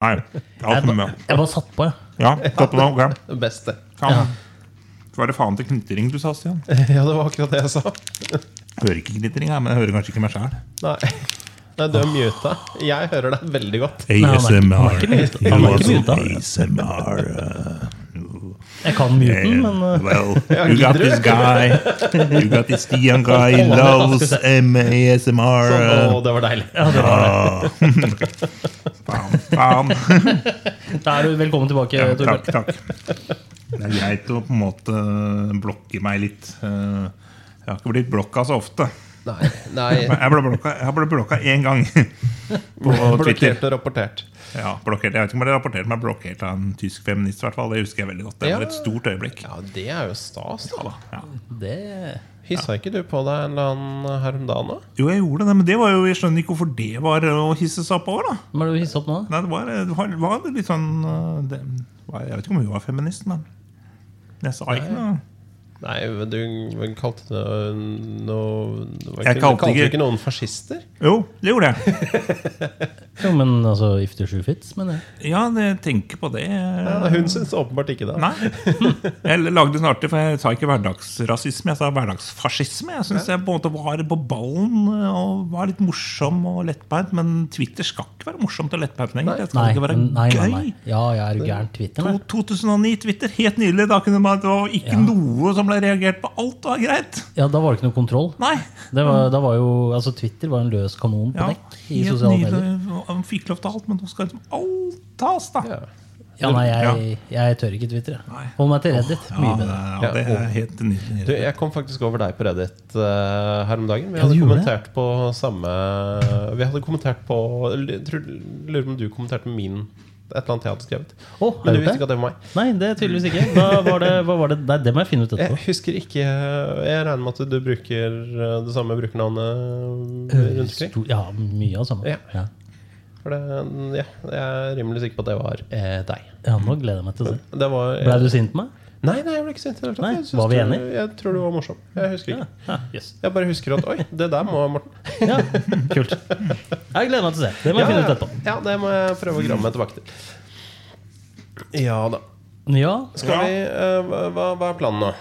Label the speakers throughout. Speaker 1: Nei. Alt
Speaker 2: Jeg,
Speaker 1: med.
Speaker 2: jeg bare satt på, jeg.
Speaker 1: Ja, godt på det. ok.
Speaker 3: Det beste.
Speaker 1: Ja. Så var det faen til knitring du sa, Stian.
Speaker 3: Ja, det var akkurat det jeg sa.
Speaker 1: Jeg hører ikke knitring, jeg, men jeg hører kanskje ikke meg sjæl.
Speaker 3: Nei, Nei du er muta. Jeg hører deg veldig godt.
Speaker 2: han er ikke- han er ikke muta. Han er ikke muta.
Speaker 1: ASMR.
Speaker 2: Jeg kan muten, men uh,
Speaker 1: well, you got this guy. You got this Stian guy who loves um, ASMR.
Speaker 3: Sånn,
Speaker 1: uh,
Speaker 3: å, det var deilig.
Speaker 2: ja, det var det.
Speaker 1: Ah. faen, faen.
Speaker 2: eh, Da er du velkommen tilbake,
Speaker 1: Ja,
Speaker 2: Torbjørn.
Speaker 1: takk, takk. Det er greit å på en måte blokke meg litt. Eh, Jeg har ikke blitt blokka så ofte.
Speaker 3: Nei, nei.
Speaker 1: Men Jeg ble blokka, jeg ble blokka én gang på Twitter.
Speaker 3: Blokkert og rapportert.
Speaker 1: Ja, blokkert. Jeg vet ikke om det er rapportert, men jeg er blokkert av en tysk feminist. i hvert fall. Det husker jeg veldig godt. Det var et stort øyeblikk.
Speaker 3: Ja, det er jo stas, da.
Speaker 1: Ja.
Speaker 2: Det
Speaker 3: Hissa ikke du på deg en eller annen her om dagen, da?
Speaker 1: Jo, jeg gjorde det, men det var jo, jeg skjønner ikke hvorfor det var å hisse seg opp over. da.
Speaker 2: Hva er det du hisser opp nå? da?
Speaker 1: Nei, det var, det var, det var litt sånn eh, det, var- Jeg vet ikke om hun var feminist, men jeg sa ikke noe.
Speaker 3: Nei, men du kalte det noe det var
Speaker 1: Jeg
Speaker 3: ikke,
Speaker 1: kalte
Speaker 3: Du kalte
Speaker 1: ikke-
Speaker 3: ikke noen fascister?
Speaker 1: Jo, det gjorde jeg.
Speaker 2: Jo, men altså, if the shoe fits, mener jeg.
Speaker 1: Ja, jeg tenker på det. øh,
Speaker 3: Ja, hun syns åpenbart ikke det.
Speaker 1: Nei. Jeg lagde en artig, for jeg sa ikke hverdagsrasisme, jeg sa hverdagsfascisme. Jeg syns jeg på en måte var på ballen og var litt morsom og lettbeint. Men Twitter skal ikke være morsomt og lettbeint lenger. Det
Speaker 2: Nei,
Speaker 1: skal ikke være
Speaker 2: nei, nei, nei.
Speaker 1: gøy.
Speaker 2: Ja, jeg er gæren Twitter.
Speaker 1: To- 2009,
Speaker 2: Nei.
Speaker 1: Twitter, helt nydelig. Da kunne man, det var ikke
Speaker 2: Ja.
Speaker 1: noe som ble reagert på. Alt var greit.
Speaker 2: Ja, da var det ikke noe kontroll.
Speaker 1: Nei.
Speaker 2: Det var, da var jo, altså Twitter var en løs kanon på
Speaker 1: Ja,
Speaker 2: dekk i sosiale medier.
Speaker 1: Man fikk lov til alt, men nå skal liksom alt tas, da.
Speaker 3: Ja.
Speaker 2: Ja, nei, jeg, jeg tør ikke Twitter. jeg.
Speaker 1: Nei.
Speaker 2: Hold meg til Reddit. Mye bedre.
Speaker 1: Ja, det er helt nydelig.
Speaker 3: Du, jeg kom faktisk over deg på Reddit eh, her om dagen. Vi
Speaker 2: du
Speaker 3: hadde
Speaker 2: gjorde det?
Speaker 3: kommentert på samme Vi hadde kommentert på jeg tror- Lurer på om du kommenterte på min et eller annet jeg hadde skrevet.
Speaker 2: Å,
Speaker 3: Men
Speaker 2: har
Speaker 3: du
Speaker 2: jeg
Speaker 3: visste
Speaker 2: gjort
Speaker 3: ikke
Speaker 2: det?
Speaker 3: at det var meg.
Speaker 2: Nei, det er tydeligvis ikke. Da var det, hva var det? Nei, det må jeg finne ut
Speaker 3: Jeg
Speaker 2: etterpå.
Speaker 3: husker ikke Jeg regner med at du bruker eh, det
Speaker 2: Øh,
Speaker 3: samme
Speaker 1: Eh,
Speaker 3: brukernavnet eh, rundt omkring.
Speaker 2: Eh, Stor- Ja, mye av det samme.
Speaker 3: Ja.
Speaker 2: Ja.
Speaker 3: For det, ja, jeg er rimelig sikker på at det var eh, deg.
Speaker 2: ja, nå gleder jeg meg til å se.
Speaker 3: Det var
Speaker 2: Ble du sint på meg?
Speaker 3: Nei, nei, jeg ble ikke sint. i det hele tatt.
Speaker 2: Nei,
Speaker 3: Jeg syns
Speaker 2: var vi
Speaker 3: du-
Speaker 2: enige?
Speaker 3: Jeg tror du var morsom. Jeg husker ikke.
Speaker 2: Ja, yes.
Speaker 3: Jeg bare husker at Oi, det der må Morten.
Speaker 2: ja, kult. Jeg gleder meg til å se. Det må jeg finne ut etterpå.
Speaker 3: ja, det må jeg prøve å grave meg tilbake til. Ja da.
Speaker 2: Ja,
Speaker 3: Skal
Speaker 1: Ja.
Speaker 3: vi eh, hva, hva- hva er planen nå?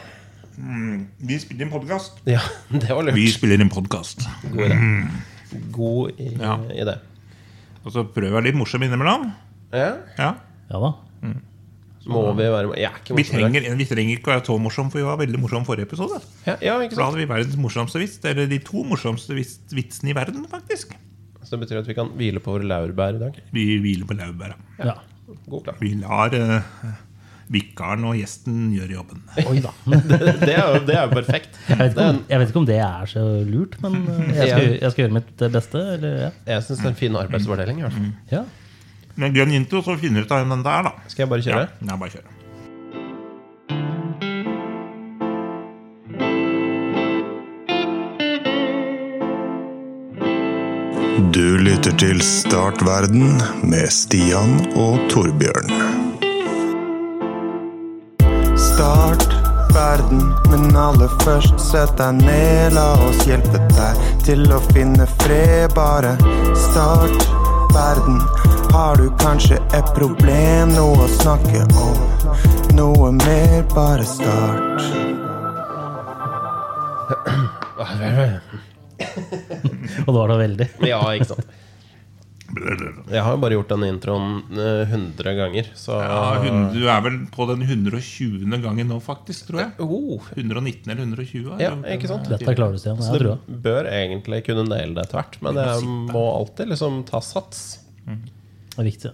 Speaker 1: Vi spiller en podkast.
Speaker 3: Ja, det var lurt.
Speaker 1: Vi spiller en podkast.
Speaker 3: God idé. God i,
Speaker 1: Ja.
Speaker 3: idé.
Speaker 1: Og så prøver jeg å være litt morsom innimellom.
Speaker 3: Ja.
Speaker 1: Ja.
Speaker 2: ja da.
Speaker 3: Må vi være Jeg er ikke
Speaker 1: Vi,
Speaker 3: morsom. i dag.
Speaker 1: trenger, vi trenger ikke å være så morsom, for vi var veldig morsom forrige episode.
Speaker 3: Ja, ja,
Speaker 1: For da
Speaker 3: ikke sant?
Speaker 1: hadde vi verdens morsomste vits. Eller de to morsomste vits, vitsene i verden, faktisk.
Speaker 3: Så det betyr at vi kan hvile på våre laurbær i dag.
Speaker 1: Vi hviler på laurbæra.
Speaker 2: Ja.
Speaker 3: God plan.
Speaker 1: Vi lar eh, vikaren og gjesten gjøre jobben.
Speaker 2: Oi da.
Speaker 3: Det, det er jo det er jo perfekt.
Speaker 2: Jeg vet, ikke om, jeg vet ikke om det er så lurt, men eh, jeg skal, jeg skal gjøre mitt beste. Eller, ja.
Speaker 3: Jeg syns det er en fin arbeidsfordeling. i hvert fall.
Speaker 2: Ja.
Speaker 1: Med grønn intro så finner du ut av hvem den der, da.
Speaker 3: Skal jeg bare
Speaker 1: Ja,
Speaker 3: kjøre?
Speaker 1: det er bare å kjøre.
Speaker 4: Du lytter til Startverden med Stian og Torbjørn. Start verden, men aller først sett deg ned. La oss hjelpe deg til å finne fred. Bare start verden. Har du kanskje et problem, noe å snakke om? Noe mer, bare start.
Speaker 2: Og det var da veldig.
Speaker 3: Ja, ikke sant. Jeg har jo bare gjort den introen eh, 100 ganger, så
Speaker 1: Ja, hun, du er vel på den 120. gangen nå, faktisk, tror jeg.
Speaker 3: Oh,
Speaker 1: 119 eller 120?
Speaker 3: Ja,
Speaker 1: eller-
Speaker 3: ikke sant?
Speaker 2: Dette klarer du, Stian.
Speaker 3: Så
Speaker 2: Jeg
Speaker 3: det
Speaker 2: tror det.
Speaker 3: bør egentlig kunne naile det etter hvert, men det er- må alltid liksom ta sats.
Speaker 2: Det er viktig.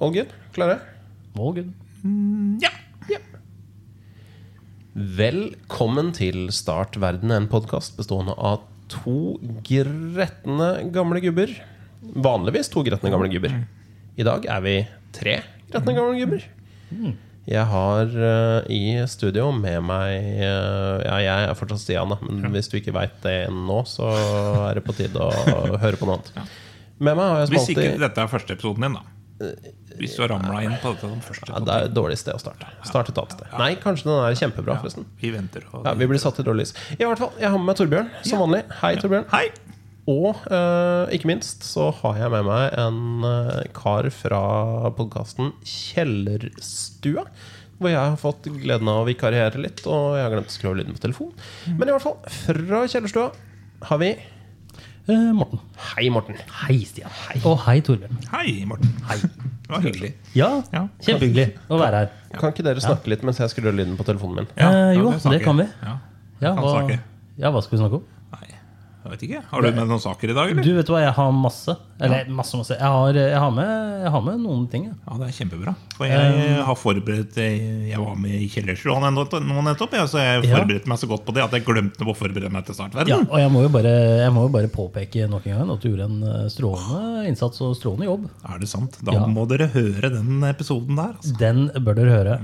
Speaker 3: All good? Klare?
Speaker 2: Å, Gud.
Speaker 1: Ja.
Speaker 3: Velkommen til Start verden, en podkast bestående av to gretne gamle gubber. Vanligvis to gretne gamle gubber. I dag er vi tre gretne gamle gubber. Jeg har eh, i studio med meg eh, Ja, jeg er fortsatt Stian, da, men hvis du ikke veit det nå, så er det på tide å høre på noe annet. Med meg har jeg som
Speaker 1: Hvis ikke
Speaker 3: alltid Eh,
Speaker 1: dette er første episoden din, da. Hvis du har ramla inn på dette som første
Speaker 3: Ja,
Speaker 1: episoden.
Speaker 3: det er et dårlig sted å starte. Start et annet sted. Nei, kanskje den er kjempebra, forresten.
Speaker 1: Vi venter. og-
Speaker 3: Ja, Vi blir satt i dårlig lys. I hvert fall, jeg har med meg Torbjørn, som vanlig. Hei, Torbjørn.
Speaker 1: Hei!
Speaker 3: Og eh, ikke minst så har jeg med meg en eh, kar fra podkasten Kjellerstua. Hvor jeg har fått gleden av å vikariere litt, og jeg har glemt å skru av lyden på telefonen. Men i hvert fall, fra Kjellerstua har vi
Speaker 2: Eh, Morten.
Speaker 3: Hei, Morten.
Speaker 2: Hei, Stian. Og hei, Torbjørn.
Speaker 1: Hei, Morten. Det var hyggelig.
Speaker 2: Ja,
Speaker 1: Ja.
Speaker 2: kjempehyggelig å være her.
Speaker 3: Kan ikke dere snakke litt mens jeg skrur av lyden på telefonen min?
Speaker 2: Eh, jo,
Speaker 1: snakker
Speaker 2: det kan vi.
Speaker 1: jeg. Ja.
Speaker 2: Ja,
Speaker 1: Kan
Speaker 2: hva,
Speaker 1: snakke.
Speaker 2: ja, hva skal vi snakke om?
Speaker 1: Nei, jeg vet ikke. Har du med noen saker i dag,
Speaker 2: Du,
Speaker 1: eller?
Speaker 2: vet du hva, jeg har masse. Eller masse, masse. Jeg har, eh, jeg har, med, jeg har med noen ting. Ja.
Speaker 1: Ja, det er kjempebra. For jeg
Speaker 2: Um,
Speaker 1: har forberedt eh, Jeg var med i Kjellerstua nå nettopp, jeg, så jeg
Speaker 2: Ja.
Speaker 1: forberedte meg så godt på det at jeg glemte å forberede meg til
Speaker 2: Ja,
Speaker 1: startverden.
Speaker 2: og jeg må jo bare, jeg må jo bare påpeke nok en gang at du gjorde en eh, strålende innsats og strålende jobb.
Speaker 1: Er det sant? Da
Speaker 2: Ja.
Speaker 1: må dere høre den episoden der. Altså.
Speaker 2: Den bør dere høre.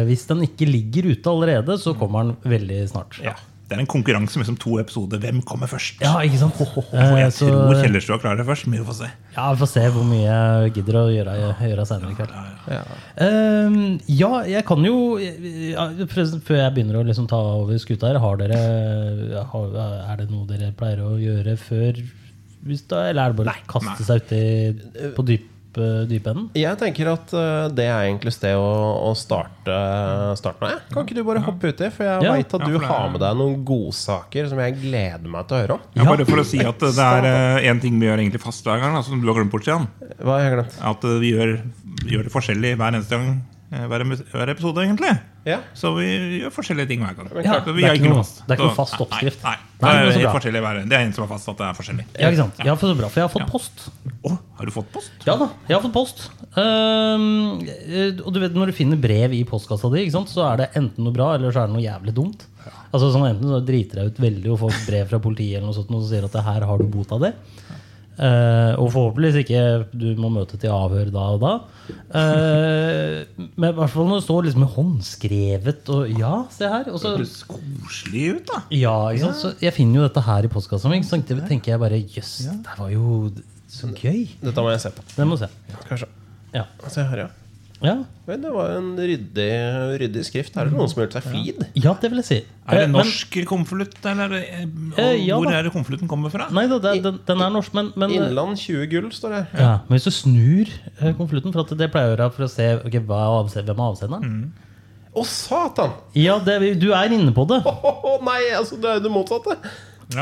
Speaker 2: Eh, hvis den ikke ligger ute allerede, så kommer den veldig snart.
Speaker 1: Ja. Det er en konkurranse mellom to episoder. Hvem kommer først?
Speaker 2: Ja, ikke sant?
Speaker 1: Og
Speaker 2: Eh,
Speaker 1: jeg
Speaker 2: så,
Speaker 1: tror Kjellerstua klarer det først, men vi får se.
Speaker 2: ja, Vi får se hvor mye jeg gidder å gjøre, gjøre senere i kveld.
Speaker 3: Ja.
Speaker 2: Eh, ja, jeg kan jo ja, forresten, Før jeg begynner å liksom ta over skuta her, har dere, har, er det noe dere pleier å gjøre før hvis da, Eller er det bare å
Speaker 1: nei.
Speaker 2: kaste seg uti på dyp, eh, dypenden?
Speaker 3: Jeg tenker at eh, det er egentlig sted å, å starte, starte med. Kan ikke du bare hoppe uti? For jeg
Speaker 2: Ja.
Speaker 3: vet at
Speaker 1: Ja,
Speaker 3: du
Speaker 1: for det er-
Speaker 3: har med deg noen godsaker som jeg gleder meg til å høre om.
Speaker 1: Ja, bare for å si at det er én ting vi gjør egentlig fast hver gang, da, som du har glemt bort, Stian.
Speaker 3: Hva har jeg glemt?
Speaker 1: At eh, vi gjør, vi gjør det forskjellig hver eneste gang. eh, Hver, hver episode, egentlig.
Speaker 3: Ja.
Speaker 1: Så vi gjør forskjellige ting hver gang.
Speaker 2: Ja,
Speaker 1: Så
Speaker 2: det
Speaker 1: vi
Speaker 2: er
Speaker 1: har
Speaker 2: ikke noe-
Speaker 1: fast.
Speaker 2: det er ikke noe
Speaker 1: Så-
Speaker 2: fast oppskrift.
Speaker 1: Nei, nei.
Speaker 2: Nei, men
Speaker 1: det,
Speaker 2: så
Speaker 1: er
Speaker 2: bra.
Speaker 1: helt forskjellig hver, det er en som har fast at det er forskjellig.
Speaker 2: Ja, ikke sant? Ja, for så bra, for jeg har fått post.
Speaker 1: Å, har du fått post?
Speaker 2: Ja da, jeg har fått post. Ehm, eh, og du vet når du finner brev i postkassa di, ikke sant, så er det enten noe bra eller så er det noe jævlig dumt. Altså sånn, Enten så driter jeg ut veldig og får brev fra politiet eller noe sånt, og så sier at det her har du bota di. Eh, og forhåpentligvis ikke du må møte til avhør da og da. Eh, men i hvert fall når det står liksom håndskrevet og Ja, se her. Og så
Speaker 1: Høres koselig ut, da.
Speaker 2: ja, ikke sant? Så jeg finner jo dette her i postkassa mi. ikke sant? Det tenker jeg bare Jøss, det her var jo så gøy.
Speaker 3: Dette må jeg se på.
Speaker 2: Det må du se.
Speaker 3: Kanskje.
Speaker 2: Ja.
Speaker 3: Se her, ja.
Speaker 2: ja.
Speaker 3: Vel, det var jo en ryddig, ryddig skrift. Er det noen som har gjort seg flid?
Speaker 2: Ja, det vil jeg si.
Speaker 1: Er det
Speaker 2: Eh,
Speaker 1: norsk konvolutt, eller eh, og
Speaker 2: Eh, ja
Speaker 1: hvor
Speaker 2: da.
Speaker 1: er det konvolutten kommer fra?
Speaker 2: Men, nei da, det, den, den er norsk, men, men eh,
Speaker 3: Innland 20 gull, står det her.
Speaker 2: ja, Men hvis du snur eh, konvolutten, for at det pleier jeg å gjøre for å se ok, hva er avse- hvem er avsenderen
Speaker 3: Å, satan!
Speaker 2: Ja, det, du er inne på det.
Speaker 3: Å, nei, altså, det er jo det motsatte.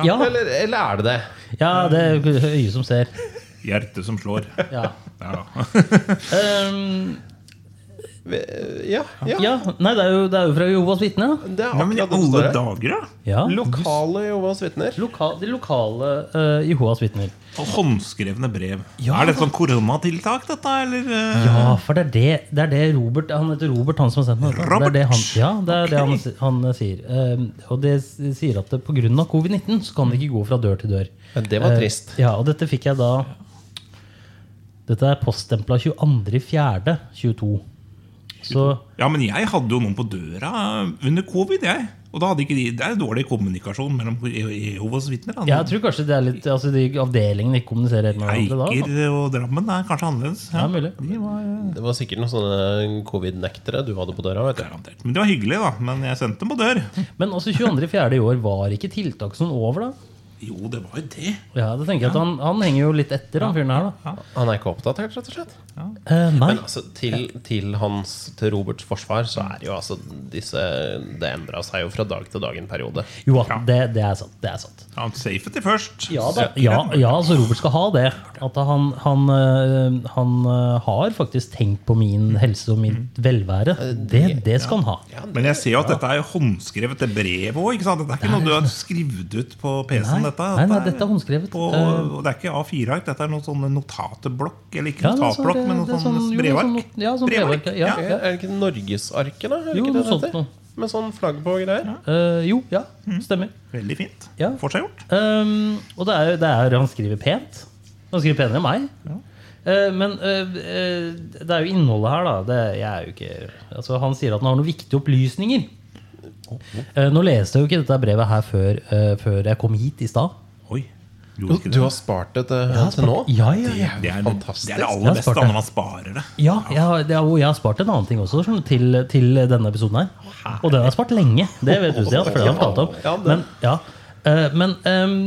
Speaker 2: Ja,
Speaker 3: Eller, eller er det det?
Speaker 2: ja det er øyet som ser.
Speaker 1: Hjertet som slår.
Speaker 2: Ja.
Speaker 1: Der, da.
Speaker 2: Ehm,
Speaker 3: Vi- Ja. ja.
Speaker 2: ja. Nei, det er jo, det er jo fra Jehovas vitne. ja.
Speaker 3: Det er
Speaker 1: Ja, men i
Speaker 3: akkurat det det
Speaker 1: alle
Speaker 3: står her.
Speaker 1: dager, da!
Speaker 2: Ja.
Speaker 3: Lokale Jehovas vitner.
Speaker 2: Loka, de lokale eh, Jehovas vitner.
Speaker 1: Og håndskrevne brev.
Speaker 2: Ja.
Speaker 1: Er det et sånt koronatiltak, dette? Eller, eh,
Speaker 2: Ja, for det er det, det er det Robert Han heter Robert, han som har sendt meg dette. Det er det han, ja, det er det han, si- han eh, sier. Eh, og det s- sier at pga. covid-19 så kan det ikke gå fra dør til dør.
Speaker 3: Det
Speaker 2: Eh,
Speaker 3: var trist.
Speaker 2: Ja, og dette fikk jeg da Dette er poststempla 22.4.22. Så
Speaker 1: ja, men jeg hadde jo noen på døra under covid, jeg. Og da hadde ikke de, Det er dårlig kommunikasjon mellom Jehovas vitner. da.
Speaker 2: jeg tror kanskje det er litt Altså de avdelingene ikke kommuniserer helt med hverandre da. altså.
Speaker 1: Eiker og Drammen er kanskje annerledes.
Speaker 2: Ja, mulig.
Speaker 1: De var, eh,
Speaker 3: Det var sikkert noen sånne covid-nektere du hadde på døra. vet du
Speaker 1: garantert. Men det var hyggelig, da. Men jeg sendte dem på dør.
Speaker 2: Men altså 22.4. i år var ikke tiltak sånn over, da?
Speaker 1: Jo, det var jo det.
Speaker 2: Ja, det tenker jeg at Han, han henger jo litt etter, han fyren her, da.
Speaker 3: Han er ikke oppdatert, rett og slett.
Speaker 2: Eh, nei.
Speaker 3: Men altså, til, til hans, til Roberts forsvar, så er jo altså disse Det endra seg jo fra dag til dag i en periode.
Speaker 2: Jo, at det, det er sant. Det er sant.
Speaker 1: Ja, safety først.
Speaker 2: Ja, da. ja, ja, altså Robert skal ha det. At han, han, øh, han øh, har faktisk tenkt på min helse og mitt velvære. Det, det skal han ha.
Speaker 1: Men jeg ser jo at dette er håndskrevet det brev òg. Dette er ikke noe du har skrevet ut på PC-en.
Speaker 2: Nei,
Speaker 1: dette,
Speaker 2: nei, nei, dette er håndskrevet.
Speaker 1: På, og det er ikke A4-ark, dette er noen sånne notateblokk. Eller ikke
Speaker 2: Ja, det er sånn-
Speaker 1: notatblokk, men
Speaker 2: det er
Speaker 1: noen
Speaker 2: sånn-
Speaker 1: sånne
Speaker 2: jo, det er
Speaker 1: brevark.
Speaker 2: sånn- ja, sånn brevark, ja,
Speaker 3: Er
Speaker 2: ja.
Speaker 3: er det ikke Norgesarket, da? Er det
Speaker 2: Jo,
Speaker 3: ikke det
Speaker 2: noe sånt
Speaker 3: det heter?
Speaker 2: noe.
Speaker 3: Med sånn flagg på og greier.
Speaker 2: Eh, jo, ja. Stemmer.
Speaker 1: Veldig fint.
Speaker 2: Ja.
Speaker 1: Får seg gjort.
Speaker 2: Ehm, og det er, jo- det er Han skriver pent. Han skriver penere enn meg. Eh, men eh, eh, det er jo innholdet her, da. Det, jeg er jo ikke, altså, han sier at han har noen viktige opplysninger. Eh, nå leste jeg jo ikke dette brevet her før, eh, før jeg kom hit i stad.
Speaker 1: Oi. Du,
Speaker 3: Du, du har spart det til, til nå?
Speaker 2: Ja, ja, ja.
Speaker 1: det, er,
Speaker 3: fantastisk.
Speaker 1: det er det
Speaker 2: Jeg har
Speaker 1: aller beste
Speaker 2: spart
Speaker 1: da,
Speaker 2: det.
Speaker 1: når man sparer det.
Speaker 2: Ja, jeg har, det er, og jeg har spart en annen ting også skjønner du, til, til denne episoden her. Og den har jeg spart lenge. Det vet du, Stian. For det har jeg fortalt om.
Speaker 3: Ja, det-
Speaker 2: Men, ja. Eh, men ehm,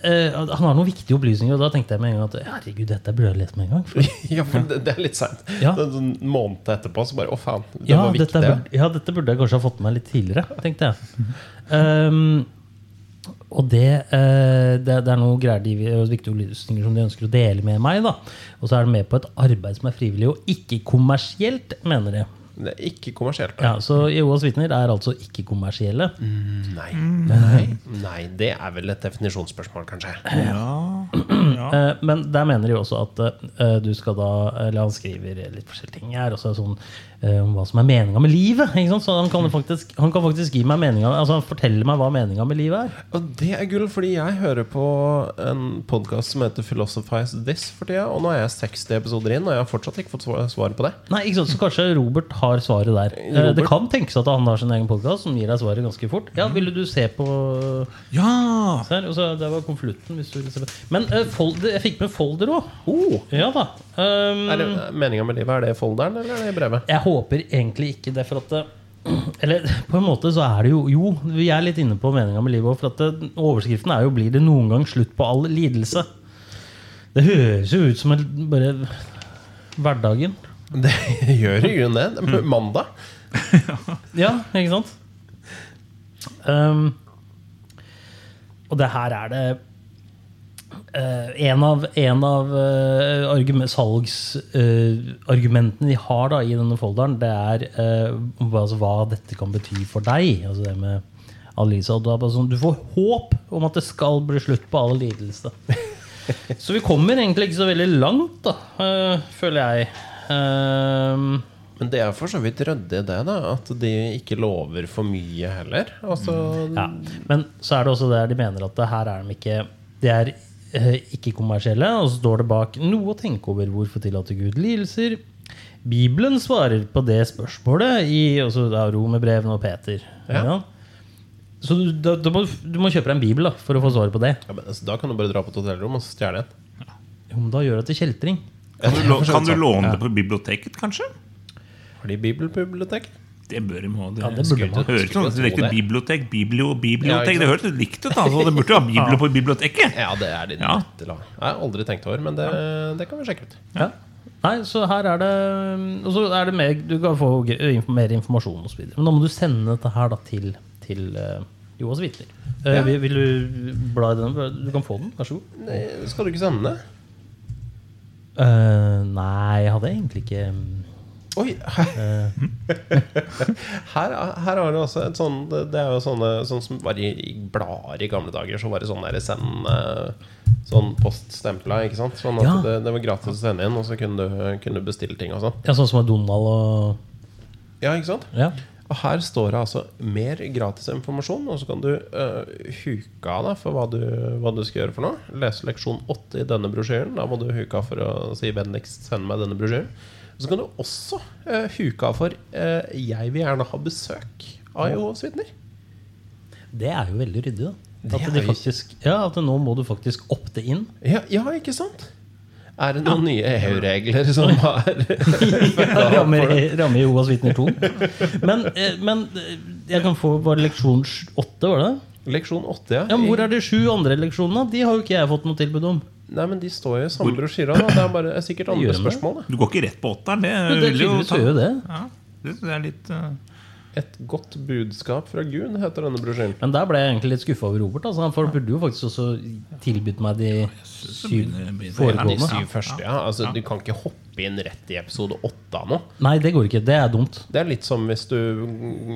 Speaker 2: eh, han har noen viktige opplysninger, og da tenkte jeg med en gang at herregud, dette burde jeg lest med en gang. For,
Speaker 3: Ja, for det, det er litt seint.
Speaker 2: Ja.
Speaker 3: En måned etterpå så bare Å, faen. Det
Speaker 2: ja,
Speaker 3: var viktig.
Speaker 2: dette burde, ja, dette burde jeg kanskje ha fått med meg litt tidligere, tenkte jeg. Ehm, og det, eh, det, det er noen greier de, og viktige opplysninger som de ønsker å dele med meg. da. Og så er de med på et arbeid som er frivillig og ikke kommersielt, mener de.
Speaker 3: Det er ikke kommersielt.
Speaker 2: Ja, Så Jehovas vitner er altså ikke kommersielle.
Speaker 3: Mm. Nei. Nei.
Speaker 2: Mm.
Speaker 3: Nei. Det er vel et definisjonsspørsmål, kanskje.
Speaker 2: Eh, Men der mener de også at eh, du skal da Eller han skriver litt forskjellige ting her. Også sånn, eh, om hva som er meninga med livet. Ikke sant? Så han
Speaker 3: Mm.
Speaker 2: kan, faktisk, han kan faktisk gi meg meninga Altså han forteller meg hva meninga med livet er.
Speaker 3: Og det er gull, fordi jeg hører på en podkast som heter Philosophize This for tida. Og nå er jeg 60 episoder inn, og jeg har fortsatt ikke fått svar- svar på det.
Speaker 2: Nei, ikke sant? Så kanskje Robert har svaret der. Eh, Det
Speaker 3: Robert? Mm.
Speaker 2: kan tenkes at han har sin egen podkast som gir deg svaret ganske fort. Ja, ville du se på
Speaker 1: Ja!
Speaker 2: se her, og så Der var konvolutten. hvis du ville se på. Men eh, folder, jeg fikk med folder òg.
Speaker 3: Oh,
Speaker 2: Ja da. Um,
Speaker 3: er det Meninga med livet, er det folderen, eller er det brevet?
Speaker 2: Jeg håper egentlig ikke det, for at det, Eller på en måte så er det jo Jo, vi er litt inne på meninga med livet òg, for at det, overskriften er jo 'Blir det noen gang slutt på all lidelse'? Det høres jo ut som en, bare hverdagen.
Speaker 3: Det gjør i grunnen det. det. er Mandag.
Speaker 2: Ja, ikke sant? Ehm, og det her er det eh, En av, en av eh, argum- salgsargumentene de har da, i denne folderen, det er eh, hva- altså, hva dette kan bety for deg. Altså det med Alisa. Og da, bare sånn, du får håp om at det skal bli slutt på all lidelse. Så vi kommer egentlig ikke så veldig langt, da, eh, føler jeg. Ehm,
Speaker 3: Men det er for så vidt ryddig, det, da. At de ikke lover for mye heller. Altså,
Speaker 2: Ja. Men så er det også der de mener at det her er de ikke De er eh, ikke kommersielle. Og så står det bak noe å tenke over. Hvorfor tillater Gud lidelser? Bibelen svarer på det spørsmålet i altså, også da Romerbrevene og Peter.
Speaker 3: Ja.
Speaker 2: Ja. Så du, da, da må, du- du må kjøpe deg en bibel da, for å få svaret på det.
Speaker 3: Ja, men, altså, da kan du bare dra på et hotellrom og så stjele en.
Speaker 2: Jo, men da gjør det til kjeltring.
Speaker 1: Kan du, lå-
Speaker 3: Ja,
Speaker 1: kan du
Speaker 3: sant.
Speaker 1: låne det på biblioteket, kanskje?
Speaker 3: Har de bibelbibliotek?
Speaker 1: Det bør de ha. Det,
Speaker 2: Ja, det burde man.
Speaker 1: høres sånn ut.
Speaker 3: Skulle
Speaker 1: Direkte
Speaker 3: tro det.
Speaker 1: bibliotek, biblio,
Speaker 3: Ja, ikke
Speaker 1: bibliotek.
Speaker 3: sant?
Speaker 1: det høres litt likt ut, da. Så det burde jo ha bibler på biblioteket.
Speaker 3: Ja, det er de
Speaker 1: Ja.
Speaker 3: nødt til å ha. Jeg har aldri tenkt over, men det, det kan vi sjekke ut.
Speaker 2: Ja. Nei, så her er det Og så er det mer Du kan få gre- info- mer informasjon og så videre. Men da må du sende dette her da til, til eh, Joas vitner. Eh,
Speaker 3: Ja.
Speaker 2: vil, vil du bla i den? Du kan få den, vær så god.
Speaker 3: Nei, skal du ikke sende det?
Speaker 2: Eh, nei, jeg hadde egentlig ikke
Speaker 3: Oi! Eh. Her, her har du altså et sånn Det er jo sånne sånn som var i, i blader i gamle dager. Så var det sånn der send eh, Sånn poststempla, ikke sant? Sånn at
Speaker 2: Ja.
Speaker 3: det, det var gratis å sende inn, og så kunne du, kunne du bestille ting og sånn.
Speaker 2: Ja, Sånn som med Donald og
Speaker 3: Ja, ikke sant?
Speaker 2: Ja.
Speaker 3: Og her står det altså mer gratis informasjon, og så kan du eh, huke av deg for hva du, hva du skal gjøre for noe. Lese leksjon 8 i denne brosjyren. Da må du huke av for å si 'vennligst send meg denne brosjyren'. Og så kan du også eh, huke av for eh, 'jeg vil gjerne ha besøk' av Jehovas vitner.
Speaker 2: Det er jo veldig ryddig, da.
Speaker 3: Det
Speaker 2: At,
Speaker 3: er
Speaker 2: de
Speaker 3: jo-
Speaker 2: faktisk, ja, at nå må du faktisk opte inn.
Speaker 3: Ja, ja, ikke sant? Er det noen nye EU-regler som er
Speaker 2: rammer, rammer Joas vitner 2. Men, eh, men eh, jeg kan få bare leksjon sj- åtte, var det?
Speaker 3: Leksjon 8, ja.
Speaker 2: Ja, men Hvor er de sju andre leksjonene? De har jo ikke jeg fått noe tilbud om.
Speaker 3: Nei, men De står jo i samme brosjyra. da. Det er bare det er sikkert
Speaker 2: Gjør
Speaker 3: andre
Speaker 2: de det?
Speaker 3: spørsmål. da.
Speaker 1: Du går ikke rett på åtteren. Det,
Speaker 2: Men det
Speaker 1: vil jo
Speaker 2: tydeligvis
Speaker 1: ta-
Speaker 2: gjør jo det.
Speaker 1: Ja, det synes jeg er litt eh,
Speaker 3: Et godt budskap fra Gud heter denne brosjyren.
Speaker 2: Men der ble jeg egentlig litt skuffa over Robert. Altså, han for- burde jo faktisk også tilbudt meg de syv
Speaker 1: begynner- begynner-
Speaker 3: Ja, de
Speaker 2: foregående.
Speaker 3: syv første, ja. Altså, Du kan ikke hoppe inn rett i episode åtte nå.
Speaker 2: Nei, det går ikke. Det er dumt.
Speaker 3: Det er litt som hvis du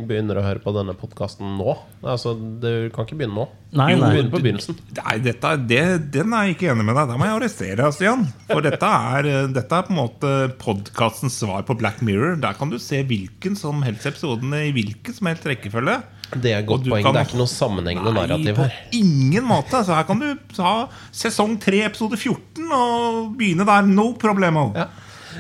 Speaker 3: begynner å høre på denne podkasten nå. Altså, Du kan ikke begynne nå.
Speaker 2: Nei,
Speaker 3: du må
Speaker 2: nei.
Speaker 3: begynne på begynnelsen.
Speaker 1: Nei, dette, det, den er jeg ikke enig med deg. Da må jeg arrestere deg, Stian. For dette er, eh, dette er på en måte podkastens svar på Black Mirror. Der kan du se hvilken som helst episodene i hvilken som helst rekkefølge.
Speaker 3: Det er et godt
Speaker 1: Og du
Speaker 3: poeng.
Speaker 1: kan-
Speaker 3: Det er ikke noe sammenhengende narrativ
Speaker 1: på
Speaker 3: her.
Speaker 1: ingen måte! Så her kan du ha sesong 3, episode 14, og begynne der. No problemo.
Speaker 3: Ja.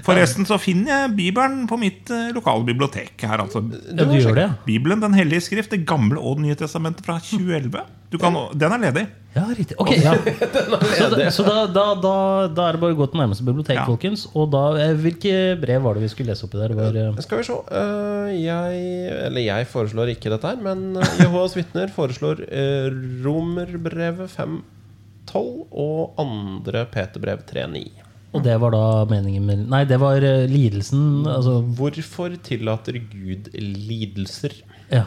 Speaker 1: Forresten så finner jeg Bibelen på mitt eh, lokale bibliotek her, altså.
Speaker 2: Ja, du gjør det? ja.
Speaker 1: Bibelen, Den hellige skrift, Det gamle og Det nye testamentet fra 2011. Du kan, den er ledig.
Speaker 2: Ja, riktig. Ok, ja. Så, da, så da, da, da, da er det bare å gå til nærmeste bibliotek,
Speaker 1: Ja.
Speaker 2: folkens. Og da, eh, hvilke brev var det vi skulle lese opp i der? Det Var, eh,
Speaker 3: Skal vi se. eh, jeg Eller jeg foreslår ikke dette her, men Jehovas vitner foreslår eh, Romerbrevet 5 12 og andre Peterbrev 3.9.
Speaker 2: Og det var da meningen med Nei, det var eh, lidelsen. Altså,
Speaker 3: Hvorfor tillater Gud lidelser?
Speaker 2: ja.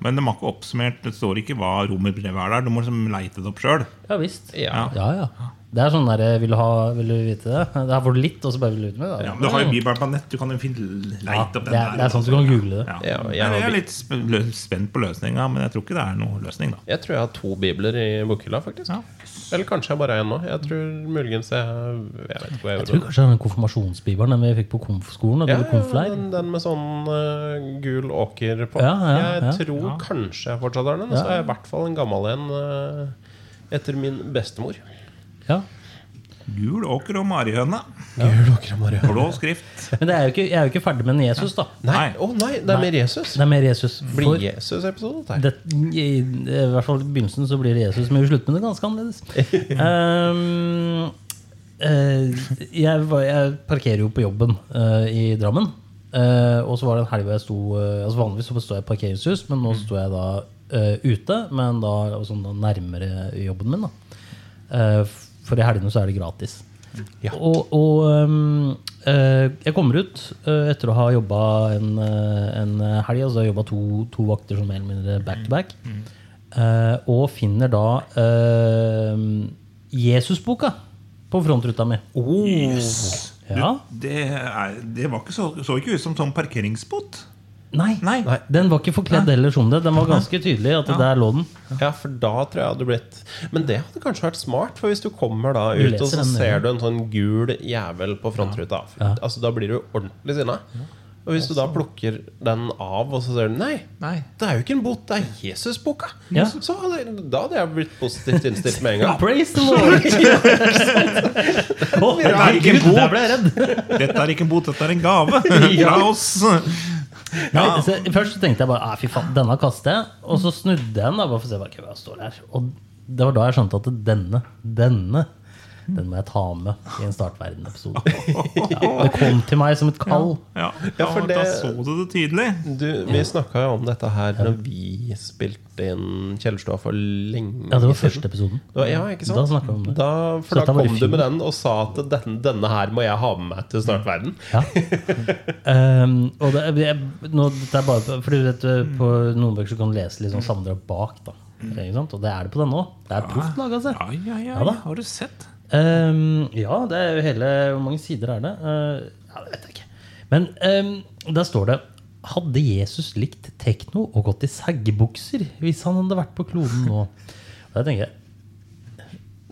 Speaker 1: Men de har ikke oppsummert. Det står ikke hva romerbrevet er der. Du må liksom leite det opp sjøl.
Speaker 2: ja visst.
Speaker 3: Ja.
Speaker 2: Ja, ja. Det er sånn der, vil du, ha, vil du vite det? Det her får du litt, og så bare vil du ut med det. da.
Speaker 1: Du har jo Bibelen på nett. Du kan jo finne
Speaker 2: Ja,
Speaker 1: leite
Speaker 2: det,
Speaker 1: opp den
Speaker 2: er, det er sånn at du kan google det.
Speaker 1: Ja.
Speaker 3: Ja, jeg
Speaker 1: jeg,
Speaker 3: har
Speaker 1: er
Speaker 3: bil-
Speaker 1: litt sp- lø- spent på løsninga, men jeg tror ikke det er noen løsning. da
Speaker 3: Jeg tror jeg har to bibler i bokhylla, faktisk.
Speaker 1: Ja.
Speaker 3: Eller kanskje jeg bare har én nå. Jeg tror muligens jeg Jeg vet ikke hvor jeg,
Speaker 2: Jeg tror
Speaker 3: gjorde det.
Speaker 2: kanskje det er den konfirmasjonsbibelen den vi fikk på konfskolen.
Speaker 3: Ja,
Speaker 2: Ja,
Speaker 3: ja,
Speaker 2: konfleir.
Speaker 3: den, den med sånn eh, gul åker på.
Speaker 2: Ja, ja, ja.
Speaker 3: jeg tror kanskje jeg fortsatt har den. Og så har jeg i hvert fall en gammel en eh, etter min bestemor.
Speaker 2: Ja.
Speaker 1: Gul åker og marihøne.
Speaker 3: Gul åker og Maria.
Speaker 1: Blå skrift.
Speaker 2: Men det er jo ikke, jeg er jo ikke ferdig med den Jesus, da.
Speaker 3: Nei,
Speaker 1: Nei.
Speaker 3: å nei, det er mer Jesus.
Speaker 2: Det er mer Jesus.
Speaker 3: Blir
Speaker 2: For
Speaker 3: Jesus-episode, dette her.
Speaker 2: det, i, I hvert fall i begynnelsen så blir det Jesus, men i slutten blir det ganske annerledes. Ehm, eh, jeg, var, jeg parkerer jo på jobben eh, i Drammen. Eh, og så var det en helg hvor jeg sto eh, altså Vanligvis så står jeg i parkeringshus, men
Speaker 1: Mm.
Speaker 2: nå sto jeg da eh, ute. Men da, sånn, da nærmere jobben min, da. Eh, f- for i helgene så er det gratis.
Speaker 3: Ja.
Speaker 2: Og, og øhm, øh, jeg kommer ut øh, etter å ha jobba en, øh, en helg, altså jeg har jobba to, to vakter som mer eller mindre back to back, eh, og finner da øhm, Jesusboka på frontruta mi.
Speaker 1: Yes.
Speaker 2: Ja.
Speaker 1: Du, det, er, det var ikke så, så ikke ut som sånn parkeringsbot.
Speaker 2: Nei,
Speaker 1: Nei.
Speaker 2: den var ikke forkledd heller som det. Den var ganske tydelig at der lå den.
Speaker 3: Ja, for da tror jeg hadde blitt Men det hadde kanskje vært smart, for hvis du kommer da ut, og
Speaker 2: leser
Speaker 3: så
Speaker 2: den, ja.
Speaker 3: ser du en sånn gul jævel på frontruta, altså da blir du ordentlig sinna. Og hvis du da plukker den av, og så ser du Nei,
Speaker 1: Nei.
Speaker 3: det er jo ikke en bot, det er Jesusboka!
Speaker 2: Ja.
Speaker 3: Så hadde, da hadde jeg blitt positivt innstilt med en gang.
Speaker 2: Praise the Lord! Å, herregud,
Speaker 1: bot.
Speaker 2: der ble jeg redd!
Speaker 1: Dette er ikke en bot, dette er en gave fra oss. Ja.
Speaker 2: Nei, så først så tenkte jeg bare «Ah, fy faen, denne kaster jeg. Og så snudde jeg den. da, bare for å se hva ok, hva står der. Og det var da jeg skjønte at denne, denne, den må jeg ta med i en Startverden-episode. Ja, det kom til meg som et kall.
Speaker 1: Ja,
Speaker 3: Ja, for
Speaker 1: da- Da
Speaker 3: det-
Speaker 1: så du det tydelig.
Speaker 3: Du, vi snakka jo om dette her når vi spilte inn Kjellerstua for lenge
Speaker 2: Ja, det var
Speaker 3: siden.
Speaker 2: første episoden.
Speaker 3: Det var- Ja, ikke sant?
Speaker 2: Da snakket vi om det.
Speaker 3: Da,
Speaker 2: Så
Speaker 3: for da
Speaker 2: dette var i
Speaker 3: kom du
Speaker 2: fjor.
Speaker 3: med den og sa at den, denne her må jeg ha med meg til startverden.
Speaker 2: Ja. Um, og det, jeg, nå, det er bare Fordi du vet, på noen bøker så kan du lese litt sånn sammendrag bak. da ikke sant? Og det er det på denne òg. Det er proft altså. laga, se.
Speaker 1: Ja, ja, ja,
Speaker 2: Ja da.
Speaker 1: ja. Har du sett?
Speaker 2: Ehm, ja, det er jo hele Hvor mange sider er det? Eh, ja, Det vet jeg ikke. Men ehm, der står det Hadde Jesus likt tekno og gått i seggebukser hvis han hadde vært på kloden nå? Og Da tenker jeg,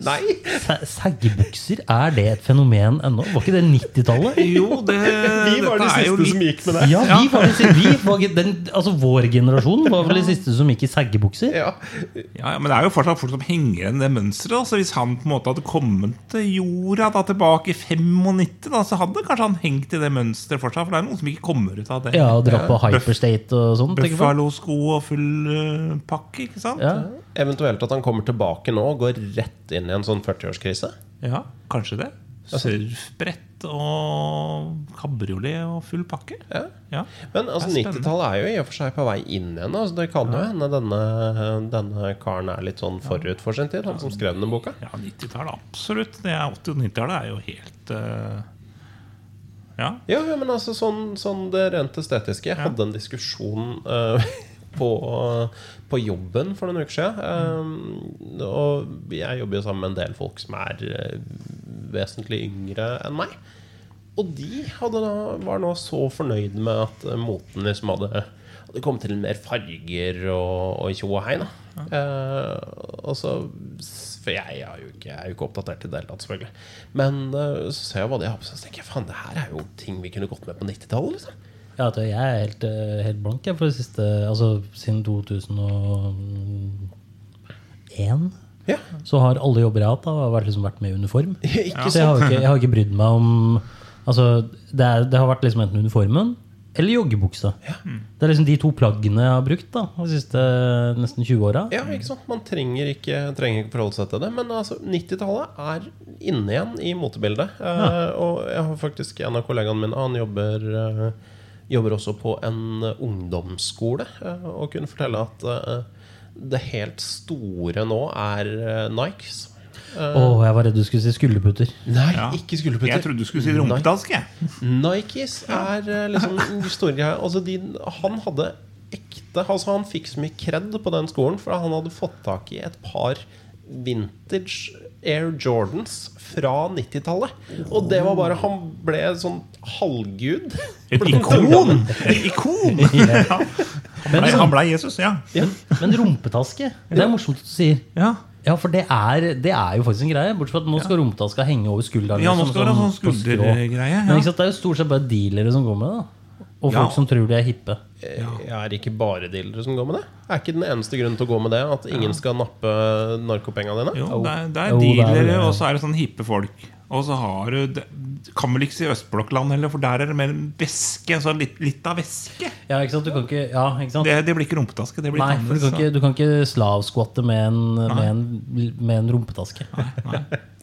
Speaker 3: Nei!
Speaker 2: se- Seggebukser, er det et fenomen ennå? Var ikke det 90-tallet?
Speaker 1: Jo, det
Speaker 3: Vi var de
Speaker 1: dette er jo
Speaker 3: siste
Speaker 1: litt-
Speaker 3: som gikk med det.
Speaker 2: Ja, vi var, vel- vi var ikke- den, altså Vår generasjon var vel de siste som gikk i seggebukser?
Speaker 3: Ja.
Speaker 1: Ja, ja, Men det er jo fortsatt folk som henger igjen i det mønsteret. da. Så hvis han på en måte hadde kommet til jorda da tilbake i 95, da, så hadde kanskje han hengt i det mønsteret fortsatt. For det er noen som ikke kommer ut av det.
Speaker 2: Ja, og dratt på hyperstate og sånn? tenker jeg på.
Speaker 1: Buffalo-sko og full eh, pakke, ikke sant?
Speaker 2: Ja.
Speaker 3: Eventuelt at han kommer tilbake nå og går rett inn i en sånn 40-årskrise.
Speaker 1: Ja, kanskje det. Surfbrett og kabriolet og full pakke.
Speaker 3: Ja.
Speaker 1: Ja.
Speaker 3: Men altså,
Speaker 1: Det er spennende.
Speaker 3: 90-tallet er jo i og for seg på vei inn igjen. Altså, det kan jo hende denne, denne karen er litt sånn forut for sin tid, han som skrev denne boka.
Speaker 1: Ja, 90-tallet, absolutt. Det er 80- og 90-tallet er jo helt eh, Ja.
Speaker 3: Ja, ja, men altså sånn, sånn det rent estetiske. Jeg hadde en diskusjon eh, på, på jobben for noen uker siden.
Speaker 1: Mm.
Speaker 3: Eh, og jeg jobber jo sammen med en del folk som er eh, vesentlig yngre enn meg. Og de hadde da, var nå så fornøyd med at eh, moten liksom hadde, hadde kommet til mer farger og, og tjo og hei. da. Eh, og så, for jeg er jo ikke, jeg er jo ikke oppdatert i det hele tatt, selvfølgelig. Men eh, så ser jeg hva de har på seg, så tenker jeg faen, det her er jo ting vi kunne gått med på 90-tallet. liksom.
Speaker 2: Ja, vet du, jeg er helt, eh, helt blank jeg, for det siste Altså siden 2001
Speaker 3: Ja,
Speaker 2: så har alle jobber jeg har hatt, da, har vært, liksom vært med i uniform.
Speaker 3: ikke
Speaker 2: Så
Speaker 3: sånn
Speaker 2: jeg har, jo ikke, jeg har ikke brydd meg om Altså, det, er, det har vært liksom enten uniformen eller joggebuksa. Det er liksom de to plaggene jeg har brukt da, de siste eh, nesten 20 åra.
Speaker 3: Ja, ikke sant? Man trenger ikke, trenger ikke forholde seg til det. Men altså, 90-tallet er inne igjen i motebildet. Eh, og jeg har faktisk en av kollegaene mine Han jobber, eh, jobber også på en eh, ungdomsskole. eh, og kunne fortelle at eh, det helt store nå er eh, Nikes.
Speaker 2: Å, jeg var redd du skulle si skulderputter.
Speaker 3: Nei,
Speaker 1: Ja.
Speaker 3: ikke skulderputter.
Speaker 1: Jeg trodde du skulle si rumpedansk. jeg.
Speaker 3: Nikes er eh, liksom den store greia. Altså, de, han hadde ekte altså, Han fikk så mye kred på den skolen, for han hadde fått tak i et par vintage Air Jordans fra 90-tallet. Og det var bare Han ble sånn halvgud.
Speaker 1: Et ikon! Et ikon! Ja. sånn- Han blei han ble Jesus, ja.
Speaker 3: Ja.
Speaker 2: Men rumpetaske, det er morsomt at du sier.
Speaker 1: Ja,
Speaker 2: Ja, for det er, det er jo faktisk en greie. Bortsett fra at nå skal rumpetaska henge over skulderen.
Speaker 1: ja nå
Speaker 2: liksom,
Speaker 1: skal det være sånn
Speaker 2: på skrå.
Speaker 1: skuldergreie.
Speaker 2: Men ikke
Speaker 1: Ja.
Speaker 2: sant, Det er jo stort sett bare dealere som går med det. da. Og
Speaker 1: Ja.
Speaker 2: folk som tror de er hippe.
Speaker 3: Jeg er ikke bare dealere som går med det. Er ikke den eneste grunnen til å gå med det at ingen skal nappe narkopenga dine?
Speaker 1: Jo, det er, det
Speaker 2: Jo,
Speaker 1: er
Speaker 2: det er det,
Speaker 1: dealere,
Speaker 2: ja.
Speaker 1: og så er det sånn hippe folk. Og så har du det- Kan vel ikke si østblokkland heller, for der er det mer en væske. Sånn litt, litt av væske.
Speaker 2: Ja, ikke sant? Du kan ikke, ja, ikke sant?
Speaker 1: Det, det blir ikke rumpetaske. Det blir
Speaker 2: Nei, for du
Speaker 1: tannløs,
Speaker 2: kan ikke, du kan ikke slavskvatte med en, med en, med en rumpetaske.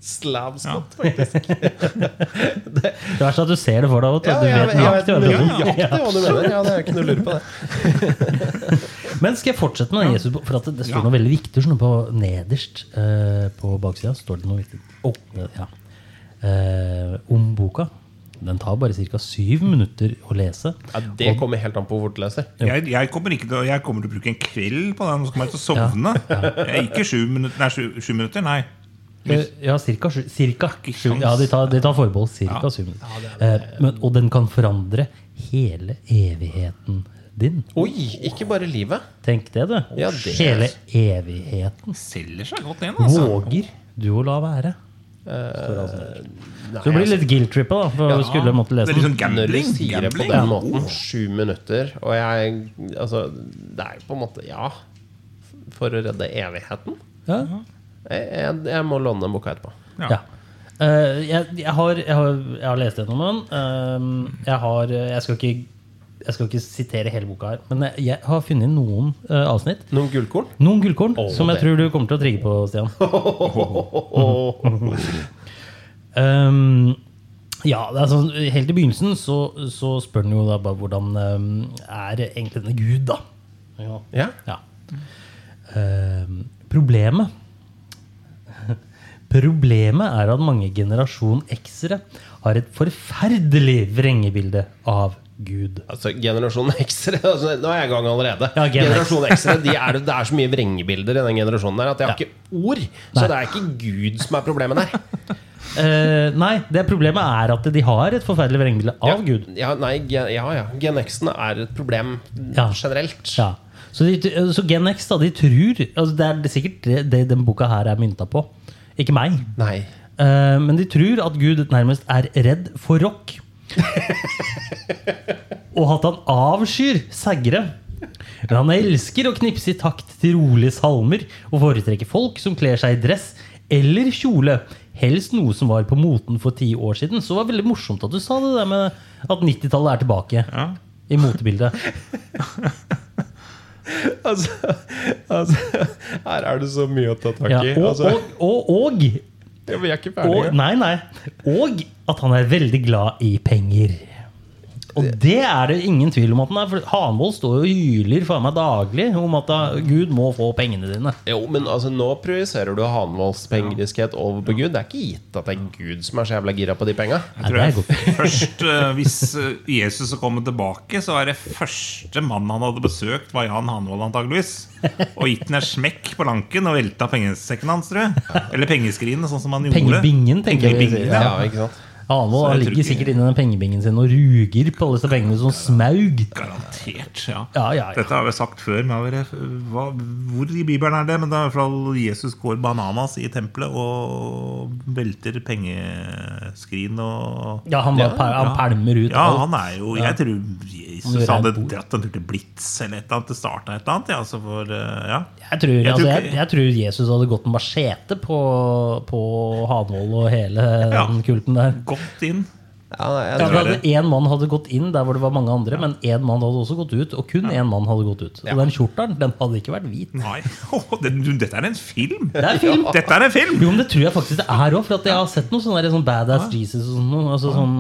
Speaker 3: Slavskott, faktisk.
Speaker 2: Det verste er at du ser det for deg. vet du.
Speaker 3: Ja,
Speaker 2: du
Speaker 3: jeg,
Speaker 2: vet
Speaker 3: jeg, jeg
Speaker 2: nøyaktig hva
Speaker 3: vet
Speaker 2: du mener.
Speaker 3: nøyaktig hva du mener. Ja, det er ikke noe lur på det.
Speaker 2: Men skal jeg fortsette med den Jesus? For at det, det står noe veldig viktig sånn på nederst eh, på baksida. står det noe viktig. Eh, ja. eh, om boka. Den tar bare ca. syv minutter å lese.
Speaker 3: Ja, det kommer helt an på hvor du leser.
Speaker 1: Jeg, jeg, kommer ikke til, å- jeg kommer til å bruke en kveld på den. Nå skal man ikke sovne. Jeg, ikke sju minutter, nei, sju, sju minutter, nei.
Speaker 2: Eh, Ja, cirka sju. Cirka. sju-
Speaker 1: sjans.
Speaker 2: Ja, de tar, de tar forbehold. Cirka syv minutter. Eh, men, og den kan forandre hele evigheten din.
Speaker 3: Oi, ikke bare livet.
Speaker 2: Tenk det, du.
Speaker 3: Ja, det-
Speaker 2: Hele evigheten.
Speaker 1: Selger seg godt inn, altså.
Speaker 2: Våger du å la være?
Speaker 3: Eh,
Speaker 2: altså
Speaker 3: Nei,
Speaker 2: Så det blir
Speaker 3: altså,
Speaker 2: litt guilt-trippa, da. For å skulle måtte
Speaker 1: Det
Speaker 2: lese
Speaker 1: er litt sånn
Speaker 2: den.
Speaker 3: når du
Speaker 1: gambling.
Speaker 3: sier det på
Speaker 1: gambling.
Speaker 3: den måten, sju minutter Og jeg Altså, det er jo på en måte Ja. For å redde evigheten.
Speaker 2: Ja.
Speaker 3: Jeg, jeg, jeg må låne den boka etterpå.
Speaker 1: Ja.
Speaker 2: Ja. Eh, jeg, jeg, har, jeg, har, jeg har lest gjennom den. Eh, jeg, har, jeg, skal ikke, jeg skal ikke sitere hele boka her, men jeg, jeg har funnet noen eh, avsnitt.
Speaker 3: Noen gullkorn?
Speaker 2: Noen gullkorn
Speaker 3: Å,
Speaker 2: som jeg
Speaker 3: det.
Speaker 2: tror du kommer til å trigge på, Stian. Um, ja, det er sånn, Helt i begynnelsen så, så spør han jo da bare hvordan um, er egentlig denne Gud, da. Ja.
Speaker 3: Ja.
Speaker 2: Um, problemet Problemet er at mange generasjon X-ere har et forferdelig vrengebilde av Gud.
Speaker 3: Altså, Generasjon X-ere altså, Nå er jeg i gang allerede.
Speaker 2: Ja, Gen X.
Speaker 3: generasjon X-ere de er, Det er så mye vrengebilder i den generasjonen der at jeg har
Speaker 2: Ja.
Speaker 3: ikke ord. Så det er ikke Gud som er problemet der.
Speaker 2: Eh, nei, det problemet er at de har et forferdelig vrengebilde av Gud.
Speaker 3: Ja, nei, gen, ja, ja. Gen X-ene er et problem
Speaker 2: Ja.
Speaker 3: generelt.
Speaker 2: Ja. Så, de, så Gen X, da, de tror altså Det er sikkert det, det den boka her er mynta på. Ikke meg.
Speaker 3: Nei.
Speaker 2: Eh, men de tror at Gud nærmest er redd for rock. og at han avskyr seggere. Men han elsker å knipse i takt til rolige salmer og foretrekker folk som kler seg i dress eller kjole. Helst noe som var på moten for ti år siden. Så det var veldig morsomt at du sa det der med at 90-tallet er tilbake
Speaker 1: Ja.
Speaker 2: i motebildet.
Speaker 3: Altså, altså Her er det så mye å ta tak
Speaker 2: Ja,
Speaker 3: i.
Speaker 2: og,
Speaker 3: altså,
Speaker 2: og, og,
Speaker 3: ja, vi er ikke
Speaker 2: og,
Speaker 3: ferdige.
Speaker 2: og Nei, nei. Og at han er veldig glad i penger. Og det er det ingen tvil om at han er. For Hanvold står jo og hyler faen meg daglig om at da, Gud må få pengene dine.
Speaker 3: jo, men altså, nå projiserer du Hanvolds pengeriskhet over på Gud. Det er ikke gitt at det er Gud som er så jævla gira på de penga.
Speaker 2: Nei,
Speaker 1: Tror
Speaker 2: det er
Speaker 1: jeg
Speaker 2: godt.
Speaker 1: først, eh, hvis eh, Jesus kommer tilbake, så er det første mannen han hadde besøkt, var Jan Hanvold antageligvis. Og gitt den en smekk på lanken og velta pengesekken hans, tror jeg. Eller pengeskrinet, sånn som han gjorde.
Speaker 2: Pengebingen, tenker jeg. vi
Speaker 1: Pengebingen,
Speaker 2: sier.
Speaker 1: ja.
Speaker 3: Ja, ikke sant?
Speaker 2: Hanvold
Speaker 1: Så jeg
Speaker 2: han
Speaker 1: tror
Speaker 2: ligger
Speaker 1: ikke-
Speaker 2: sikkert inni den pengebingen sin og ruger på alle disse pengene som smaug.
Speaker 1: Garantert, ja.
Speaker 2: Ja, ja, ja.
Speaker 1: Dette har vi sagt før. Men jeg vet- eh, hva, hvor i Bibelen er det? Men det er i hvert fall Jesus går bananas i tempelet og velter pengeskrin og
Speaker 2: Ja, han, bare,
Speaker 3: Ja,
Speaker 2: per- han
Speaker 1: ja.
Speaker 2: pælmer ut
Speaker 1: ja,
Speaker 2: alt.
Speaker 1: han er jo Jeg tror Jesus hadde dratt en tur til Blitz eller et eller annet. Det starta et eller annet. Ja, altså for, eh, ja.
Speaker 2: Jeg tror,
Speaker 1: tror
Speaker 2: altså,
Speaker 1: ikke-
Speaker 2: jeg, jeg tror Jesus hadde gått en machete på, på Hanvold og hele
Speaker 1: Ja.
Speaker 2: den kulten der.
Speaker 1: Godt inn.
Speaker 3: Ja, nei, jeg
Speaker 2: Ja,
Speaker 3: tror
Speaker 2: for
Speaker 3: det.
Speaker 2: at Én mann hadde gått inn der hvor det var mange andre, men én mann hadde også gått ut. Og kun én mann hadde gått ut. Og den kjortelen den hadde ikke vært hvit.
Speaker 1: Nei, Åh, det, du, dette er en film!
Speaker 2: Det er film!
Speaker 1: Dette er en film!
Speaker 2: Jo, men det tror jeg faktisk det er òg. For at jeg har sett noen sånne, der, sånn Badass Jesus og sånn, noe, altså sånn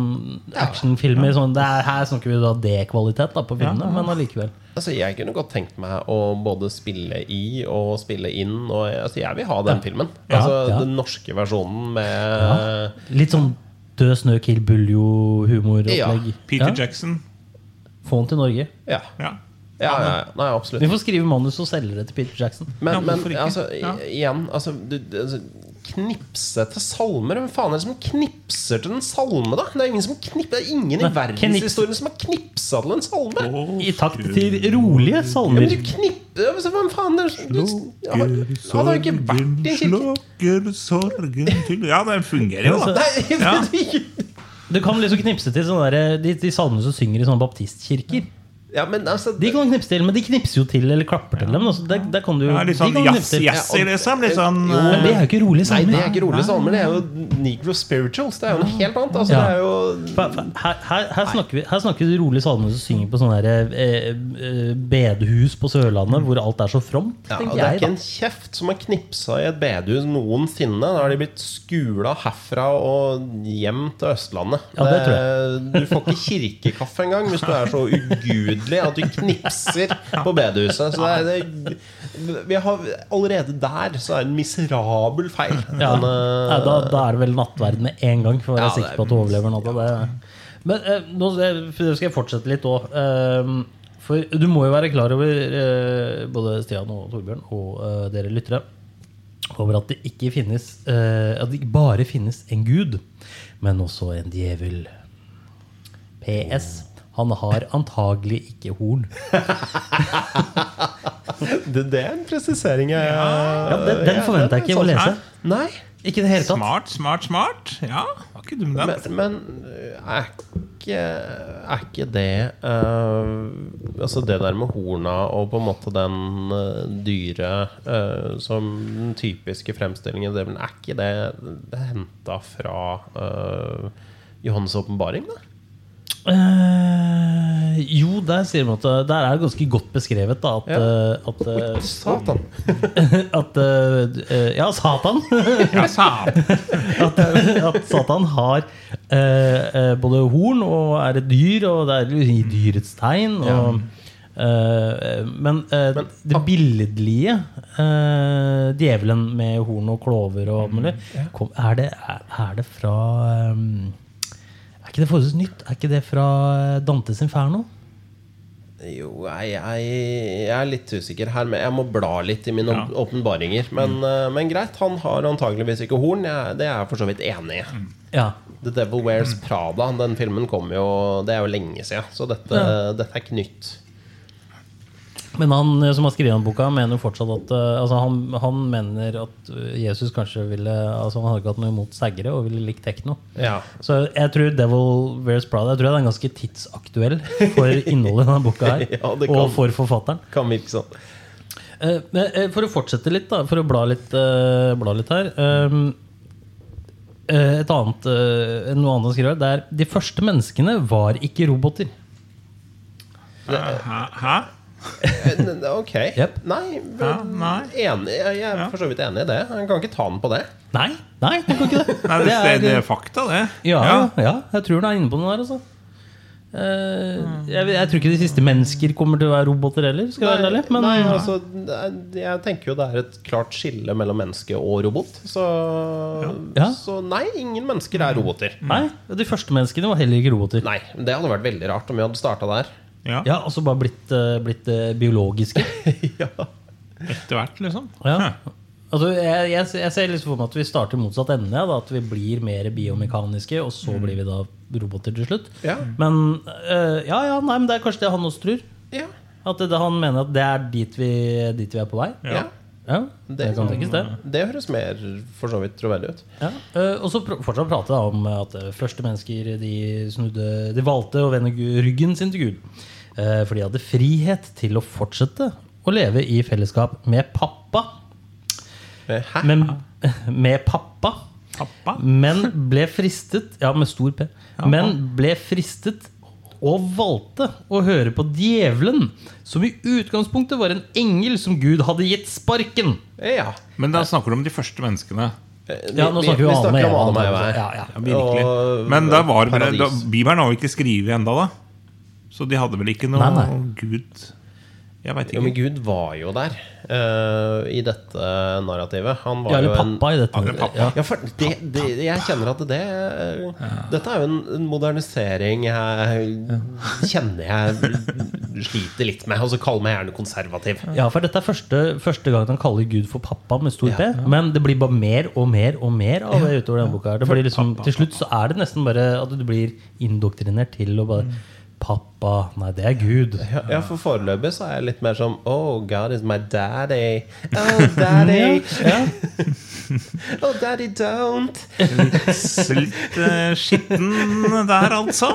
Speaker 2: actionfilmer. Sånn, det er, her snakker vi da D-kvalitet da på filmene, men allikevel.
Speaker 3: Altså, jeg kunne godt tenkt meg å både spille i og spille inn. Og, altså, jeg vil ha den filmen.
Speaker 2: Ja,
Speaker 3: altså,
Speaker 2: ja.
Speaker 3: Den norske versjonen med
Speaker 2: Litt sånn død snø, Kill Buljo-humoropplegg.
Speaker 3: Ja.
Speaker 1: Peter Jackson.
Speaker 2: Få den til Norge.
Speaker 3: Ja.
Speaker 1: Ja.
Speaker 3: Ja, ja, ja. Nei, absolutt.
Speaker 2: Vi får skrive manus og selge det til Peter Jackson.
Speaker 1: Ja,
Speaker 3: Men, men
Speaker 1: hvorfor ikke?
Speaker 3: altså, i-
Speaker 1: Ja.
Speaker 3: igjen altså, du, du- altså, Knipse til salmer? Hvem faen er det som knipser til en salme, da? Det er ingen, som knip, det er ingen
Speaker 2: Nei,
Speaker 3: i verdenshistorien som har knipsa til en salme!
Speaker 1: Å,
Speaker 2: I takt til rolige
Speaker 3: Ja, men
Speaker 2: salmer.
Speaker 3: du knipper ja, men så Hvem faen er det som- du- ja, Han har jo ikke vært i en kirke!
Speaker 1: Slukker sorgen til Ja, den fungerer jo, da.
Speaker 3: Nei,
Speaker 1: Ja.
Speaker 2: Du kan liksom knipse til sånne der, de, de salmene som synger i sånne baptistkirker.
Speaker 3: ja, men altså
Speaker 2: De kan du knipse til, men de knipser jo til eller klapper til dem. Altså, der, der kan du,
Speaker 1: Ja, litt sånn
Speaker 2: de kan du knipse til.
Speaker 1: jazzy, liksom. Litt sånn
Speaker 2: Men det
Speaker 1: eh,
Speaker 2: er jo ikke rolige
Speaker 3: Nei, det
Speaker 2: salmer.
Speaker 3: er ikke rolig salmer. Det er jo negro spirituals. Det er jo noe helt annet. Altså,
Speaker 2: Ja.
Speaker 3: det er jo
Speaker 2: Fa- fa- Her, her, her, snakker vi, her snakker vi rolige salmer som synger på sånne der, eh, eh, bedehus på Sørlandet, hvor alt er så fromt.
Speaker 3: Mm. ja, og
Speaker 2: tenker
Speaker 3: Det er
Speaker 2: jeg, da.
Speaker 3: ikke en kjeft som har knipsa i et bedehus noensinne. Da har de blitt skula herfra og hjem til Østlandet. Eh,
Speaker 2: Ja, det
Speaker 3: du får ikke kirkekaffe engang hvis du er så ugudelig at du knipser på bedehuset. Så det er, det, vi har, allerede der så er det en miserabel feil.
Speaker 2: Ja.
Speaker 3: Men, eh,
Speaker 2: Nei, da, da er det vel nattverd med en gang, for å være
Speaker 3: Ja, det
Speaker 2: sikker
Speaker 3: er-
Speaker 2: på at du overlever natta. Det. Men eh, nå skal jeg- skal jeg fortsette litt òg. for du må jo være klar over, eh, både Stian og Torbjørn og eh, dere lyttere, over at det ikke finnes eh, At det ikke bare finnes en gud, men også en djevel. PS. Han har antagelig ikke horn.
Speaker 3: det, det er en presisering jeg
Speaker 2: Ja, den, den forventa jeg ikke å lese.
Speaker 3: Nei.
Speaker 2: Ikke i det hele tatt.
Speaker 1: Smart, smart, smart. Ja, var ikke dum, den.
Speaker 3: Men, men eh, er, ikke, er ikke det eh, Altså det der med horna og på en måte den eh, dyre eh, som den typiske fremstillingen det, men Er ikke det henta fra eh, Johannes' åpenbaring, da?
Speaker 2: Eh, jo, der sier man at eh, Der er det ganske godt beskrevet da, at,
Speaker 3: Ja.
Speaker 2: eh, at, eh,
Speaker 3: Satan!
Speaker 2: at eh, Ja, Satan!
Speaker 1: Ja, satan.
Speaker 2: at, eh, at Satan har eh, eh, både horn og er et dyr, og det er i dyrets tegn. Og, eh, men eh, det billedlige eh, djevelen med horn og klover og alt mulig, kom, er, det, er, er det fra eh, Er ikke det forholdsvis nytt? Er ikke det fra Dantes Inferno?
Speaker 3: Jo, jeg, jeg, jeg er litt usikker her, men jeg må bla litt i mine åp- åpenbaringer. Men, eh, men greit, han har antageligvis ikke horn. Jeg, det er jeg for så vidt enig i.
Speaker 2: Ja.
Speaker 3: The Devil Wears Prada, den filmen kom jo Det er jo lenge siden, så dette, dette er ikke nytt.
Speaker 2: Men han eh, som har skrevet den boka, mener jo fortsatt at eh, altså han, han mener at eh, Jesus kanskje ville altså Han hadde ikke hatt noe imot saggere og ville likt tekno.
Speaker 3: Ja.
Speaker 2: Så jeg tror Devil Wears Prada Jeg tror den er ganske tidsaktuell for innholdet i denne boka her.
Speaker 3: Ja, det
Speaker 2: og
Speaker 3: kan.
Speaker 2: for forfatteren.
Speaker 3: Kan virke sånn.
Speaker 2: Eh, men, eh, for å fortsette litt, da, for å bla litt, eh, bla litt her ehm, eh, Et annet eh, Noe annet han skriver, det er de første menneskene var ikke roboter.
Speaker 1: Hæ? Hæ?
Speaker 3: N- Ok.
Speaker 2: Jep.
Speaker 3: Nei, v-
Speaker 1: Ja, nei.
Speaker 3: Enig, jeg jeg er for så vidt enig i det. Jeg kan ikke ta den på det.
Speaker 2: Nei, nei, det kan ikke det.
Speaker 1: Nei, det,
Speaker 2: er-
Speaker 1: det er fakta, det.
Speaker 2: Ja, ja. jeg tror den er inne på den der. Altså. Eh, jeg, jeg tror ikke de siste mennesker kommer til å være roboter heller. Skal jeg være ærlig, men
Speaker 3: nei, altså, det er- jeg tenker jo det er et klart skille mellom menneske og robot. Så,
Speaker 2: Ja. Mm.
Speaker 3: så nei, ingen mennesker er roboter.
Speaker 2: nei, de første menneskene var heller ikke roboter.
Speaker 3: Nei, Det hadde vært veldig rart om vi hadde starta der.
Speaker 1: Ja.
Speaker 2: Ja, Og så bare blitt, eh, blitt eh, biologiske.
Speaker 3: ja.
Speaker 1: Etter hvert, liksom.
Speaker 2: Ja. Altså, jeg, jeg, jeg ser liksom for meg at vi starter motsatt ende. ja, Da, at vi blir mer biomekaniske, og så blir vi da roboter til slutt.
Speaker 3: Ja.
Speaker 2: Men eh, ja, ja, nei, men det er kanskje det han også tror.
Speaker 3: Ja.
Speaker 2: At det, han mener at det er dit vi, dit vi er på vei.
Speaker 1: Ja.
Speaker 3: ja.
Speaker 2: Ja, det
Speaker 3: Det-
Speaker 2: kan tenkes, det.
Speaker 3: Det høres mer for så vidt troverdig ut.
Speaker 2: Ja. eh, Og så pr fortsatt prate da om at eh, første mennesker de, snudde, de valgte å vende gu- ryggen sin til Gud. Eh, For de hadde frihet til å fortsette å leve i fellesskap med pappa.
Speaker 3: Eh, Hæ?
Speaker 2: Men, med pappa.
Speaker 1: Pappa?
Speaker 2: Men ble fristet Ja, med stor P. Men ble fristet og valgte å høre på djevelen, som i utgangspunktet var en engel som Gud hadde gitt sparken.
Speaker 3: Eh, Ja.
Speaker 1: Men da snakker du om de første menneskene.
Speaker 2: Ja, nå snakker vi om Adam og Eva.
Speaker 3: og Eva her.
Speaker 2: Ja, ja.
Speaker 1: Ja, virkelig.
Speaker 3: Og-
Speaker 1: Men da var det,
Speaker 3: Paradis.
Speaker 1: da, Bibelen har jo ikke skrevet ennå, da. Så de hadde vel ikke noe
Speaker 2: Nei, nei.
Speaker 1: Gud Jeg veit
Speaker 3: Jo, men
Speaker 1: ikke.
Speaker 3: Gud var jo der eh, i dette narrativet. Han var
Speaker 2: Ja, eller
Speaker 3: jo en
Speaker 2: pappa i dette.
Speaker 1: eller pappa.
Speaker 2: Ja.
Speaker 3: ja, for det, det, jeg kjenner at det Dette er jo en, en modernisering jeg kjenner jeg sliter litt med. Og så kall meg gjerne konservativ.
Speaker 2: Ja, for dette er første, første gang han kaller Gud for pappa med stor P. Men det blir bare mer og mer og mer av det utover denne boka. her. Det blir liksom, til slutt så er det nesten bare at du blir indoktrinert til å bare Pappa, nei, det er Gud.
Speaker 3: Ja, ja, for foreløpig så er jeg litt mer som Oh, God is my daddy. Oh, daddy. oh, daddy don't.
Speaker 1: Så Litt eh, skitten der, altså.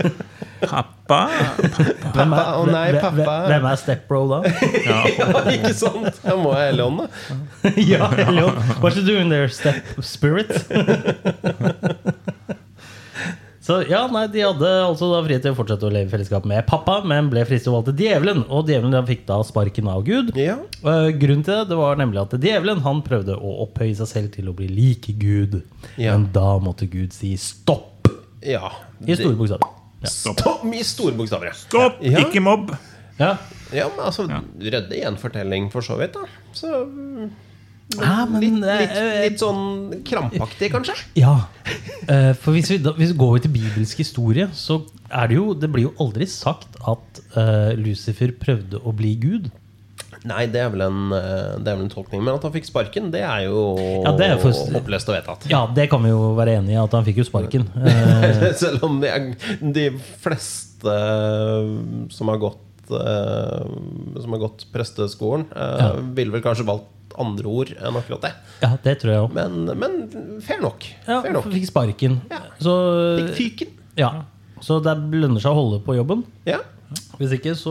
Speaker 1: Pappa
Speaker 2: Hvem er,
Speaker 3: Å nei,
Speaker 2: hvem-
Speaker 3: pappa.
Speaker 2: hvem- Hvem er stepbro da?
Speaker 3: Ja, ikke sant? Da må jeg helle hånda.
Speaker 2: ja, hello. What you doing there, step spirit? Så ja, nei, De hadde altså da frihet til å fortsette å leve i fellesskap med pappa, men ble fristet og valgte djevelen. Og djevelen da fikk da sparken av Gud.
Speaker 3: Ja.
Speaker 2: Eh, grunnen til det, det var nemlig at djevelen han prøvde å opphøye seg selv til å bli like Gud.
Speaker 3: Ja.
Speaker 2: Men da måtte Gud si stopp!
Speaker 3: ja.
Speaker 2: I store bokstaver. Ja.
Speaker 3: Stopp i store bokstaver. ja.
Speaker 1: Stopp!
Speaker 3: Ja.
Speaker 1: Ikke mobb!
Speaker 2: Ja.
Speaker 3: Ja, men altså, Rødde gjenfortelling for så vidt, da. Så
Speaker 2: Ja, men,
Speaker 3: litt,
Speaker 2: eh,
Speaker 3: litt,
Speaker 2: eh,
Speaker 3: litt sånn krampaktig, kanskje?
Speaker 2: Ja. Eh, for hvis vi, da, hvis vi går til bibelsk historie, så er det jo Det blir jo aldri sagt at eh, Lucifer prøvde å bli Gud.
Speaker 3: Nei, det er vel en, eh, det er vel en tolkning. Men at han fikk sparken, det er jo
Speaker 2: Ja, det er for-
Speaker 3: opplest og vedtatt.
Speaker 2: Ja, det kan vi jo være enig i, at han fikk jo sparken. Eh,
Speaker 3: Selv om det er de fleste eh, som har gått eh, Som har gått presteskolen, eh,
Speaker 2: Ja.
Speaker 3: ville vel kanskje valgt andre ord enn akkurat det.
Speaker 2: ja, det tror jeg òg.
Speaker 3: Men, men fair nok.
Speaker 2: Ja,
Speaker 3: fair nok.
Speaker 2: fikk sparken.
Speaker 3: Ja.
Speaker 2: Så,
Speaker 3: Fikk fyken.
Speaker 2: ja. så det lønner seg å holde på jobben.
Speaker 3: Ja.
Speaker 2: Hvis ikke, så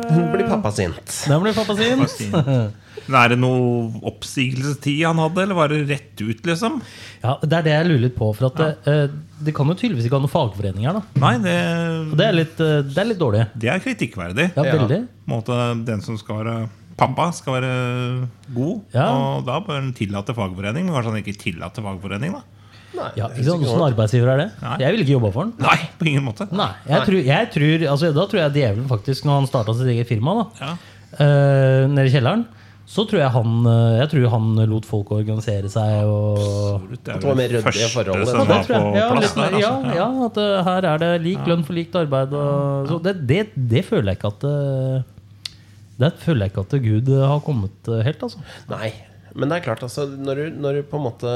Speaker 2: eh,
Speaker 3: Blir pappa sint.
Speaker 2: Da blir pappa sin.
Speaker 1: Men Er det noe oppsigelsestid han hadde, eller var det rett ut, liksom?
Speaker 2: Ja, Det er det jeg lurer litt på. For at det, eh, det kan jo tydeligvis ikke ha noen fagforeninger. da
Speaker 1: Nei, det,
Speaker 2: Og Det er litt, eh, det er litt dårlig.
Speaker 1: det er kritikkverdig.
Speaker 2: Ja,
Speaker 3: Ja.
Speaker 2: veldig.
Speaker 1: På en måte, den som skal være pappa, skal være god.
Speaker 2: Ja.
Speaker 1: Og da bør han tillate fagforening. Men kanskje han ikke tillater fagforening, da?
Speaker 3: Nei,
Speaker 2: Ja,
Speaker 3: det
Speaker 2: ikke sant?
Speaker 3: husker jeg
Speaker 2: Åssen
Speaker 3: ikke.
Speaker 2: arbeidsgiver er det?
Speaker 1: Nei.
Speaker 2: Jeg ville ikke jobba for den.
Speaker 1: Nei, på ingen måte.
Speaker 2: Nei, jeg tror, jeg tror, altså, da tror jeg djevelen faktisk Når han starta sitt eget firma da,
Speaker 1: Ja.
Speaker 2: eh, nede i kjelleren, så tror jeg han, eh, jeg tror han lot folk organisere seg. Og,
Speaker 1: Det
Speaker 3: At
Speaker 1: er
Speaker 3: det var mer
Speaker 1: vel
Speaker 3: ryddige
Speaker 1: første
Speaker 3: forhold,
Speaker 1: som
Speaker 3: det
Speaker 2: det
Speaker 1: var
Speaker 2: tror jeg.
Speaker 1: på
Speaker 2: Ja,
Speaker 1: plass
Speaker 2: litt,
Speaker 1: der.
Speaker 2: mer- ja,
Speaker 1: altså.
Speaker 2: ja, at eh, her er det lik lønn for likt arbeid. Og, så det, det, det føler jeg ikke at eh, Det føler jeg ikke at Gud eh, har kommet eh, helt, altså.
Speaker 3: Nei. Men det er klart, altså, når du, når du på en måte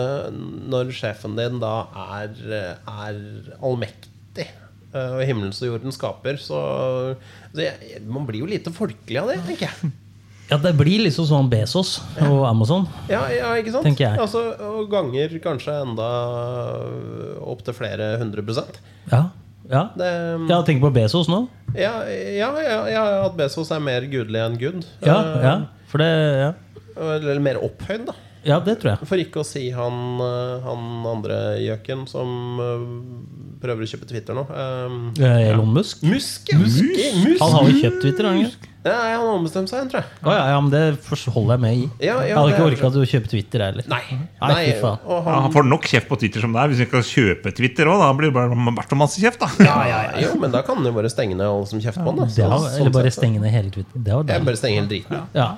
Speaker 3: Når sjefen din da er, er allmektig eh, og himmelens og jorden skaper, så, så jeg, Man blir jo lite folkelig av det, tenker jeg.
Speaker 2: Ja, det blir liksom sånn Bezos og Amazon.
Speaker 3: Ja, ja ikke sant?
Speaker 2: Tenker jeg.
Speaker 3: Altså, og ganger kanskje enda opptil flere hundre prosent.
Speaker 2: Ja, ja.
Speaker 3: Det, ja.
Speaker 2: Jeg tenker på Bezos nå.
Speaker 3: Ja, ja, ja, at Bezos er mer gudelig enn Gud.
Speaker 2: Ja,
Speaker 3: Eh,
Speaker 2: ja, for det ja.
Speaker 3: Eller mer opphøyd, da.
Speaker 2: ja, det tror jeg.
Speaker 3: For ikke å si han, eh, han andre gjøken som eh, prøver å kjøpe Twitter nå. Eh,
Speaker 2: Eh, Elon Musk.
Speaker 3: Musk, ja. Musk, Musk.
Speaker 2: Han har jo kjøpt Twitter. har han ikke?
Speaker 3: Nei, han har ombestemt seg, tror jeg.
Speaker 2: Å ja, ja, men det for- holder jeg med i.
Speaker 3: Ja, ja,
Speaker 2: jeg hadde ikke
Speaker 3: det er-
Speaker 2: orka å kjøpe Twitter jeg heller.
Speaker 3: Nei.
Speaker 2: Nei, fy faen.
Speaker 3: og
Speaker 1: Ja,
Speaker 3: han,
Speaker 1: han får nok kjeft på Twitter som det er, hvis vi skal kjøpe Twitter òg. Da blir det bare verdt masse kjeft, da.
Speaker 3: ja, Ah, ja, ja. Jo, men da kan han jo bare stenge ned alle som kjefter på han. Da.
Speaker 2: Det var,
Speaker 3: sånn
Speaker 2: eller bare
Speaker 3: sett, så-
Speaker 2: stenge ned hele Twitter. Det var
Speaker 3: Jeg
Speaker 2: deilig.
Speaker 3: bare stenger hele driten.
Speaker 2: Ja.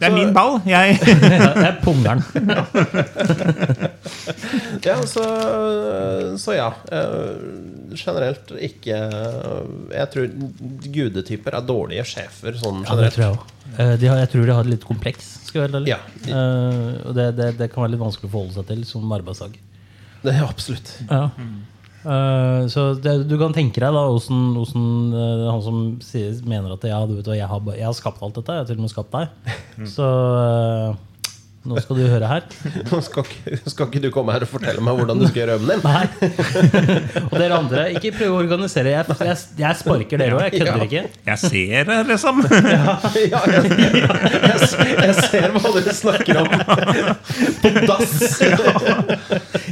Speaker 1: Det er min ball. Jeg
Speaker 2: Jeg punger den.
Speaker 3: Ja, så, så ja. eh, Generelt ikke Jeg tror gudetyper er dårlige sjefer sånn
Speaker 2: Ja, det tror
Speaker 3: generelt.
Speaker 2: jeg òg. Eh, De har, jeg tror de har det litt kompleks. Skal jeg være helt ærlig.
Speaker 3: Ja.
Speaker 2: Eh, og det, det, det kan være litt vanskelig å forholde seg til som arbeidsdag.
Speaker 3: Det er absolutt.
Speaker 2: Ja. Eh, så det, du kan tenke deg da hvordan, hvordan eh, han som sier, Mm. mener at ja, du vet hva, jeg har, ba- jeg har skapt alt dette, jeg har til og med skapt deg. Så eh, Nå skal du høre her.
Speaker 3: Nå skal ikke, skal ikke du komme her og fortelle meg hvordan du skal gjøre øven din?
Speaker 2: Nei. Og dere andre, ikke prøv å organisere. Jeg, jeg, jeg sparker dere òg. Jeg kødder ikke.
Speaker 1: Jeg ser det, liksom.
Speaker 3: Ja, jeg, jeg, jeg ser hva du snakker om. På dass!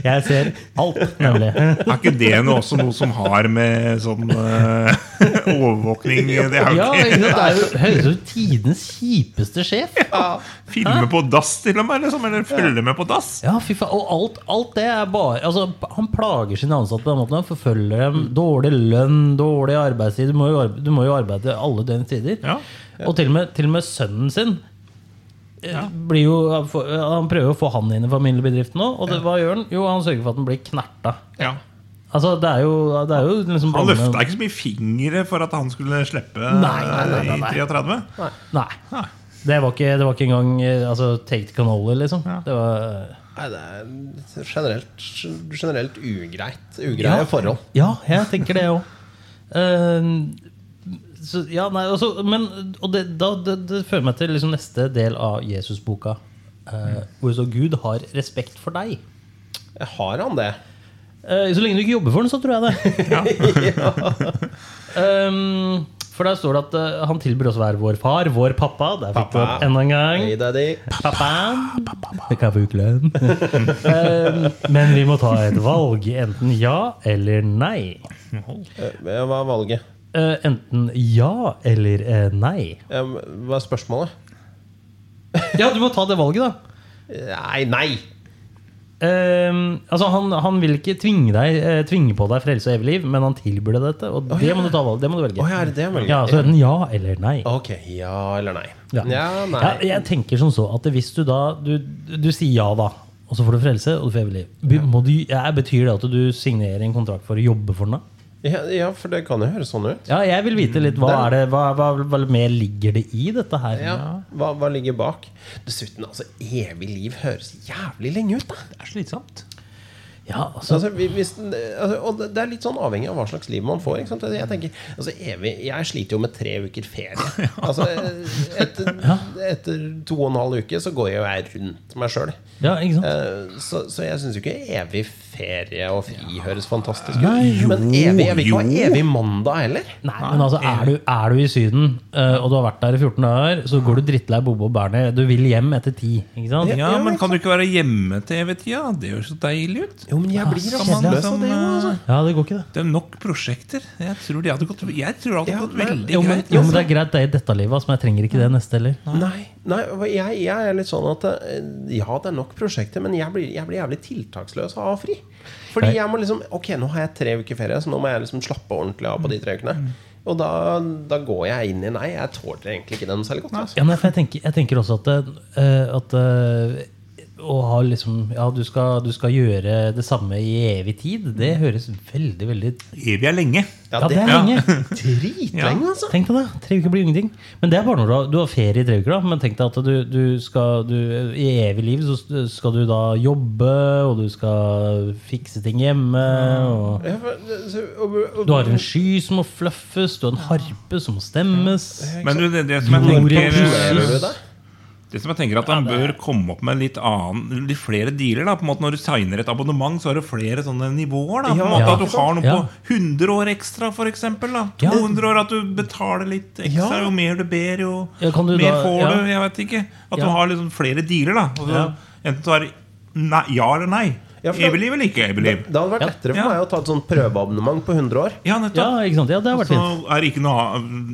Speaker 2: Jeg ser alt, nemlig.
Speaker 1: Er ikke det noe, også noe som har med sånn eh, overvåkning Det er jo
Speaker 2: Ja,
Speaker 1: ikke
Speaker 2: ikke sant? Det er jo høres ut som tidenes kjipeste sjef.
Speaker 1: Filme på dass, til og med? Liksom, eller følge med på dass?
Speaker 2: Ja, fy faen. Og alt, alt det er bare altså, Han plager sine ansatte på den måten. Han forfølger dem.
Speaker 1: Mm.
Speaker 2: Dårlig lønn, dårlig arbeidstid. Du må jo arbeide, du må jo arbeide alle døgnets tider.
Speaker 1: Ja.
Speaker 2: Og til og med, til og med sønnen sin. eh, Blir jo, han får- eh, han prøver å få han inn i familiebedriften òg. Og det, hva gjør han? Jo, han sørger for at han blir knerta.
Speaker 1: ja.
Speaker 2: Altså, det er jo, det er jo liksom
Speaker 1: Han
Speaker 2: blandet-
Speaker 1: løfta ikke så mye fingre for at han skulle slippe
Speaker 2: Nei, nei, nei, nei, nei.
Speaker 1: i 33.
Speaker 2: Nei. Det var ikke, det var ikke engang eh, altså, Take the canola, liksom. Det var,
Speaker 3: Nei, det er generelt, generelt ugreit. Ugreie
Speaker 2: Ja.
Speaker 3: forhold.
Speaker 2: ja, jeg tenker det òg. så, ja, nei, altså, men og det, da, det, det fører meg til liksom neste del av Jesusboka. Uh, hvor så Gud har respekt for deg.
Speaker 3: Jeg har han det.
Speaker 2: Eh, så lenge du ikke jobber for den, så tror jeg det. Ehm, for der står det at eh, han tilbyr oss hver vår far, vår pappa. Der fikk du
Speaker 3: Pappa.
Speaker 2: opp enda en gang.
Speaker 3: Hei, daddy.
Speaker 2: Pappa, vi kan få ukelønn. Eh, Men vi må ta et valg. Enten ja eller nei.
Speaker 3: Eh, Hva er valget?
Speaker 2: Eh, Enten ja eller eh, nei.
Speaker 3: Eh, Hva er spørsmålet?
Speaker 2: Ja, du må ta det valget, da.
Speaker 3: Nei, nei!
Speaker 2: Eh, altså han, han vil ikke tvinge, deg, eh, tvinge på deg frelse og evig liv, men han tilbyr deg dette. Og det må du, ta valg, det må du velge.
Speaker 3: Å ja, er det det jeg velger?
Speaker 2: Ja, Så enten ja eller nei.
Speaker 3: Ok, ja eller nei?
Speaker 2: Ja.
Speaker 3: Ja, nei.
Speaker 2: Ja, jeg tenker som så at hvis du da Du, du sier ja, da. Og så får du frelse og du får evig liv. Be- Må du, ja, betyr det at du signerer en kontrakt for å jobbe for den? da?
Speaker 3: Ja, ja, for det kan jo høres sånn ut.
Speaker 2: Ja, jeg vil vite litt hva,
Speaker 3: Den-
Speaker 2: er Mm, det, hva, hva, hva mer ligger det i dette her?
Speaker 3: Ja. Hva, hva ligger bak? Dessuten, altså, evig liv høres jævlig lenge ut, da.
Speaker 1: Det er slitsomt.
Speaker 2: Ja, altså,
Speaker 3: Altså, vi- hvis, den- altså, og det det er litt sånn avhengig av hva slags liv man får. Ikke sant? Jeg tenker, altså, evig, jeg sliter jo med tre uker ferie. Altså, etter, etter to og en halv uke så går jo jeg rundt meg sjøl.
Speaker 2: ja, ikke sant?
Speaker 3: Så, så jeg syns jo ikke evig ferie og fri høres fantastisk
Speaker 1: Nei,
Speaker 3: ut.
Speaker 1: jo,
Speaker 3: Men evig, jeg vil ikke ha
Speaker 1: jo.
Speaker 3: evig mandag heller.
Speaker 2: Nei, men altså, er du, er du i Syden, eh, og du har vært der i 14 dager, så går du drittlei Bobo og Bernie. Du vil hjem etter ti, ikke sant?
Speaker 1: Ja, men kan du ikke være hjemme til evig tida? Det høres så deilig ut.
Speaker 3: Jo, men jeg blir
Speaker 1: Skal man
Speaker 3: rastløs av
Speaker 1: liksom,
Speaker 3: det, jo. Altså.
Speaker 2: Ja, det går ikke, det.
Speaker 1: Det er nok prosjekter. Jeg tror de hadde gått, jeg tror det hadde
Speaker 3: Ja,
Speaker 1: gått
Speaker 3: men-
Speaker 1: veldig
Speaker 2: Jo, men,
Speaker 1: greit. altså.
Speaker 2: jo, men det er greit, det er i dette livet, altså, men jeg trenger ikke det neste heller.
Speaker 3: Nei, nei og jeg, jeg er litt sånn at eh, Ja, det er nok prosjekter, men jeg blir, jeg blir jævlig tiltaksløs av å ha fri. Fordi
Speaker 2: Nei.
Speaker 3: jeg må liksom Ok, nå har jeg tre uker ferie, så nå må jeg liksom slappe ordentlig av på de tre ukene. Og da, da går jeg inn i Nei, jeg tåler egentlig ikke den særlig godt. Altså.
Speaker 2: Ja, nei, for jeg tenker, jeg tenker også at, det, eh, at eh, å ha liksom Ja, du skal, du skal gjøre det samme i evig tid. Det høres veldig, veldig
Speaker 1: Evig er lenge.
Speaker 3: Ja,
Speaker 2: Ja, det er lenge.
Speaker 3: dritlenge, altså.
Speaker 2: Tenk deg det. Tre uker blir ingenting. Men det er bare når du har, du har ferie i tre uker. da Men tenk deg at du, du skal du, I evig liv så s- skal du da jobbe, og du skal fikse ting hjemme. Og
Speaker 3: Ja, for- så- og- og-
Speaker 2: du har en sky som må fluffes, du har en harpe som må stemmes.
Speaker 1: Men du, det, det, som jeg
Speaker 2: Hvor
Speaker 1: tenker,
Speaker 3: Hører du det?
Speaker 1: det som jeg tenker at han bør komme opp med litt annen Litt flere dealer. da, på en måte Når du signer et abonnement, så har du flere sånne nivåer. da på en
Speaker 3: Ja,
Speaker 1: måte At
Speaker 2: ikke
Speaker 1: du har noe
Speaker 2: Ja.
Speaker 1: på 100 år ekstra, f.eks.
Speaker 2: Ja.
Speaker 1: 200 år. At du betaler litt ekstra.
Speaker 3: Ja.
Speaker 1: Jo mer du ber, jo
Speaker 2: Ja, kan du
Speaker 1: mer
Speaker 2: da-
Speaker 1: får
Speaker 2: ja.
Speaker 1: du. Jeg vet ikke. At
Speaker 2: Ja.
Speaker 1: du har liksom flere dealer. da Og så,
Speaker 2: Ja.
Speaker 1: Enten du har nei, ja eller nei.
Speaker 3: Ja, for da-
Speaker 1: evig liv eller ikke evig liv.
Speaker 3: Det hadde vært lettere for
Speaker 1: Ja.
Speaker 3: meg å ta et sånt prøveabonnement på 100 år.
Speaker 1: Ja, nettopp.
Speaker 2: Ja, ikke sant? Ja, det har
Speaker 1: Så
Speaker 2: vært fint.
Speaker 1: er det ikke noe,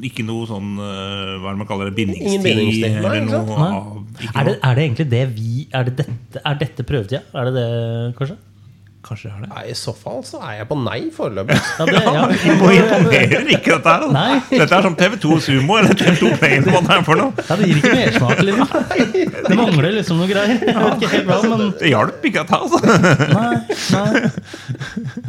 Speaker 1: ikke noe sånn eh, Hva er det man kaller det?
Speaker 3: Ingen
Speaker 1: Bindingstid?
Speaker 3: bindingstid. Nei,
Speaker 1: Eller
Speaker 3: ikke sant?
Speaker 1: noe,
Speaker 2: Nei.
Speaker 1: av- ikke
Speaker 2: Er det,
Speaker 1: noe.
Speaker 2: er det egentlig det vi Er, det dette, er dette prøvetida? Er det det, kanskje?
Speaker 1: Kanskje det er det.
Speaker 3: Nei, I så fall så er jeg på nei foreløpig.
Speaker 2: Ja, det, ja.
Speaker 1: Det må imponerer ikke dette her.
Speaker 2: Nei.
Speaker 1: Altså. Dette er som TV2 Sumo eller TV2 Play. eller Hva det er for noe.
Speaker 2: Ja, det gir ikke mersmak, liksom. Det mangler liksom noe greier. Jeg vet ikke helt hva, men
Speaker 1: Det hjalp ikke dette. Altså.
Speaker 2: Nei, nei.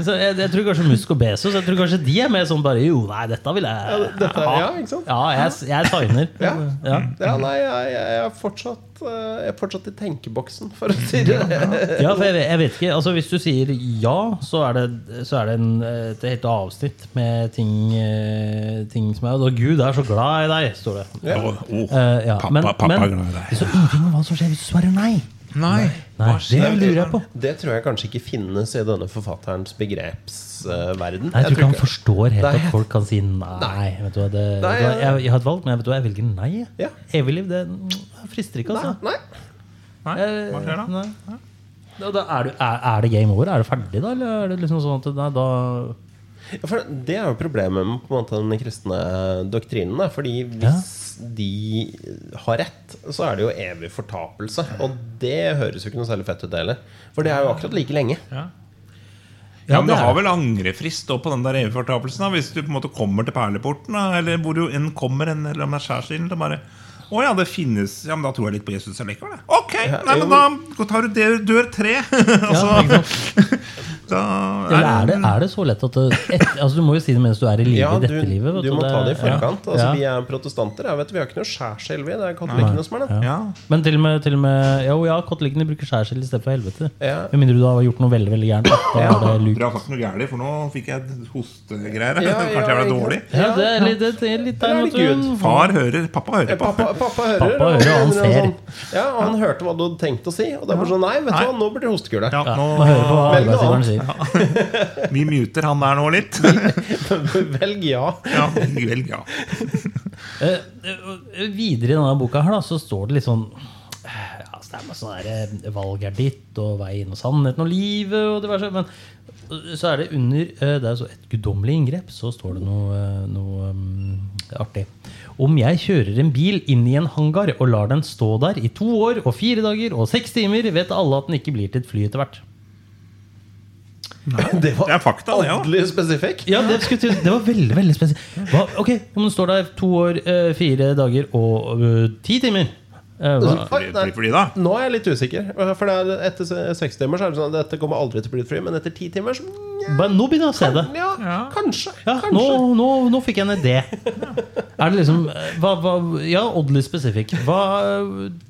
Speaker 2: Så jeg, jeg tror kanskje Musk og Bezos Jeg tror kanskje de er mer sånn bare Jo, nei, dette vil jeg
Speaker 3: Ja, dette er- ja, ikke sant?
Speaker 2: Ja, jeg, jeg signer.
Speaker 3: Ja.
Speaker 2: Ja.
Speaker 3: Ja, nei, jeg, jeg, jeg, er fortsatt, eh, jeg er fortsatt i tenkeboksen, for å si det.
Speaker 2: Ja, for jeg, vet- jeg vet ikke. Altså, hvis du sier ja, så er det, så er det en, et helt avsnitt med ting, eh, ting som er Og da Gud er så glad i deg, står det.
Speaker 1: Å, å.
Speaker 2: Eh, ja,
Speaker 1: Pappa- pappa er glad i deg.
Speaker 2: Det står ingenting om hva som skjer hvis du svarer nei.
Speaker 1: Nei.
Speaker 2: Nei, det lurer jeg på.
Speaker 3: Det tror jeg kanskje ikke finnes i denne forfatterens begrepsverden.
Speaker 2: Nei, jeg tror ikke han forstår helt
Speaker 3: Nei.
Speaker 2: at folk kan si nei.
Speaker 3: Nei.
Speaker 2: Vet du, hva, det, vet
Speaker 3: Nei,
Speaker 2: du, hva,
Speaker 3: ja.
Speaker 2: jeg, jeg har et valg, men jeg, vet du, hva, jeg velger nei. jeg.
Speaker 3: Ja.
Speaker 2: Evigliv det mm, frister ikke, altså.
Speaker 3: Nei.
Speaker 1: Nei, hva skjer da?
Speaker 2: Nei. Da, da er, du, er, er det game over? Er det ferdig da? Eller er det liksom sånn at nei, da
Speaker 3: Ja, for det er jo problemet med på en måte den kristne eh, doktrinen. Da. Fordi hvis de har rett, så er det jo evig fortapelse. Og det høres jo ikke noe særlig fett ut heller. For det er jo akkurat like lenge.
Speaker 1: Ja, men
Speaker 2: det
Speaker 1: Du
Speaker 2: er
Speaker 1: har vel angrefrist da på den der EU-fortapelsen? da, Hvis du på en måte kommer til perleporten, da, eller hvor du enn kommer, enn- eller om det er skjærsilden, da bare å ja, det finnes Ja, men da tror jeg litt på Jesus allikevel, jeg. Ok! Nei, men da tar du dør, dør tre.
Speaker 2: Ja,
Speaker 1: altså,
Speaker 2: ikke sant?
Speaker 1: da
Speaker 2: Eller er det, er det så lett at det, et, altså, Du må jo si det mens du er i live
Speaker 3: Ja,
Speaker 2: i
Speaker 3: du,
Speaker 2: dette livet. vet
Speaker 3: du må ta det i
Speaker 2: ja.
Speaker 3: forkant. Altså,
Speaker 2: Ja.
Speaker 3: Vi er protestanter. Jeg vet, vi har ikke noe skjærselv i. Det er katolikkene som er det.
Speaker 1: Ja.
Speaker 2: Men til og med, til og med Jo, ja, katolikkene bruker skjærsild istedenfor helvete.
Speaker 3: Ja.
Speaker 2: Med mindre du har gjort noe veldig veldig gærent. Da er det luk.
Speaker 1: Dere har sagt noe gærent, for nå fikk jeg et hostegreier. her.
Speaker 3: Ja, ja,
Speaker 1: Kanskje jeg ble
Speaker 3: ikke
Speaker 1: dårlig?
Speaker 2: Ja, det er litt, det er litt
Speaker 3: Eller
Speaker 2: der,
Speaker 3: er det
Speaker 2: vet du.
Speaker 3: Gud?
Speaker 1: Far hører. Eh, Pappa hører på.
Speaker 3: Pappa, pappa hører,
Speaker 2: Pappa hører, og han
Speaker 3: og
Speaker 2: ser.
Speaker 3: ja, og han hørte hva du hadde tenkt å si. Og derfor sånn Nei, vet du
Speaker 1: Nei.
Speaker 3: hva, nå blir det hostekule.
Speaker 1: Ja,
Speaker 2: Ja, må høre på
Speaker 1: nå,
Speaker 2: hva
Speaker 3: Velg noe
Speaker 2: arbeidsgiveren
Speaker 3: annet.
Speaker 2: sier.
Speaker 1: vi muter han der nå litt.
Speaker 3: Velg ja.
Speaker 1: Ja, vel, ja.
Speaker 2: Eh, eh, videre i denne boka her da, så står det litt sånn eh, ja, altså Det er masse sånn der, eh, valg er ditt, og vei inn og sannheten og livet og diverse. Men eh, så er det under eh, Det er så et guddommelig inngrep, så står det noe, eh, noe eh, artig. Om jeg kjører en bil inn i en hangar og lar den stå der i to år og fire dager og seks timer, vet alle at den ikke blir til et fly etter hvert.
Speaker 3: Det
Speaker 1: Det
Speaker 3: var
Speaker 1: er fakta, det òg.
Speaker 3: ordentlig spesifikk.
Speaker 2: Ja, det, skulle, til- det var veldig veldig spesielt. Hva, ok, om du står der to år, eh, fire dager og eh, ti timer eh, hva?
Speaker 3: Oi, nei.
Speaker 1: Fordi da
Speaker 3: Nå er jeg litt usikker. For det er etter se- seks timer så er det sånn at dette kommer aldri til å bli et fly. Men etter ti timer så
Speaker 2: Bare nå begynner jeg å se det.
Speaker 3: ja, kanskje.
Speaker 2: Ja, nå,
Speaker 3: kanskje.
Speaker 2: nå, nå fikk jeg en idé. Er det liksom eh, hva, hva, Ja, oddly specific. Hva,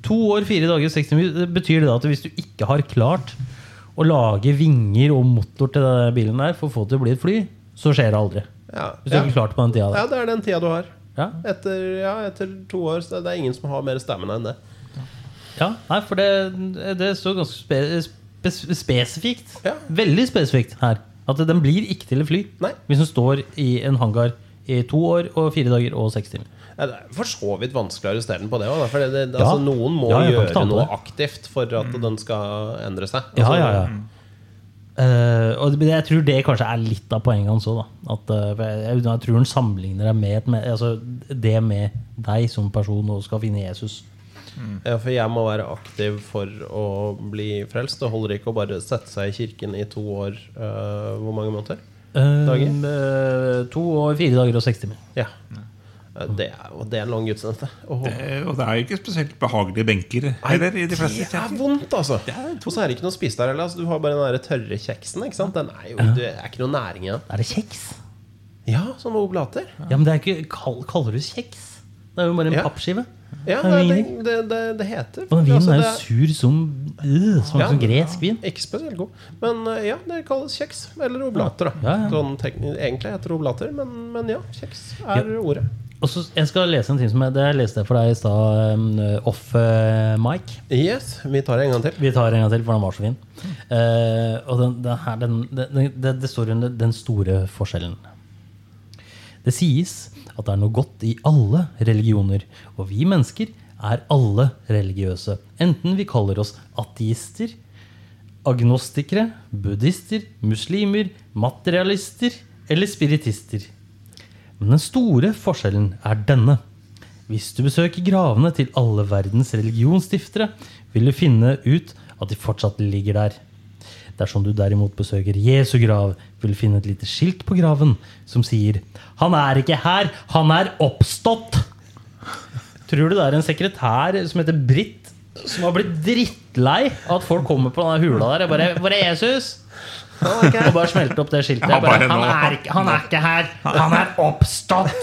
Speaker 2: to år, fire dager, 60 minutter Betyr det da at hvis du ikke har klart å lage vinger og motor til den bilen der for å få det til å bli et fly, så skjer det aldri.
Speaker 3: Ja,
Speaker 2: Hvis du
Speaker 3: ja.
Speaker 2: ikke klarte på den tida
Speaker 3: ja,
Speaker 2: der.
Speaker 3: det er den tida du har.
Speaker 2: Ja.
Speaker 3: Etter, ja, etter to år så Det er ingen som har mer stamina enn det.
Speaker 2: Ja, nei, for det, det står ganske spe, spes, spesifikt.
Speaker 3: Ja.
Speaker 2: Veldig spesifikt her. At den blir ikke til et fly
Speaker 3: Nei.
Speaker 2: hvis den står i en hangar i to år og fire dager og seks timer.
Speaker 3: Ja, det er for så vidt vanskelig å arrestere den på det òg. Det, det,
Speaker 2: Ja.
Speaker 3: altså, noen må
Speaker 2: Ja, jeg kan ikke ta
Speaker 3: gjøre
Speaker 2: den på
Speaker 3: noe
Speaker 2: det.
Speaker 3: aktivt for at den skal endre seg.
Speaker 2: Ja,
Speaker 3: Altså,
Speaker 2: ja, ja. Eh, og det, men jeg tror det kanskje er litt av poenget hans òg. At, eh, for jeg, jeg tror han sammenligner deg med, et men- altså, det med deg som person og skal finne Jesus.
Speaker 3: Ja, for jeg må være aktiv for å bli frelst. Det holder ikke å bare sette seg i kirken i to år øh, Hvor mange måneder?
Speaker 2: Eh,
Speaker 3: Dager?
Speaker 2: eh, to og fire dager og seks timer.
Speaker 3: Ja. Det er, og det er en lang gudstjeneste. Åh.
Speaker 1: Eh, Og det er jo ikke spesielt behagelige benker heller i de fleste
Speaker 3: Det er
Speaker 1: kirker.
Speaker 3: vondt, altså! Og så er det ikke noe å spise der heller. Altså, du har bare den der tørre kjeksen. Ikke sant? Den er jo, det er ikke noe næring i den.
Speaker 2: Er det kjeks?
Speaker 3: Ja, sånne oblater.
Speaker 2: Ja, men det er ikke, kall, Kaller du det kjeks? Det er jo bare en
Speaker 3: Ja.
Speaker 2: pappskive.
Speaker 3: Ja,
Speaker 2: Det
Speaker 3: det,
Speaker 2: er
Speaker 3: er-
Speaker 2: vin,
Speaker 3: det, det, det heter
Speaker 2: Og den vinen
Speaker 3: altså,
Speaker 2: er jo
Speaker 3: det
Speaker 2: sur som øh, Smaker
Speaker 3: Ja.
Speaker 2: som gresk vin.
Speaker 3: Ikke spesielt god. Men øh, ja, det kalles kjeks. Eller oblater, da.
Speaker 2: Ja, ja.
Speaker 3: Sånn tekni- egentlig heter det oblater, men, men ja, kjeks er ordet.
Speaker 2: Og så, Jeg skal lese en ting som jeg, det jeg leste for deg i stad, em, off eh, mic.
Speaker 3: Yes, vi tar det en gang til.
Speaker 2: Vi tar en gang til, for den var så fin. Eh, og den, den her, den, den, det, det står under 'den store forskjellen'. Det sies at det er noe godt i alle religioner, og vi mennesker er alle religiøse. Enten vi kaller oss ateister, agnostikere, buddhister, muslimer, materialister eller spiritister. Men den store forskjellen er denne. Hvis du besøker gravene til alle verdens religionsstiftere, vil du finne ut at de fortsatt ligger der. Dersom du derimot besøker Jesu grav, vil du finne et lite skilt på graven som sier 'Han er ikke her, han er oppstått'. Tror du det er en sekretær som heter Britt, som har blitt drittlei av at folk kommer på den hula der og bare 'Hvor er Jesus?' Og bare smelter opp det skiltet.
Speaker 1: Ja, bare
Speaker 2: Bare, han,
Speaker 1: nå.
Speaker 2: er ikke, 'Han er ikke her, han er oppstått'.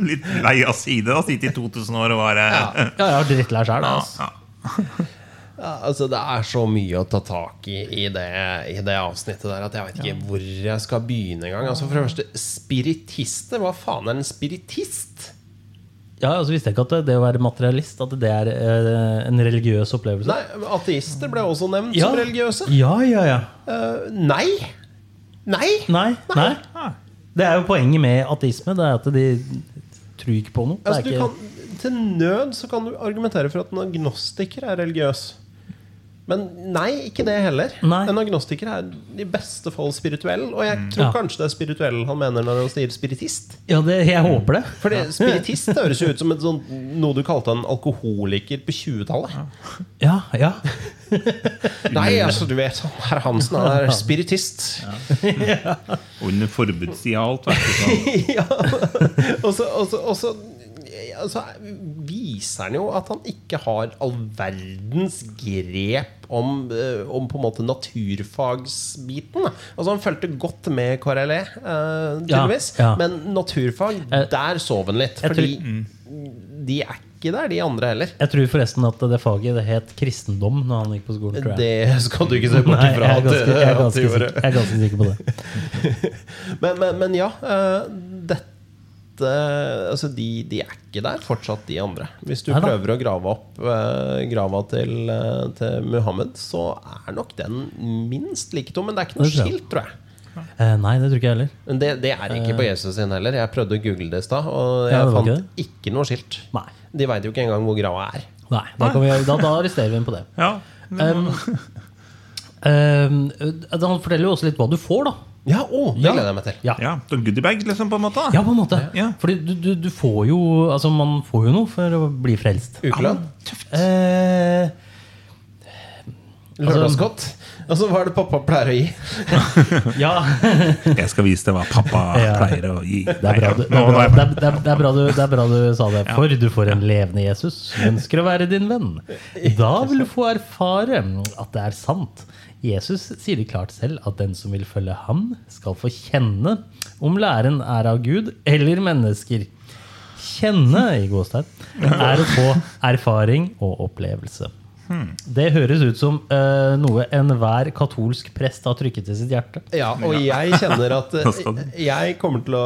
Speaker 1: Litt lei av side. Da sitte i 2000 år og bare
Speaker 2: Ja, jeg har drittlei sjæl. Altså.
Speaker 1: Ja.
Speaker 3: Ja, altså, det er så mye å ta tak i i det, i det avsnittet der at jeg vet ikke hvor jeg skal begynne engang. Altså, for det første, spiritister? Hva faen er en spiritist?
Speaker 2: Ja, altså visste jeg ikke at det- det å være materialist At det er eh, en religiøs opplevelse.
Speaker 3: Nei, Ateister ble også nevnt
Speaker 2: Ja.
Speaker 3: som religiøse.
Speaker 2: Ja, ja, ja.
Speaker 3: Eh, nei! Nei!
Speaker 2: Nei, nei.
Speaker 1: Ah.
Speaker 2: Det er jo poenget med ateisme. Det er at de tror ikke på noe. Det
Speaker 3: Altså,
Speaker 2: er
Speaker 3: du
Speaker 2: ikke,
Speaker 3: kan, til nød så kan du argumentere for at en agnostiker er religiøs. Men nei, ikke det heller.
Speaker 2: Nei.
Speaker 3: En agnostiker er i beste fall spirituell. Og jeg tror
Speaker 2: Ja.
Speaker 3: kanskje det er spirituell han mener når han sier spiritist.
Speaker 2: ja, det, jeg håper det.
Speaker 3: For det- spiritist høres jo ut som et sånt, noe du kalte en alkoholiker på 20-tallet.
Speaker 2: Ja, ja.
Speaker 3: Nei, altså, du vet, herr Hansen han er spiritist.
Speaker 1: Og under forbudstida og alt. Vet du, så.
Speaker 3: ja. Og så, og så, og så ja, så viser han jo at han ikke har all verdens grep om, eh, om på en måte naturfagsbiten. da. Altså Han fulgte godt med KRLE, eh, tydeligvis.
Speaker 2: Ja, ja.
Speaker 3: Men naturfag,
Speaker 2: Eh,
Speaker 3: der sov han litt.
Speaker 2: jeg
Speaker 3: Fordi de er ikke der, de andre heller.
Speaker 2: Jeg tror forresten at det faget det het kristendom når han gikk på skolen. tror jeg.
Speaker 3: Det skal du ikke se bort
Speaker 2: Nei, jeg
Speaker 3: ifra.
Speaker 2: er
Speaker 3: at-
Speaker 2: ganske, jeg er
Speaker 3: at de
Speaker 2: ganske,
Speaker 3: gjorde.
Speaker 2: sikker, jeg er ganske sikker på det.
Speaker 3: Men, men, men ja, eh, dette Altså, de, de er ikke der fortsatt, de andre. Hvis du
Speaker 2: Neida.
Speaker 3: prøver å grave opp eh, grava til, eh, til Muhammed, så er nok den minst like tom. Men det er ikke noe
Speaker 2: Det tror jeg.
Speaker 3: skilt, tror jeg.
Speaker 2: Eh, nei, det tror ikke jeg heller.
Speaker 3: Men det, det er ikke på Jesus sin heller. Jeg prøvde å google det i stad, og
Speaker 2: Eh. Ja,
Speaker 3: jeg
Speaker 2: det var ikke
Speaker 3: fant ikke noe skilt.
Speaker 2: Nei.
Speaker 3: De veit jo ikke engang hvor grava er.
Speaker 2: nei da, kan vi, da, da arresterer vi ham på det.
Speaker 1: Ja, det
Speaker 2: Um, um, eh, han forteller jo også litt hva du får, da.
Speaker 3: Ja, å, det
Speaker 2: Ja.
Speaker 3: gleder jeg meg til.
Speaker 2: Ja,
Speaker 1: ja, sånn goodiebag, liksom, på en måte.
Speaker 2: ja på en måte.
Speaker 1: Ja.
Speaker 2: Fordi du, du, du får jo Altså, man får jo noe for å bli frelst.
Speaker 3: Ukelønn.
Speaker 2: Eh, altså-
Speaker 3: Lørdagsgodt. Og så hva er det pappa pleier å gi?
Speaker 2: ja
Speaker 1: Jeg skal vise deg hva pappa
Speaker 2: Ja.
Speaker 1: pleier å gi.
Speaker 2: Det er bra du, det er bra, det er, det er, det er bra, du, det er bra du sa det. For du får en levende Jesus som ønsker å være din venn. Da vil du få erfare at det er sant. Jesus sier det klart selv at den som vil følge ham, skal få kjenne om læren er av Gud eller mennesker. Kjenne i gåstegn er å få erfaring og opplevelse. Det høres ut som eh, noe enhver katolsk prest har trykket til sitt hjerte.
Speaker 3: Ja, og jeg kjenner at eh,
Speaker 1: Nå skal
Speaker 2: Sånn.
Speaker 1: den.
Speaker 3: jeg kommer, til å,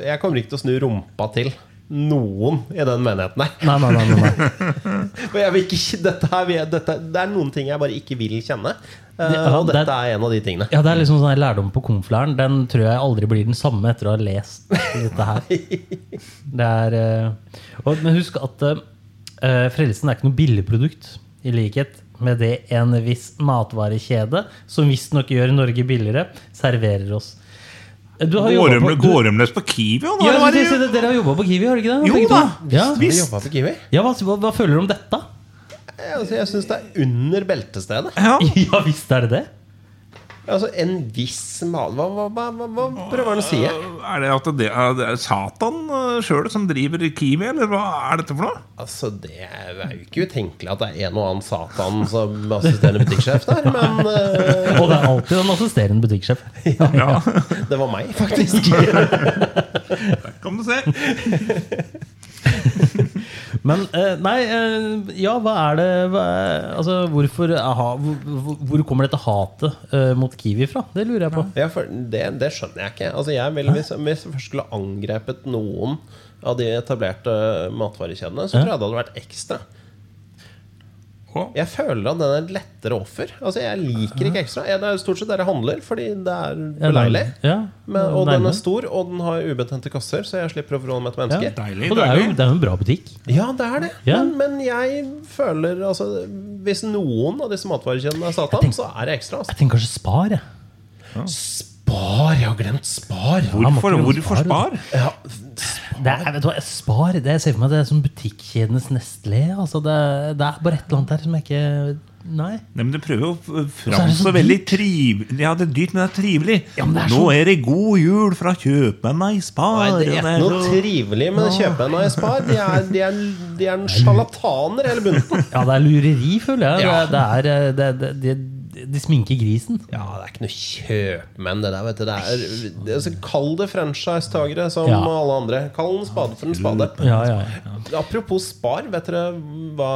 Speaker 3: jeg kommer ikke til å snu rumpa til noen i den menigheten her.
Speaker 2: Nei, nei, nei, nei, nei.
Speaker 3: Og jeg vil ikke, dette her vil jeg- dette, det er noen ting jeg bare ikke vil kjenne. eh,
Speaker 2: Ja,
Speaker 3: Og
Speaker 2: det-
Speaker 3: dette er en av de tingene.
Speaker 2: Ja, det er liksom sånn her lærdom på konflæren. Den tror jeg aldri blir den samme etter å ha lest dette her. Det er, eh, og, men husk at eh, frelsen er ikke noe billigprodukt, i likhet med det en viss matvarekjede, som visstnok gjør Norge billigere, serverer oss. Du har
Speaker 1: Går
Speaker 2: jobbet
Speaker 1: de-
Speaker 2: på, du,
Speaker 1: Går de løs på Kiwi? og nå,
Speaker 2: ja,
Speaker 1: eller hva er
Speaker 2: jeg skulle
Speaker 1: det?
Speaker 2: si det, dere har jobba på Kiwi, har dere ikke det?
Speaker 1: Jo
Speaker 2: Begge
Speaker 1: da,
Speaker 2: to? Ja,
Speaker 3: Jeg
Speaker 1: visst.
Speaker 3: jobbet på Kiwi.
Speaker 2: ja hva, hva, hva føler du om dette?
Speaker 3: Jeg, altså, jeg syns det er under beltestedet.
Speaker 1: Ja.
Speaker 2: Ja visst er det det.
Speaker 3: Altså En viss mal... Hva, hva, hva, hva, hva prøver han å si? her?
Speaker 1: Eh, Er det at det er, det er Satan eh, sjøl som driver Kiwi, eller hva er dette for noe?
Speaker 3: Altså Det er jo ikke utenkelig at det er en og annen Satan som assisterende butikksjef der, men eh,
Speaker 2: Og det er alltid en assisterende butikksjef.
Speaker 1: Ja,
Speaker 3: det var meg, faktisk.
Speaker 1: kan du se.
Speaker 2: Men eh, nei, eh, ja, hva er det hva er, Altså, hvorfor er ha, hvor, hvor kommer dette hatet eh, mot Kiwi fra? Det lurer jeg på.
Speaker 3: Ja, for det, det skjønner jeg ikke. Altså jeg vil, hvis, hvis jeg først skulle angrepet noen av de etablerte matvarekjedene, så
Speaker 2: Ja.
Speaker 3: tror jeg det hadde vært ekstra.
Speaker 1: Å.
Speaker 3: Jeg føler at den er lettere offer. Altså Jeg liker ikke ekstra. Jeg, det er jo stort sett der jeg handler, fordi det er beleilig.
Speaker 2: Ja,
Speaker 3: Men, og den
Speaker 2: nærmere.
Speaker 3: er stor, og den har ubetente kasser, så jeg slipper å forholde meg til
Speaker 2: Ja.
Speaker 3: mennesker.
Speaker 1: Deilig,
Speaker 2: Og det er jo
Speaker 1: deilig.
Speaker 2: det er jo en bra butikk.
Speaker 3: Ja, det er det.
Speaker 2: Ja.
Speaker 3: Men, men jeg føler altså Hvis noen av disse matvarekjedene er Satan, så er det ekstra. Altså.
Speaker 2: Jeg tenker kanskje Spar. jeg.
Speaker 3: Spar! Jeg har glemt Spar!
Speaker 1: Hvorfor,
Speaker 2: Ja, måtte jo
Speaker 1: hvorfor
Speaker 2: spare,
Speaker 1: spar?
Speaker 3: Ja,
Speaker 2: Det er, vet du hva, jeg spar det jeg ser for meg, det er som butikkjedenes Nestlé. Altså, det, det er bare et eller annet der som jeg ikke Nei.
Speaker 1: Nei, men Det prøver jo å
Speaker 2: er det så
Speaker 1: framstå veldig trivelig. Ja, det er dyrt, men det er trivelig.
Speaker 2: Ja, men det er
Speaker 1: Nå
Speaker 2: så-
Speaker 1: er det god jul fra kjøpmennene i Spar.
Speaker 3: Nei, det er ikke noe
Speaker 1: så-
Speaker 3: trivelig med å kjøpe en AS-bar. De er, de er, de er en sjarlataner, hele bunnen.
Speaker 2: Ja, det er lureri, føler jeg.
Speaker 3: Ja.
Speaker 2: Det, er- det er, eh, det, det, de, de sminker grisen.
Speaker 3: Ja, det er ikke noe kjøpmenn, det der. vet du det er, det, altså, Kall det franchisetagere som
Speaker 2: Ja.
Speaker 3: alle andre. Kall en spade for en spade.
Speaker 2: Ja, ja, ja.
Speaker 3: Apropos Spar, vet dere hva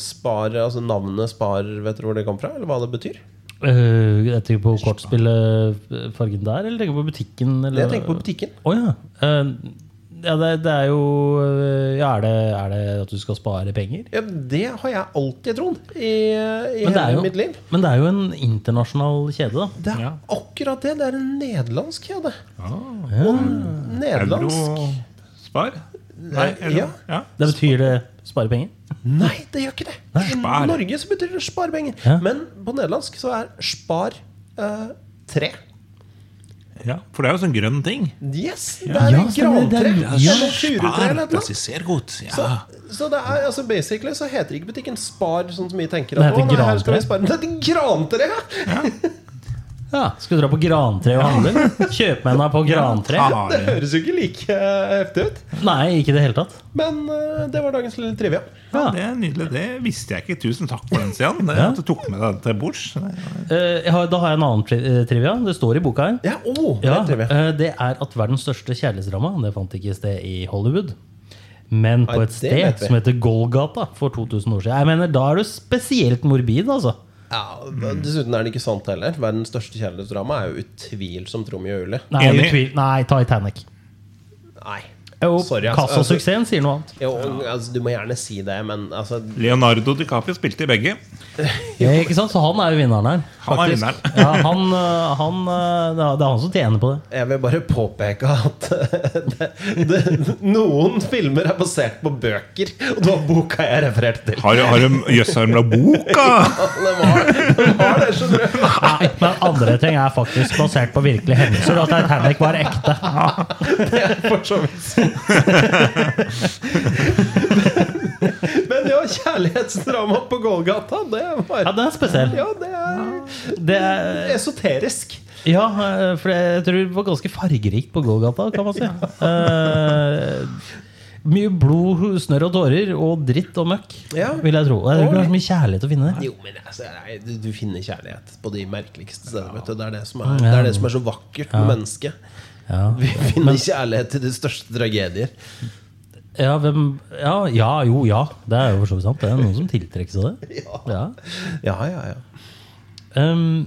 Speaker 3: spar, altså navnet Spar vet dere hvor det kom fra? Eller hva det betyr?
Speaker 2: Eh, jeg tenker på eh, kortspillfargen der, eller tenker jeg på butikken? Eller?
Speaker 3: Jeg tenker på butikken.
Speaker 2: Å ja. Eh, Ja, det, det er jo eh, ja, er, det, er det at du skal spare penger?
Speaker 3: Ja, det har jeg alltid trodd i, i
Speaker 2: Men det, er
Speaker 3: hele
Speaker 2: jo,
Speaker 3: mitt liv.
Speaker 2: men det er jo en internasjonal kjede, da.
Speaker 3: Det er
Speaker 1: Ja.
Speaker 3: akkurat det. Det er en nederlandsk kjede.
Speaker 2: Ah.
Speaker 3: Og nederlandsk
Speaker 1: Eurospar? Nei,
Speaker 2: Eh,
Speaker 1: euro.
Speaker 3: Ja.
Speaker 1: ja.
Speaker 2: Det betyr det spare penger?
Speaker 3: Nei, det gjør ikke det. I
Speaker 1: Spar.
Speaker 3: Norge så betyr det sparepenger.
Speaker 2: Ja.
Speaker 3: Men på nederlandsk så er spar eh, tre.
Speaker 1: Ja, for det er jo sånn grønn ting.
Speaker 3: Yes! Det er
Speaker 2: Ja,
Speaker 3: et
Speaker 2: stemmer, det er-
Speaker 3: grantre.
Speaker 2: ja.
Speaker 3: Eller furutre eller
Speaker 1: det
Speaker 3: noe.
Speaker 1: er ser godt.
Speaker 3: Så,
Speaker 1: Ja.
Speaker 3: så det er, altså basically så heter ikke butikken Spar, sånn som vi tenker.
Speaker 2: Det
Speaker 3: At,
Speaker 2: heter
Speaker 3: å, nei, her skal
Speaker 2: Grantre.
Speaker 3: vi spare. Det heter Grantre! Ja.
Speaker 2: Ja, Skal du dra på grantre og handle? Kjøp med deg på grantre?
Speaker 1: Ah,
Speaker 3: Det
Speaker 1: det-
Speaker 3: høres jo ikke like eh, heftig ut.
Speaker 2: Nei, ikke i det hele tatt.
Speaker 3: Men eh, det var dagens lille trivia.
Speaker 1: Ja, det er nydelig. Det visste jeg ikke. Tusen takk for den, Stian. Det-
Speaker 2: Ja.
Speaker 1: At du tok med deg til bords. Det-
Speaker 2: Eh, jeg har, da har jeg en annen tri eh, trivia. Det står i boka her.
Speaker 3: Ja, oh, det
Speaker 2: Ja,
Speaker 3: er trivia.
Speaker 2: eh, det er at verdens største kjærlighetsdrama Det fant ikke sted i Hollywood. Men på
Speaker 3: Nei,
Speaker 2: et
Speaker 3: det
Speaker 2: sted
Speaker 3: vet vi.
Speaker 2: som heter Golgata for 2000 år siden. Jeg mener, Da er du spesielt morbid, altså.
Speaker 3: Ja, dessuten er det ikke sant heller. Verdens største kjærlighetsdrama er jo utvilsomt Romeo og Julie.
Speaker 2: Nei,
Speaker 1: Enig.
Speaker 2: utvil, nei Titanic.
Speaker 3: Nei.
Speaker 2: Jo,
Speaker 3: Sorry, ass.
Speaker 2: Kassasuksessen sier noe annet.
Speaker 3: Jo, altså, du må gjerne si det, men altså
Speaker 1: Leonardo DiCaprio spilte i begge.
Speaker 2: Eh, Ikke sant? Så han er jo vinneren her.
Speaker 1: Han er
Speaker 2: faktisk.
Speaker 1: vinneren.
Speaker 2: ja, han, eh, han, eh, det er- det er han som tjener på det.
Speaker 3: Jeg vil bare påpeke at eh, det, det, noen filmer er basert på bøker, og det var boka jeg refererte til.
Speaker 1: Har, har de jøss har de la boka?
Speaker 3: Det var, det var det, skjønner du.
Speaker 2: Nei, men andre ting er faktisk basert på virkelige hendelser. At Titanic var ekte.
Speaker 3: Det er for så vidt sant. Men ja, kjærlighetsdrama på Golgata, det var
Speaker 2: Ja, den er spesiell.
Speaker 3: Ja, det er
Speaker 2: Det er,
Speaker 3: esoterisk.
Speaker 2: Ja, eh, for jeg tror det var ganske fargerikt på gågata, kan man si. Eh, mye blod, snørr og tårer og dritt og møkk,
Speaker 3: Ja.
Speaker 2: vil jeg tro. Og Jeg tror ikke det er så mye kjærlighet å finne der.
Speaker 3: Jo, men altså, nei, du, du finner kjærlighet på de merkeligste steder. Vet du. Det, er det, som er, det er det som er så vakkert med mennesket. Vi finner kjærlighet til de største tragedier.
Speaker 2: Ja, hvem, ja, ja, jo, ja. Det er jo for så vidt sant. Det er noen som tiltrekkes av det. Ja.
Speaker 3: Ja, ja, ja.
Speaker 2: Ehm,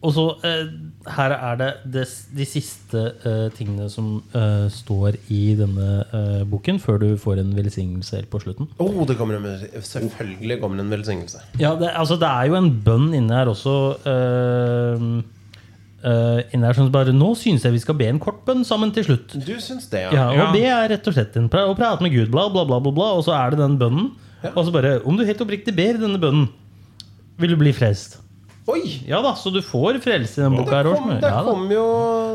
Speaker 2: og så eh, her er det des, de siste eh, tingene som eh, står i denne eh, boken, før du får en velsignelse helt på slutten.
Speaker 3: Oh, det kommer en, selvfølgelig kommer det en velsignelse.
Speaker 2: Ja, det, altså det er jo en bønn inne her også. ehm, eh, inne her som bare Nå syns jeg vi skal be en kort bønn sammen til slutt.
Speaker 3: Du syns det,
Speaker 2: Ja,
Speaker 3: ja?
Speaker 2: og
Speaker 1: Ja.
Speaker 2: det er rett og slett en pra- å prate med Gud, bla, bla, bla, bla, bla. Og så er det den bønnen. Og så bare Om du helt oppriktig ber denne bønnen, vil du bli frelst.
Speaker 3: Oi!
Speaker 2: Ja da, så du får frelse i den boka
Speaker 3: Der
Speaker 2: her
Speaker 3: kom,
Speaker 2: også.
Speaker 3: der
Speaker 2: Ja, da.
Speaker 3: kom jo,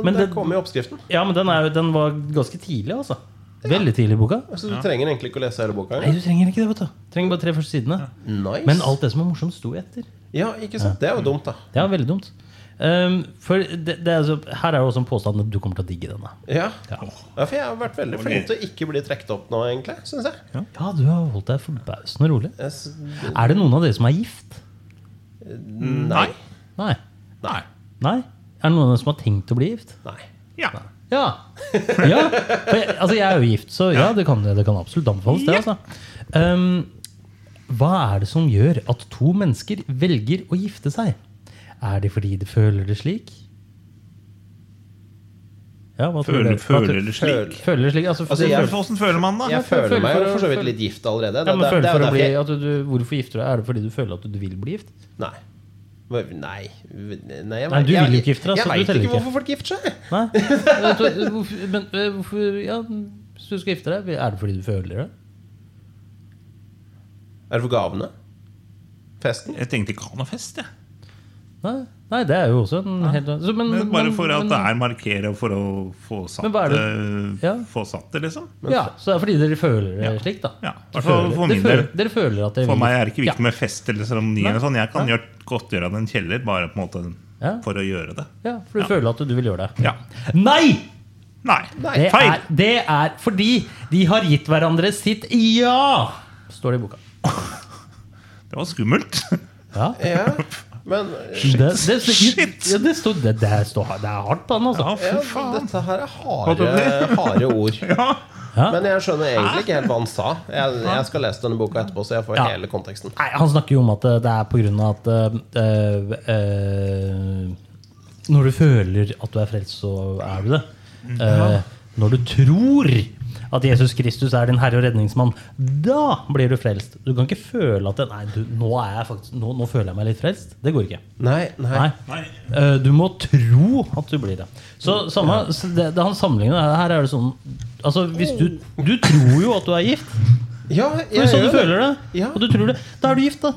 Speaker 2: Men
Speaker 3: der
Speaker 2: det-
Speaker 3: kom jo oppskriften.
Speaker 2: ja, men den, er, jo- den var ganske tidlig, altså. Veldig tidlig i boka.
Speaker 3: Så Altså, du trenger egentlig ikke å lese hele boka?
Speaker 2: Nei,
Speaker 3: eller?
Speaker 2: du trenger ikke det, vet du. Trenger bare tre første sidene.
Speaker 3: Nice.
Speaker 2: Men alt det som er morsomt, sto etter.
Speaker 3: Ja, ikke sant? Det er jo dumt, da.
Speaker 2: Det er veldig dumt. Ehm, for det, det er altså, her er jo også en påstand at du kommer til å digge denne.
Speaker 3: Ja.
Speaker 2: Ja,
Speaker 3: ja, for jeg har vært veldig flink til å ikke bli trukket opp nå, egentlig. Synes jeg.
Speaker 2: ja du har holdt deg forbausende rolig.
Speaker 3: jeg s-
Speaker 2: Er det noen av dere som er gift?
Speaker 1: Nei.
Speaker 2: Nei.
Speaker 1: Nei.
Speaker 2: Nei? Er det noen av dere som har tenkt å bli gift?
Speaker 3: Nei.
Speaker 1: Ja.
Speaker 2: Ja. ja. For jeg, altså, jeg er jo gift, så ja, det kan, det kan absolutt anbefales, det. Altså. Ehm, hva er det som gjør at to mennesker velger å gifte seg? Er det fordi de føler det slik? Ja, hva tror
Speaker 1: Føler,
Speaker 2: dere? Hva tror-
Speaker 1: føler det slik?
Speaker 3: Føler-
Speaker 2: Føler det slik? Altså,
Speaker 3: Altså, jeg-
Speaker 2: føler-
Speaker 1: Åssen føler man det?
Speaker 3: Jeg
Speaker 2: føl-
Speaker 3: føler meg
Speaker 2: føl-
Speaker 3: jo for så vidt
Speaker 2: føl-
Speaker 3: litt gift allerede.
Speaker 2: Ja, men
Speaker 3: Det er-
Speaker 2: føler
Speaker 3: det er
Speaker 2: for å
Speaker 3: derfor
Speaker 2: bli,
Speaker 3: jeg-
Speaker 2: at du, hvorfor gifter du deg? Er det fordi du føler at du vil bli gift?
Speaker 3: Nei. Hva- Nei. Nei, jeg,
Speaker 2: Nei, du
Speaker 3: jeg-
Speaker 2: vil jo ikke gifte deg, så
Speaker 3: Jeg
Speaker 2: du
Speaker 3: vet
Speaker 2: teller
Speaker 3: ikke
Speaker 2: ikke.
Speaker 3: hvorfor folk gifter seg.
Speaker 2: Nei? Men du- hvorfor- Men eh, hvorfor Ja, hvis du skal gifte deg, er det fordi du føler det?
Speaker 3: Er det for gavene? Festen?
Speaker 1: Jeg tenkte ikke ha noe fest, jeg.
Speaker 2: Nei, Nei det er jo også en helt så, men,
Speaker 1: Men bare
Speaker 2: men-
Speaker 1: for at
Speaker 2: men-
Speaker 1: det er markere for å få satt,
Speaker 2: Men hva er
Speaker 1: det?
Speaker 2: Ja.
Speaker 1: Få satt det, liksom.
Speaker 2: Ja, så det er fordi dere føler det
Speaker 1: Ja.
Speaker 2: slik, da.
Speaker 1: Ja, for-
Speaker 2: Dere føler-
Speaker 1: for
Speaker 2: dere
Speaker 1: min del.
Speaker 2: føler- Dere føler at dere
Speaker 1: For
Speaker 2: vil-
Speaker 1: meg er det ikke viktig
Speaker 2: ja.
Speaker 1: med fest eller seremoni. eller sånn. Jeg kan gjøre, godt gjøre det i en kjeller, bare på en måte
Speaker 2: Ja.
Speaker 1: for å gjøre det.
Speaker 2: Ja, for du føler at du vil gjøre det.
Speaker 1: Ja.
Speaker 2: Nei!
Speaker 1: Nei!
Speaker 2: Det
Speaker 1: Feil!
Speaker 2: er, det er fordi de har gitt hverandre sitt ja! Står det i boka.
Speaker 1: Det var skummelt.
Speaker 2: Ja.
Speaker 3: Ja. Men
Speaker 2: Det, det,
Speaker 1: Shit!
Speaker 2: Ja, det, står, det, det, står, det er hardt på den, altså.
Speaker 1: Ja,
Speaker 3: ja,
Speaker 1: fy faen.
Speaker 3: dette her er
Speaker 1: Hva tror
Speaker 3: harde,
Speaker 1: du?
Speaker 3: harde ord.
Speaker 1: Ja.
Speaker 3: Men jeg skjønner egentlig ikke helt hva han sa. Jeg, jeg skal lese denne boka etterpå, så jeg får
Speaker 2: Ja.
Speaker 3: hele konteksten.
Speaker 2: Nei, han snakker jo om at eh, det er på grunn av at eh,
Speaker 3: Mm.
Speaker 2: eh, Når du føler at du er frelst, så er du det. Eh, Når du tror at Jesus Kristus er din herre og redningsmann, da blir du frelst. Du kan ikke føle at det- Nei, du, nå, er jeg faktisk, nå, nå føler jeg meg litt frelst. Det går ikke.
Speaker 3: Nei, nei.
Speaker 2: Nei. Eh, Du må tro at du blir det. Så samme, så det, det han sammenligner det her, er det sånn Altså, hvis du, du tror jo at du er gift.
Speaker 3: Oh. Ja,
Speaker 2: Det
Speaker 3: jeg
Speaker 2: er sånn du
Speaker 3: gjør det.
Speaker 2: føler det.
Speaker 3: Ja.
Speaker 2: Og du tror det. Da er du gift, da.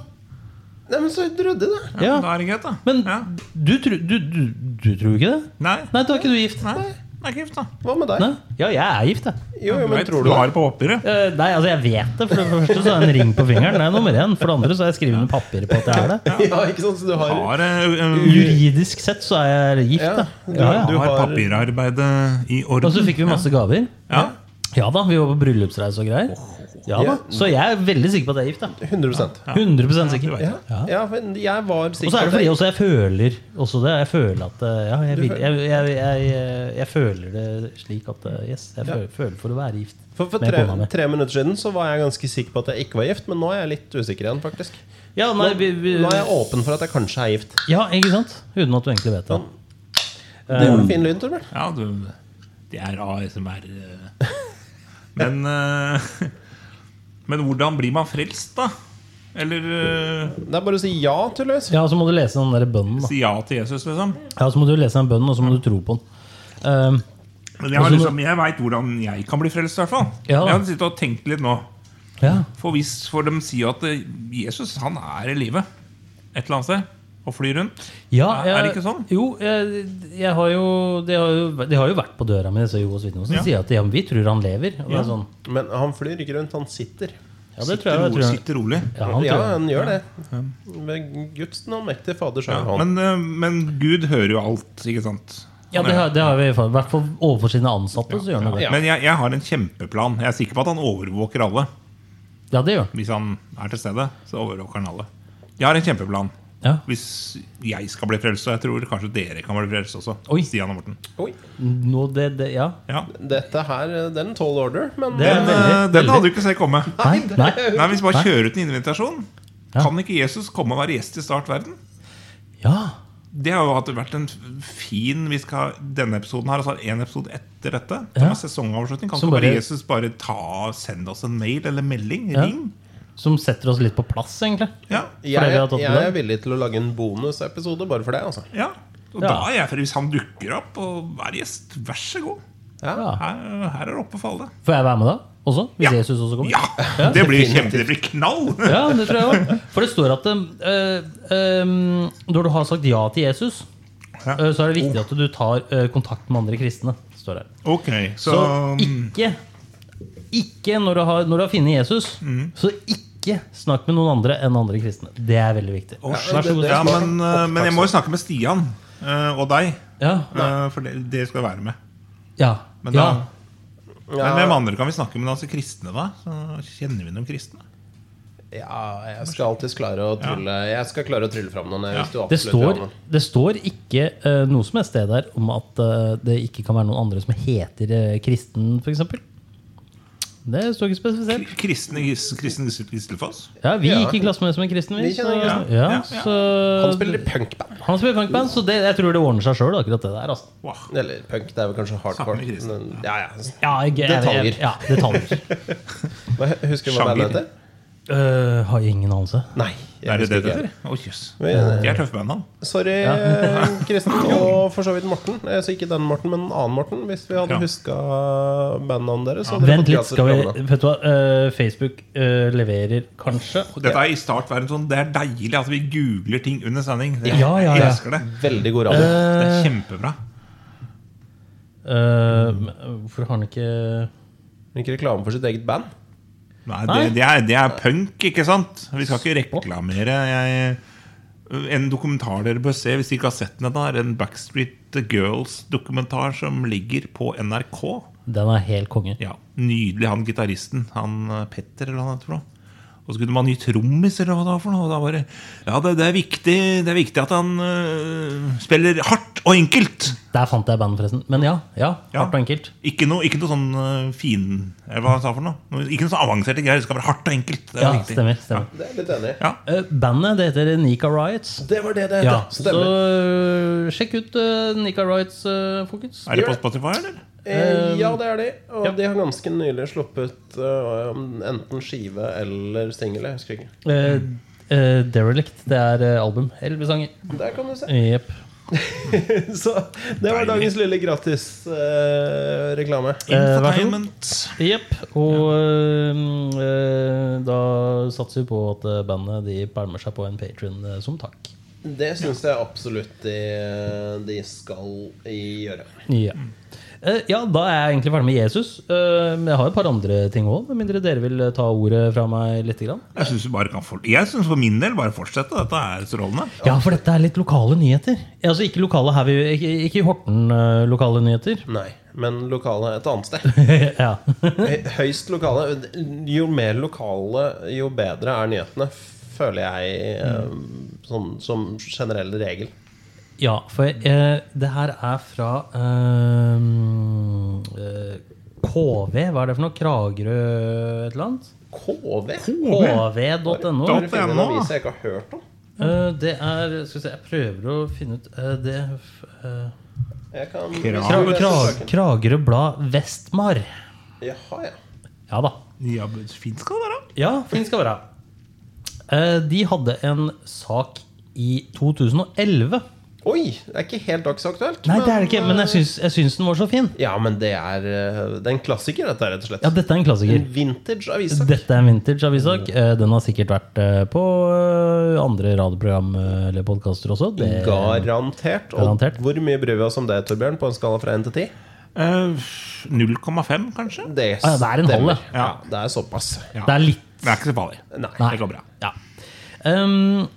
Speaker 3: Nei, men så ryddig, det.
Speaker 2: Ja.
Speaker 1: Da er det greit, da.
Speaker 2: Men
Speaker 1: ja.
Speaker 2: du, tror- du, du, du tror ikke det?
Speaker 1: Nei.
Speaker 2: Nei, da er ikke du gift.
Speaker 1: Nei. Det er ikke gift, da.
Speaker 3: Hva med deg?
Speaker 2: Nei. Ja, jeg er gift, jeg.
Speaker 3: Jo, jo, men
Speaker 1: vet,
Speaker 3: tror du
Speaker 1: har det på papiret.
Speaker 2: Eh, nei, altså jeg vet det. For det første så er det en ring på fingeren. Det er nummer én. For det andre så har jeg skrevet under papir på at jeg er det.
Speaker 3: Ja, ikke sant? Så du har
Speaker 1: Har, eh, um,
Speaker 2: Juridisk sett så er jeg gift,
Speaker 3: Ja,
Speaker 2: da.
Speaker 3: du-
Speaker 2: Ja, ja.
Speaker 3: du
Speaker 1: har
Speaker 3: har-
Speaker 1: papirarbeidet i orden.
Speaker 2: Og så fikk vi masse gaver.
Speaker 1: Ja.
Speaker 2: Ja da, vi var på bryllupsreise og greier. Ja da, Så jeg er veldig sikker på at jeg er gift. da
Speaker 3: 100
Speaker 2: 100 sikker.
Speaker 1: vet
Speaker 3: Ja,
Speaker 2: Ja.
Speaker 3: ja men jeg var sikker
Speaker 2: Og så er det
Speaker 3: på
Speaker 2: fordi også jeg føler også det. Jeg føler at eh, ja, jeg, vil,
Speaker 3: føler-
Speaker 2: jeg, jeg, jeg, jeg, jeg føler det slik at eh, Yes, jeg føler, føler for å være gift.
Speaker 3: For, for
Speaker 2: med
Speaker 3: tre,
Speaker 2: kona mi.
Speaker 3: tre minutter siden så var jeg ganske sikker på at jeg ikke var gift, men nå er jeg litt usikker igjen, faktisk.
Speaker 2: Ja,
Speaker 3: Nå,
Speaker 2: nei, vi, vi,
Speaker 3: nå er jeg åpen for at jeg kanskje er gift.
Speaker 2: ja, ikke sant? Uten at du egentlig vet det.
Speaker 3: Det var en fin lyd, Torbjørn.
Speaker 1: ja, du, det er ASMR. eh. Men eh, Men hvordan blir man frelst, da? Eller eh,
Speaker 3: Det er bare å si ja, tydeligvis.
Speaker 2: Ja, så må du lese den der bønnen. da
Speaker 1: si ja til Jesus, liksom?
Speaker 2: Ja, så må du lese den bønnen, og så må du tro på den. Ehm,
Speaker 1: Men jeg, har liksom, jeg veit hvordan jeg kan bli frelst, i hvert fall.
Speaker 2: Ja.
Speaker 1: Jeg har sittet og tenkt litt nå.
Speaker 2: ja.
Speaker 1: For hvis for de sier at eh, Jesus han er i live et eller annet sted og flyr rundt
Speaker 2: Ja,
Speaker 1: Er- er det ikke sånn?
Speaker 2: Jo, jeg, jeg har jo de, har jo de har jo vært på døra mi, disse Jehovas vitner. Og så
Speaker 1: Ja.
Speaker 2: sier de at ja, men vi tror han lever. Og det
Speaker 1: Ja.
Speaker 2: er sånn,
Speaker 3: Men han flyr ikke rundt, han sitter.
Speaker 2: ja, det tror
Speaker 1: Sitter
Speaker 2: jeg, jeg
Speaker 1: rolig.
Speaker 2: tror jeg.
Speaker 1: Sitter rolig.
Speaker 2: Ja, han
Speaker 3: ja,
Speaker 2: tror jeg.
Speaker 3: han gjør det. Ved Guds allmektige Fader så
Speaker 1: Ja,
Speaker 3: er han.
Speaker 1: men, eh, men Gud hører jo alt, ikke sant?
Speaker 2: Ja, det har, det har vi i hvert fall overfor sine ansatte. så gjør han jo det.
Speaker 3: Ja.
Speaker 1: Men jeg, jeg har en kjempeplan. Jeg er sikker på at han overvåker alle.
Speaker 2: Ja, det gjør han.
Speaker 1: Hvis han er til stede, så overvåker han alle. Jeg har en kjempeplan.
Speaker 2: Ja.
Speaker 1: Hvis jeg skal bli frelst, og jeg tror kanskje dere kan bli frelst også.
Speaker 2: Oi.
Speaker 1: Stian og Morten.
Speaker 3: Oi,
Speaker 2: Nå, det, det, ja.
Speaker 1: Ja.
Speaker 3: dette her, det er en tall order, men
Speaker 2: Det
Speaker 1: Den,
Speaker 2: er veldig,
Speaker 1: eh, den hadde du ikke sett komme.
Speaker 2: Nei, nei.
Speaker 1: Nei, Hvis vi bare kjører ut en invitasjon,
Speaker 2: Ja.
Speaker 1: kan ikke Jesus komme og være gjest i Start verden?
Speaker 2: Ja.
Speaker 1: Det har jo hatt- vært en fin vi skal, Denne episoden her, altså en episode etter dette,
Speaker 2: Ja.
Speaker 1: som er sesongavslutning, kan
Speaker 2: Som
Speaker 1: ikke bare
Speaker 2: bare-
Speaker 1: Jesus bare ta, sende oss en mail eller melding?
Speaker 2: Ja.
Speaker 1: Ring?
Speaker 2: Som setter oss litt på plass, egentlig.
Speaker 1: Ja.
Speaker 2: Fordi vi har
Speaker 3: jeg,
Speaker 2: tatt
Speaker 3: jeg
Speaker 2: den.
Speaker 3: er villig til å lage en bonusepisode bare for det, altså.
Speaker 1: ja. Og
Speaker 2: Ja.
Speaker 1: da er jeg for Hvis han dukker opp og er gjest, vær så god.
Speaker 2: Ja.
Speaker 1: Her, her er det oppe for alle.
Speaker 2: Får jeg være med da også? Hvis
Speaker 1: Ja.
Speaker 2: Jesus også kommer?
Speaker 1: Ja! Det blir kjempe, det blir knall!
Speaker 2: Ja, det tror jeg også. For det står at eh, eh, når du har sagt ja til Jesus,
Speaker 1: Ja.
Speaker 2: eh, så er det viktig at du tar eh, kontakt med andre kristne. Står det.
Speaker 1: Ok, så,
Speaker 2: Så ikke, ikke når du har, når du har funnet Jesus, så ikke snakk med noen andre enn andre kristne. Det er veldig viktig.
Speaker 1: Å,
Speaker 3: Ja,
Speaker 1: shit.
Speaker 3: det- det-
Speaker 1: ja, men, eh, men jeg må jo snakke med Stian eh, og deg,
Speaker 2: Ja,
Speaker 1: eh, for det, det skal jeg være med.
Speaker 2: ja,
Speaker 1: Men
Speaker 2: ja.
Speaker 1: da,
Speaker 3: Ja.
Speaker 1: Men hvem andre kan vi snakke med? Altså kristne, da? Så kjenner vi noen kristne?
Speaker 3: Ja, jeg skal alltid klare å trylle Jeg skal klare å trylle fram noen. eh,
Speaker 1: Ja.
Speaker 3: Hvis du
Speaker 2: Det
Speaker 3: absolutt vil
Speaker 2: står,
Speaker 3: ha noen.
Speaker 2: det står ikke eh, noe som helst sted der om at eh, det ikke kan være noen andre som heter eh, kristen, f.eks. Det står ikke spesifisert.
Speaker 1: Kristne Gis- Kristen Gis- Gislefoss?
Speaker 2: Ja, vi
Speaker 3: Ja.
Speaker 2: gikk i klasse med som en kristen.
Speaker 3: Vi
Speaker 2: så-
Speaker 3: kjenner
Speaker 1: hverandre.
Speaker 2: ja,
Speaker 1: Ja, ja.
Speaker 2: så,
Speaker 3: Han spiller i punkband.
Speaker 2: Han spiller punkband, så det, jeg tror det ordner seg sjøl, akkurat det der. Altså.
Speaker 1: Wow.
Speaker 3: Eller punk, det er vel kanskje hardcore.
Speaker 1: Samme kristen.
Speaker 3: men- Ja, ja.
Speaker 2: Ja, jeg, jeg, jeg,
Speaker 3: Detaljer.
Speaker 2: ja, detaljer.
Speaker 3: Hva, husker du hva
Speaker 1: Sjanger.
Speaker 3: bandet heter?
Speaker 2: Øh, har jeg ingen anelse.
Speaker 3: Nei. jeg
Speaker 1: Er det det
Speaker 3: husker
Speaker 1: det
Speaker 3: ikke.
Speaker 1: heter? Å, jøss.
Speaker 3: Men- eh,
Speaker 1: De er tøffe band, han.
Speaker 3: Sorry, eh, Kristen, og for så vidt Morten. Eh, Så ikke den Morten, men en annen Morten. Hvis vi hadde
Speaker 1: Ja.
Speaker 3: huska bandnavnet deres. så hadde dere
Speaker 2: Vent
Speaker 3: fått
Speaker 2: litt,
Speaker 3: gratis
Speaker 2: skal vi
Speaker 3: reklame.
Speaker 2: Vet du hva, øh, Facebook øh, leverer kanskje
Speaker 1: Og Dette er i startverden sånn, Det er deilig at vi googler ting under sending. Det,
Speaker 2: Ja, ja,
Speaker 1: Jeg
Speaker 2: ja.
Speaker 1: elsker det.
Speaker 3: Veldig god radio.
Speaker 2: Eh.
Speaker 1: Det er kjempebra.
Speaker 2: øh, men Hvorfor har han ikke
Speaker 3: Ikke reklame for sitt eget band.
Speaker 1: Nei, det, det, er, det er punk, ikke sant? Vi skal ikke reklamere. Jeg, en dokumentar dere bør se hvis dere ikke har sett den ennå, er en Backstreet Girls-dokumentar som ligger på NRK.
Speaker 2: Den er helt konge.
Speaker 1: Ja, Nydelig, han gitaristen. Han eh, Petter, eller hva han heter. for noe. Og så kunne man ha ny trommis, eller hva det var for noe. Og da bare Ja, det, det, er, viktig, det er viktig at han eh, spiller hardt og enkelt.
Speaker 2: Der fant jeg bandet, forresten. Men ja. ja,
Speaker 1: Ja.
Speaker 2: Hardt og enkelt.
Speaker 1: Ikke noe, ikke noe sånn eh, fin Eller hva han sa for noe? Noe- Ikke noe sånn avanserte greier. Det skal være hardt og enkelt. Det er
Speaker 2: Ja,
Speaker 1: viktig.
Speaker 2: stemmer. stemmer.
Speaker 3: Det er jeg litt enig i.
Speaker 2: Øh, bandet det heter Nika Riots.
Speaker 3: Det var det det het.
Speaker 2: Ja, eh, så øh,
Speaker 3: Stemmer.
Speaker 2: sjekk ut øh, Nika Riots, øh, folkens.
Speaker 1: Er det på Spotify, eller?
Speaker 3: Eh,
Speaker 2: Um,
Speaker 3: ja, det er de. Og
Speaker 2: ja.
Speaker 3: de har ganske nylig sluppet eh, enten skive eller singel. Jeg husker ikke.
Speaker 2: Eh, eh, Derelict, det er eh, album. Elleve sanger.
Speaker 3: Der kan du se.
Speaker 2: Jepp.
Speaker 3: Så det var
Speaker 1: Deilig.
Speaker 3: dagens lille gratis-reklame.
Speaker 2: Eh, vær så god.
Speaker 1: Infotainment.
Speaker 2: Jepp. Og øhm, øh, da satser vi på at øh, bandet de pælmer seg på en patron som takk.
Speaker 3: det syns jeg absolutt de, eh, de skal gjøre.
Speaker 2: Ja. Eh, ja, da er jeg egentlig ferdig med Jesus. Eh, men jeg har et par andre ting òg, med mindre dere vil eh, ta ordet fra meg litt. Grann.
Speaker 1: Jeg syns bare kan for... Jeg synes for min del bare fortsette. Dette er strålende.
Speaker 2: Ja, for dette er litt lokale nyheter. Altså Ikke lokale her, vi- ikke, ikke i Horten eh, lokale nyheter.
Speaker 3: Nei, men lokale et annet sted.
Speaker 2: ja.
Speaker 3: Høy- Høyst lokale. Jo mer lokale, jo bedre er nyhetene, føler jeg eh,
Speaker 2: Mm.
Speaker 3: sånn, som generell regel.
Speaker 2: ja, for eh, det her er fra øhm, eh, KV, hva er det for noe? Kragerø et eller annet?
Speaker 3: KV?
Speaker 2: HV.no.
Speaker 1: Da-
Speaker 3: Bare finne en
Speaker 1: nå.
Speaker 3: avis jeg ikke har hørt om.
Speaker 2: Eh, det er Skal vi se, jeg prøver å finne ut eh, Det eh,
Speaker 3: Jeg kan
Speaker 1: Krav-
Speaker 2: Krag,
Speaker 3: Hvis du leser
Speaker 2: Krag,
Speaker 3: saken.
Speaker 2: Kragerø Blad Vestmar.
Speaker 3: Jaha, ja.
Speaker 2: Ja da.
Speaker 1: Ja, men fint skal det være.
Speaker 2: Ja, fin skal være. Eh, de hadde en sak i 2011.
Speaker 3: Oi! Det er ikke helt dagsaktuelt.
Speaker 2: Nei, det er det ikke, men jeg syns, jeg syns den var så fin.
Speaker 3: Ja, men det er, eh, det er en klassiker, dette, er rett og slett.
Speaker 2: Ja, dette er en klassiker.
Speaker 3: En vintage avissak.
Speaker 2: Dette er en vintage avissak. Eh, Den har sikkert vært eh, på eh, andre radioprogram eh, eller podkaster også. Det,
Speaker 3: Garantert. Og
Speaker 2: Garantert.
Speaker 3: hvor mye bryr vi oss om det, Torbjørn, på en skala fra 1 til 10?
Speaker 1: Eh, 0,5, kanskje?
Speaker 3: Det,
Speaker 2: Ah, ja, det er en halv,
Speaker 3: stemmer.
Speaker 2: ja.
Speaker 3: ja. Det er såpass.
Speaker 1: Ja.
Speaker 2: det er litt
Speaker 1: Det er ikke så farlig.
Speaker 3: Nei.
Speaker 2: Nei.
Speaker 1: Det går bra.
Speaker 2: Ja. Ehm,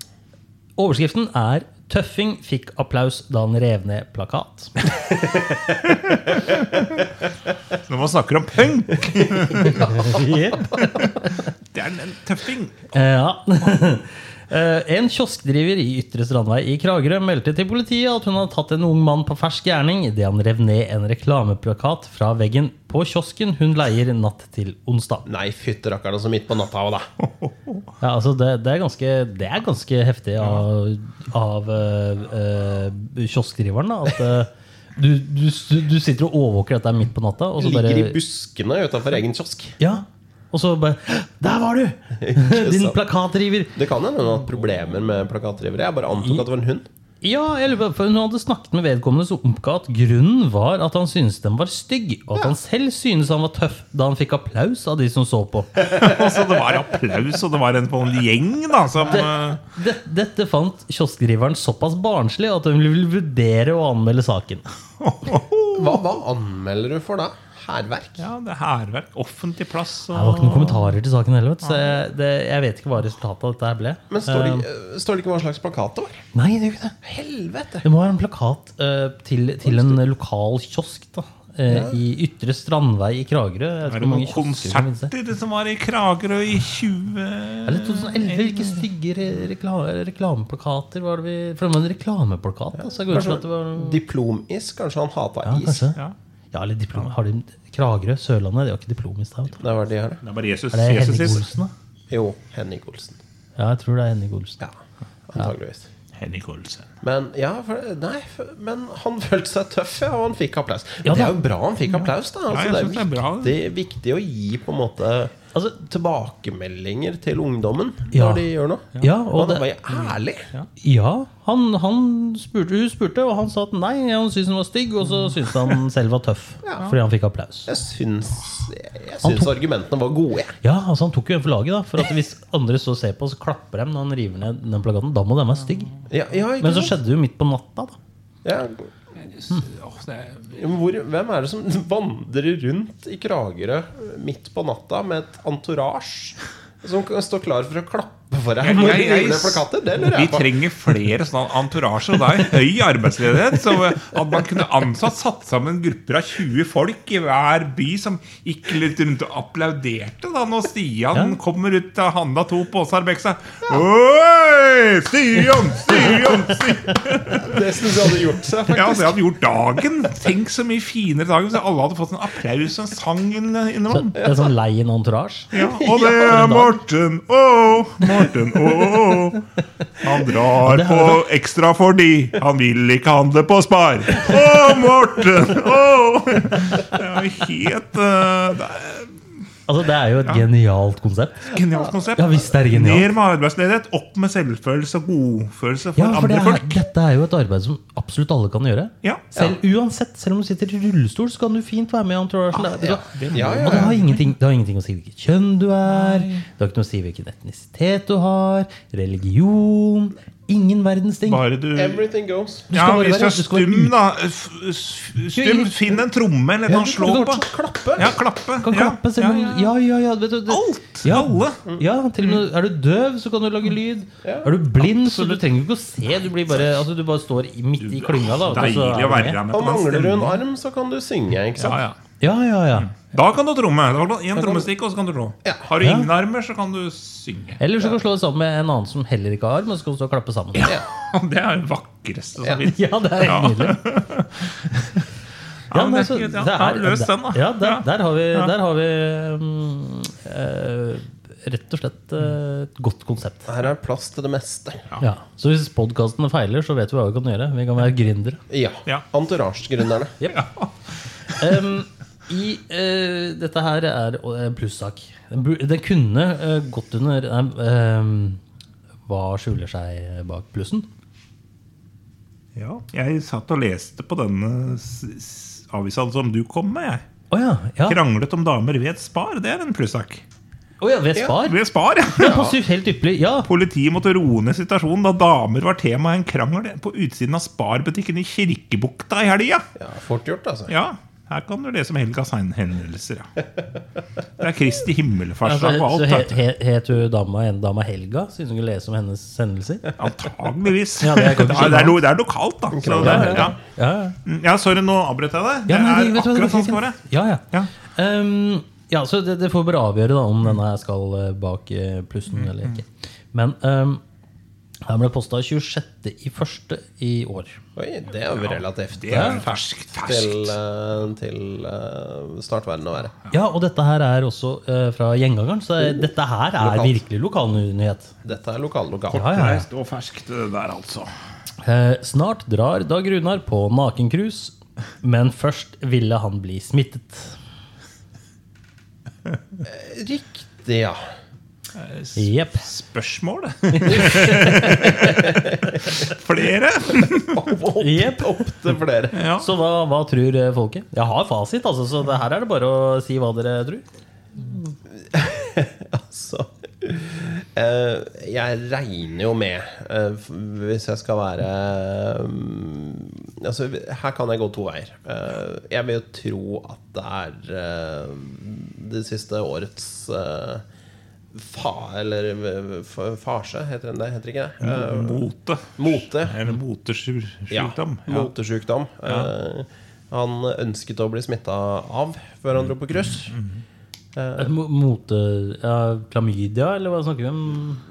Speaker 2: overskriften er 'Tøffing fikk applaus da han rev ned plakat'.
Speaker 1: Når man snakker om punk,
Speaker 2: Yep.
Speaker 1: det er en tøffing.
Speaker 2: Eh, ja. Eh, En kioskdriver i Ytre Strandvei i Kragerø meldte til politiet at hun hadde tatt en ung mann på fersk gjerning idet han rev ned en reklameplakat fra veggen på kiosken hun leier natt til onsdag.
Speaker 3: Nei, fytterakkeren, altså midt på natta òg, da.
Speaker 2: Ja, altså det, det, er ganske, det er ganske heftig av, av eh, eh, kioskdriveren. Da, at eh, du, du, du sitter og overvåker dette midt på natta. Og så
Speaker 3: Ligger i
Speaker 2: bare,
Speaker 3: buskene utafor egen kiosk.
Speaker 2: ja, og så bare «Hå, Der var du! Din
Speaker 3: sant?
Speaker 2: plakatriver!
Speaker 3: Det kan hende hun har hatt problemer med plakatrivere. Jeg bare antok at det var en hund.
Speaker 2: Ja, jeg lurer på, for Hun hadde snakket med vedkommende som oppga at grunnen var at han syntes den var stygg, og at han selv syntes han var tøff da han fikk applaus av de som så på.
Speaker 1: Altså, det var applaus, og det var en på en gjeng da, som eh,
Speaker 2: Det- Dette fant kioskdriveren såpass barnslig at hun ville vurdere å anmelde saken.
Speaker 3: Hva, hva anmelder du for da? Hærverk?
Speaker 1: Ja, det er hærverk. Offentlig plass. Og...
Speaker 2: Det var ikke noen kommentarer til saken heller, vet du, så jeg, det, jeg vet ikke hva resultatet av dette her ble.
Speaker 3: Men står det, øh, står det ikke hva slags plakat det var?
Speaker 2: Nei, det gjør ikke det.
Speaker 3: Helvete!
Speaker 2: Det må være en plakat eh, til, til en lokal kiosk da, eh, i Ytre Strandvei i Kragerø. Jeg
Speaker 1: Er
Speaker 2: vet
Speaker 1: det
Speaker 2: ikke hvor
Speaker 1: noen
Speaker 2: mange kiosker som finnes der.
Speaker 1: konserter som var i Kragerø i 20...
Speaker 2: Eller 2011, hvilke stygge re rekla reklameplakater var det vi For det var en reklameplakat, da, så jeg går ut fra at det var
Speaker 3: Diplomis? Kanskje han hata
Speaker 2: Ja,
Speaker 3: is?
Speaker 2: kanskje.
Speaker 1: Ja.
Speaker 2: Ja, eller diplom. Har de Kragerø, Sørlandet, de har ikke diplom i sted, vet du.
Speaker 3: Det var de her. da.
Speaker 1: Det er bare Jesus.
Speaker 2: Er det
Speaker 1: Jesus
Speaker 2: Henning
Speaker 1: is.
Speaker 2: Olsen, da?
Speaker 3: Jo, Henning Olsen.
Speaker 2: Ja, jeg tror det er Henning Olsen.
Speaker 3: Ja, antageligvis.
Speaker 1: Henning Olsen.
Speaker 3: Men, ja, for, nei, for, men han følte seg tøff, ja, og han fikk applaus.
Speaker 2: Ja,
Speaker 3: det
Speaker 2: da.
Speaker 3: er jo bra han fikk applaus, da.
Speaker 1: jeg
Speaker 3: Altså, det er
Speaker 1: synes det er bra,
Speaker 3: viktig, viktig å gi på en måte
Speaker 2: Altså,
Speaker 3: tilbakemeldinger til ungdommen
Speaker 2: Ja.
Speaker 3: når de gjør noe.
Speaker 2: Ja, og
Speaker 3: han
Speaker 2: det-
Speaker 3: var jo ærlig.
Speaker 2: Ja, han, han spurte, hun spurte, og han sa at nei, han syntes hun var stygg, og så syntes han selv var tøff.
Speaker 3: Ja.
Speaker 2: Fordi han fikk applaus.
Speaker 3: Jeg syns, jeg syns argumentene var gode. jeg.
Speaker 2: Ja, altså Han tok jo en for laget, da. For at hvis andre så ser på, så klapper de når han river ned den plakaten. Da må den være stygg.
Speaker 3: Ja, ja, ikke
Speaker 2: Men så
Speaker 3: sant?
Speaker 2: skjedde det jo midt på natta, da.
Speaker 3: ja,
Speaker 2: Hmm.
Speaker 1: Åh, det er...
Speaker 3: Hvor, hvem er det som vandrer rundt i Kragerø midt på natta med et entourage som kan stå klar for å klappe for deg? når du river ned plakater? Det lurer
Speaker 1: vi
Speaker 3: jeg på.
Speaker 1: trenger flere sånne entourasjer. Og det er høy arbeidsledighet. Så at man kunne ansatt satt sammen grupper av 20 folk i hver by som gikk litt rundt og applauderte da når Stian
Speaker 2: Ja.
Speaker 1: kommer ut og handla to poser Bexa. Oi! Hei, Stian! Stian! Stian!
Speaker 3: Det syns jeg hadde gjort seg,
Speaker 1: Ja, det hadde gjort dagen. Tenk så mye finere dagen hvis alle hadde fått en applaus og en sang inn- innom.
Speaker 2: Det er sånn lei en entourage.
Speaker 1: Ja, og det er Morten Å, Morten Å. Han drar på ekstra fordi han vil ikke handle på Spar. Å, Morten Å! Det er jo helt eh, Det er
Speaker 2: Altså, det er jo et genialt konsept.
Speaker 1: et genialt konsept.
Speaker 2: Ja, visst er det genialt.
Speaker 1: Ned med arbeidsledighet, opp med selvfølelse og godfølelse for
Speaker 2: Ja, for
Speaker 1: andre
Speaker 2: det er,
Speaker 1: folk.
Speaker 2: dette er jo et arbeid som absolutt alle kan gjøre.
Speaker 1: Ja.
Speaker 2: Selv, uansett, selv om du sitter i rullestol, så kan du fint være med i entouragen.
Speaker 1: Ah,
Speaker 2: Det er- det er-
Speaker 3: Ja, ja,
Speaker 2: Og det har, ingenting, det har ingenting å si hvilket kjønn du er, det har ikke noe å si hvilken etnisitet du har, religion Ingen verdens ting.
Speaker 1: Bare du
Speaker 3: Everything goes.
Speaker 1: ja,
Speaker 2: bare
Speaker 1: Hvis du
Speaker 2: være-
Speaker 1: er
Speaker 2: du skal være
Speaker 1: stum, da. f- s- Stum, Finn en tromme eller noe å slå
Speaker 2: du
Speaker 1: på.
Speaker 2: kan
Speaker 1: Klappe. Ja, klappe.
Speaker 2: Kan
Speaker 1: Ja,
Speaker 2: klappe selv om
Speaker 1: ja, ja.
Speaker 2: Ja, ja, ja. Vet du, det,
Speaker 1: Alt!
Speaker 2: Ja.
Speaker 1: Alle.
Speaker 2: Ja, til og med Er du døv, så kan du lage lyd. Er du blind, så du trenger ikke å se. Du, blir bare, altså, du bare står i- midt i klynga. Da, og så er
Speaker 1: Deilig
Speaker 2: du
Speaker 1: å være
Speaker 2: med.
Speaker 1: med på
Speaker 3: Og
Speaker 1: den
Speaker 3: mangler du en
Speaker 1: stemningen.
Speaker 3: arm, så kan du synge, ikke
Speaker 1: Ja,
Speaker 3: sant?
Speaker 1: ja.
Speaker 2: Ja, ja, ja.
Speaker 1: Da kan du tromme. Det var Én trommestikk, og så kan du trå. Har du
Speaker 2: Ja.
Speaker 1: ingen armer, så kan du synge.
Speaker 2: Eller så kan du slå det sammen med en annen som heller ikke har arm, og så kan du stå og klappe sammen. Ja,
Speaker 1: Det er det vakreste som fins.
Speaker 2: det er
Speaker 1: Ja,
Speaker 2: helt nydelig. altså,
Speaker 1: men det er ikke- ja, da har vi løst den, da.
Speaker 2: Ja, der,
Speaker 1: Ja.
Speaker 2: der har vi, der har vi mm, eh, rett og slett eh, et godt konsept.
Speaker 3: Her er plass til det meste.
Speaker 2: Ja. Så hvis podkastene feiler, så vet vi hva vi kan gjøre. Vi kan være gründere.
Speaker 3: Ja.
Speaker 1: Ja.
Speaker 3: Entourage-gründerne.
Speaker 2: Em, i, eh, dette her er en plussak. Den, bu- den kunne eh, gått under nei, em, Hva skjuler seg bak plussen?
Speaker 1: Ja, jeg satt og leste på denne s- s- avisa som du kom med. jeg.
Speaker 2: Å ja. ja.
Speaker 1: Kranglet om damer ved Spar. Det er en plussak.
Speaker 2: Å ja ved Spar?
Speaker 1: Ved Spar, ja.
Speaker 2: Det passer jo helt ypperlig. Ja.
Speaker 1: Politiet måtte roe ned situasjonen da damer var tema i en krangel på utsiden av Spar-butikken i Kirkebukta i helga.
Speaker 3: Ja, fort gjort, altså.
Speaker 1: Ja, her kan du lese om helgas hendelser, ja. Det er Kristi himmelfartsdag
Speaker 2: Altså,
Speaker 1: og
Speaker 2: så
Speaker 1: alt.
Speaker 2: he,
Speaker 1: vet du.
Speaker 2: he, het hun dama en dama Helga, siden hun kunne lese om hennes hendelser?
Speaker 1: Antageligvis.
Speaker 2: Ja, det
Speaker 1: det,
Speaker 2: er kanskje
Speaker 1: er, det, er, lo- det er lokalt, da. Så det,
Speaker 2: Ja,
Speaker 1: ja.
Speaker 2: Ja,
Speaker 1: Mm, ja, sorry, nå avbrøt jeg deg.
Speaker 2: ja,
Speaker 1: Det
Speaker 2: men
Speaker 1: er
Speaker 2: vet du hva, det
Speaker 1: akkurat
Speaker 2: går
Speaker 1: sånn som det
Speaker 2: fint.
Speaker 1: var.
Speaker 2: Ja, ja.
Speaker 1: Ja.
Speaker 2: Ehm, ja, så det, det får bare avgjøre da, om denne skal eh, bak eh,
Speaker 1: Mm,
Speaker 2: plussen eller ikke. Men ehm, her ble det posta 26. i første i år.
Speaker 3: Oi, det er jo relativt
Speaker 1: Det er
Speaker 3: eh,
Speaker 1: ferskt.
Speaker 3: til,
Speaker 1: ferskt.
Speaker 3: eh, til eh, startverden å være.
Speaker 2: Ja, og dette her er også eh, fra Gjengangeren, så dette her er
Speaker 3: Lokalt.
Speaker 2: virkelig lokalnyhet.
Speaker 3: Dette er lokallokal.
Speaker 2: Ja, eh, ja, ja.
Speaker 1: Reist og ferskt det der, altså.
Speaker 2: Eh, snart drar Dag Runar på nakencruise, men først ville han bli smittet.
Speaker 3: Riktig, ja.
Speaker 2: Jepp.
Speaker 1: Spørsmål? Flere?
Speaker 2: Jepp.
Speaker 3: Opp til flere.
Speaker 1: Ja.
Speaker 2: Så hva, hva tror eh, folket? Jeg har fasit, altså, så det her er det bare å si hva dere tror.
Speaker 3: Så eh, Jeg regner jo med, eh, f- hvis jeg skal være eh, Altså, her kan jeg gå to veier. Eh, jeg vil jo tro at det er eh, det siste årets eh, fa... Eller eh, f- farse, heter det heter ikke det? Eh,
Speaker 1: Mote.
Speaker 3: mote.
Speaker 1: Eller motesjukdom.
Speaker 3: Ja, motesjukdom. Eh, han ønsket å bli smitta av før han dro på cruise.
Speaker 2: Eh, mo- Mote... Ja, klamydia, eller hva snakker vi om?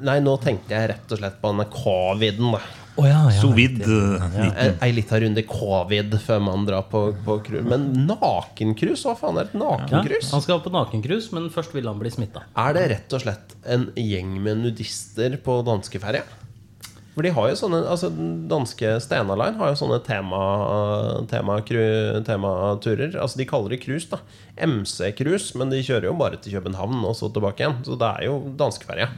Speaker 3: Nei, nå tenkte jeg rett og slett på denne coviden, da.
Speaker 2: Å ja, ja.
Speaker 1: Sovid.
Speaker 3: Ei- Eh, Ei lita runde covid før man drar på, på cruise. Men nakencruise? Hva faen er et
Speaker 2: Ja,
Speaker 3: nakencruise?
Speaker 2: han skal på nakencruise, men først ville han bli smitta.
Speaker 3: Er det rett og slett en gjeng med nudister på danskeferja? For de har jo sånne Altså, den danske Stena Line har jo sånne tema tematurer. Tema tematurer. altså, de kaller det cruise, da. MC-cruise, men de kjører jo bare til København og så tilbake igjen. Så det er jo danskeferja.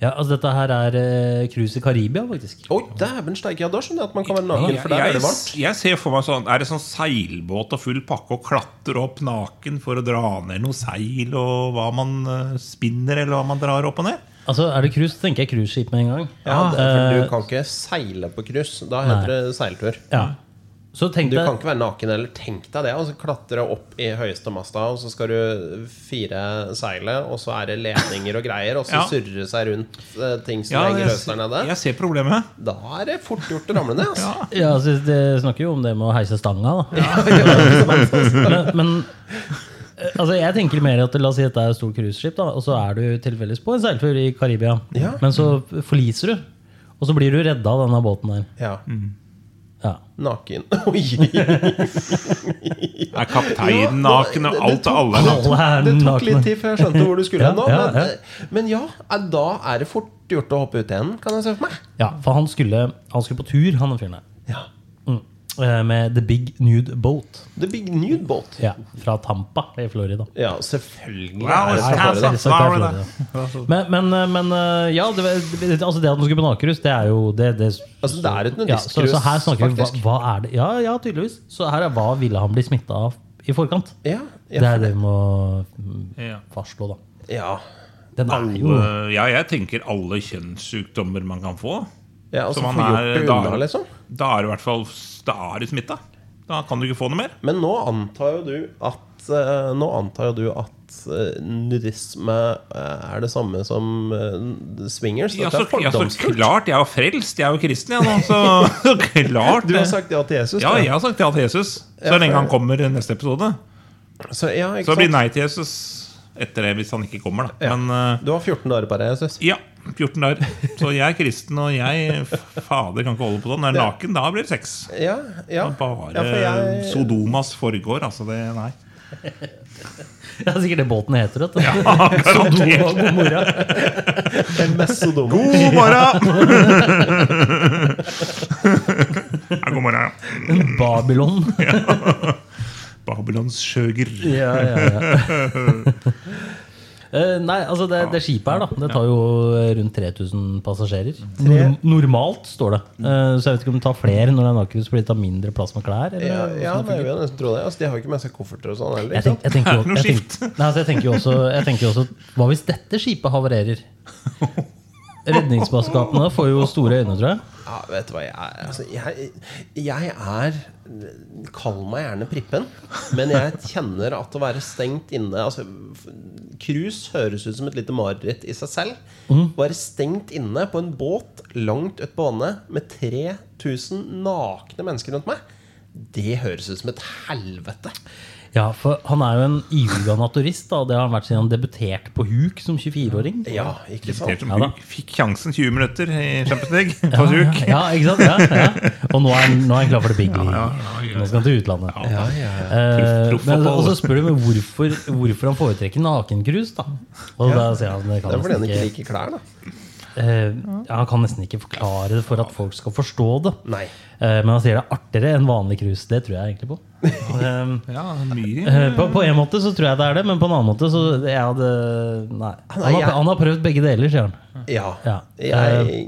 Speaker 2: Ja, altså, dette her er eh, cruise i Karibia, faktisk.
Speaker 3: Oi, dæven steike, ja, da skjønner jeg at man kan være naken, for der er
Speaker 1: Jeg,
Speaker 3: det varmt.
Speaker 1: jeg ser for meg sånn Er det sånn seilbåt og full pakke og klatre opp naken for å dra ned noe seil og hva man eh, spinner, eller hva man drar opp og ned?
Speaker 2: Altså, Er det cruise, tenker jeg cruiseskip med en gang.
Speaker 3: Ja, det er, for
Speaker 2: Eh,
Speaker 3: du kan ikke seile på cruise. Da heter det seiltur.
Speaker 2: ja. Så tenk
Speaker 3: Du
Speaker 2: deg
Speaker 3: kan ikke være naken eller tenk deg det. Og så klatre opp i høyeste masta, og så skal du fire seilet, og så er det ledninger og greier, og så
Speaker 1: Ja.
Speaker 3: surre seg rundt eh, ting som
Speaker 1: Ja,
Speaker 3: henger
Speaker 1: jeg,
Speaker 3: løst der nede.
Speaker 1: jeg ser problemet.
Speaker 3: Da er det fort gjort å ramle ned. Altså.
Speaker 2: Ja, altså, det snakker jo om det med å heise stanga, da. men, men eh, altså, jeg tenker mer at la oss si at det er et stort cruiseskip, da, og så er du tilfeldigvis på en seiltur i Karibia.
Speaker 3: Ja.
Speaker 2: Men så forliser du. Og så blir du redda av denne båten her.
Speaker 3: Ja.
Speaker 2: Ja.
Speaker 3: Naken. Oi!
Speaker 1: Er kapteinen naken, og alt og alle er naken?
Speaker 2: Alle er
Speaker 3: Det tok
Speaker 2: nakne.
Speaker 3: litt tid før jeg skjønte hvor du skulle
Speaker 2: Ja,
Speaker 3: hen nå.
Speaker 2: ja, ja.
Speaker 3: Men, men ja, eh, da er det fort gjort å hoppe ut igjen, kan jeg se for meg.
Speaker 2: Ja, for han skulle, han skulle på tur, han fyren der.
Speaker 3: Ja.
Speaker 2: Mm. Eh, Med The Big Nude Boat
Speaker 3: The Big Nude Boat.
Speaker 2: ja, fra Tampa i Florida.
Speaker 3: Ja, selvfølgelig.
Speaker 1: Wow,
Speaker 3: er
Speaker 2: altså,
Speaker 3: det
Speaker 1: it's
Speaker 3: fra Florida.
Speaker 1: Kansas,
Speaker 2: Selvsagt er
Speaker 1: Florida.
Speaker 2: Men, men, eh, men eh, ja, det, det, altså det at han skulle på nakerus, det er jo det, det,
Speaker 3: Altså, det er
Speaker 2: ja,
Speaker 3: et
Speaker 2: så,
Speaker 3: nudistcruise,
Speaker 2: så her snakker vi hva,
Speaker 3: faktisk.
Speaker 2: hva er det? Ja, ja, tydeligvis. Så her er hva ville han bli smitta av i forkant?
Speaker 3: Ja,
Speaker 2: Det
Speaker 3: ja,
Speaker 2: er det vi må mm,
Speaker 1: Ja.
Speaker 2: fastslå, da.
Speaker 3: ja.
Speaker 2: Den er jo
Speaker 1: Alle- Eh, Ja, jeg tenker alle kjønnssykdommer man kan få.
Speaker 3: ja altså,
Speaker 1: Som
Speaker 3: få
Speaker 1: han
Speaker 3: gjort
Speaker 1: er
Speaker 3: det
Speaker 1: da-
Speaker 3: unna, liksom.
Speaker 1: Da er du i hvert fall Da er du smitta. Da kan du ikke få noe mer.
Speaker 3: Men nå antar jo du at eh, Nå antar jo du at eh, nudisme eh, er det samme som eh, swingers.
Speaker 1: Ja,
Speaker 3: Dette
Speaker 1: så,
Speaker 3: er
Speaker 1: ja, så
Speaker 3: fordomsfullt.
Speaker 1: klart. Jeg er jo frelst. Jeg er jo kristen, jeg nå. Så, så klart. eh.
Speaker 3: Du har
Speaker 1: det.
Speaker 3: sagt ja til Jesus.
Speaker 1: ja,
Speaker 3: du.
Speaker 1: jeg har sagt ja til Jesus.
Speaker 3: Ja,
Speaker 1: Så lenge han
Speaker 3: for-
Speaker 1: kommer i neste episode.
Speaker 3: Så, ja, ikke
Speaker 1: Så det blir
Speaker 3: sant?
Speaker 1: nei til Jesus etter det, hvis han ikke kommer, da. Men eh,
Speaker 3: Du har 14 dager på deg, Jesus.
Speaker 1: ja, 14 der. Så jeg er kristen, og jeg Fader, kan ikke holde på sånn. Når jeg er naken, da blir det sex.
Speaker 3: Ja, ja.
Speaker 1: Bare
Speaker 3: ja, for jeg,
Speaker 1: Sodomas foregår, altså. Det, nei.
Speaker 2: Det er sikkert det båten heter. Vet du.
Speaker 1: Garantert.
Speaker 2: God, god mora.
Speaker 3: Den mest sodom.
Speaker 1: God morgen! ja, god morgen.
Speaker 2: Babylon.
Speaker 1: Babylons sjøger.
Speaker 2: Ja, ja, ja. Eh, Nei, altså det, det skipet her da Det tar jo rundt 3000 passasjerer Norm Normalt står det Eh, Så jeg vet ikke om det tar flere når det er nakenhus Fordi det tar mindre plass med klær eller?
Speaker 3: Ja, ja nei, jeg vil nesten tro det. Altså, de har jo ikke med seg kofferter og sånn heller.
Speaker 2: jeg,
Speaker 3: ikke
Speaker 2: tenk,
Speaker 3: sant?
Speaker 2: jeg, tenker, jo-
Speaker 1: Det er ikke noe
Speaker 2: jeg, tenker, nei, altså jeg tenker jo også, jeg tenker jo også Hva hvis dette skipet havarerer? Redningsmannskapene får jo store øyne, tror jeg
Speaker 3: Ja, vet du hva, jeg er, altså, jeg, jeg er Kall meg gjerne prippen, men jeg kjenner at å være stengt inne altså, f- Cruise høres ut som et lite mareritt i seg selv. Være stengt inne på en båt langt ut på vannet med 3000 nakne mennesker rundt meg, det høres ut som et helvete.
Speaker 2: Ja, for han er jo en iuga naturist da og Det har han vært siden han debuterte på huk som 24-åring
Speaker 3: Ja, ikke sant?
Speaker 1: Helt som
Speaker 2: Ja da.
Speaker 1: Hulk Fikk sjansen 20 minutter i Champions League på Zurich.
Speaker 2: Ja, ikke sant? Ja, ja. Og nå er, han- nå er han klar for det big league. Nå skal han til utlandet.
Speaker 1: Ja,
Speaker 2: Eh,
Speaker 1: Proff-
Speaker 2: men,
Speaker 1: profffotball.
Speaker 2: og så spør du meg hvorfor, hvorfor han foretrekker nakenkrus. da. Og da sier han det kan
Speaker 3: Det er fordi
Speaker 2: nesten
Speaker 3: han ikke
Speaker 2: ikke,
Speaker 3: liker klær, da.
Speaker 2: eh, ja, han kan nesten ikke forklare det for at folk skal forstå det.
Speaker 3: Nei.
Speaker 2: Eh, men han sier det er artigere enn vanlig krus. Det tror jeg egentlig på. Og,
Speaker 1: Ja,
Speaker 2: eh,
Speaker 1: mye.
Speaker 2: eh, på, på en måte så tror jeg det er det, men på en annen måte så jeg hadde, Nei. Han har, han har prøvd begge deler, sier han.
Speaker 3: Ja.
Speaker 2: Ja. Eh.
Speaker 3: Jeg,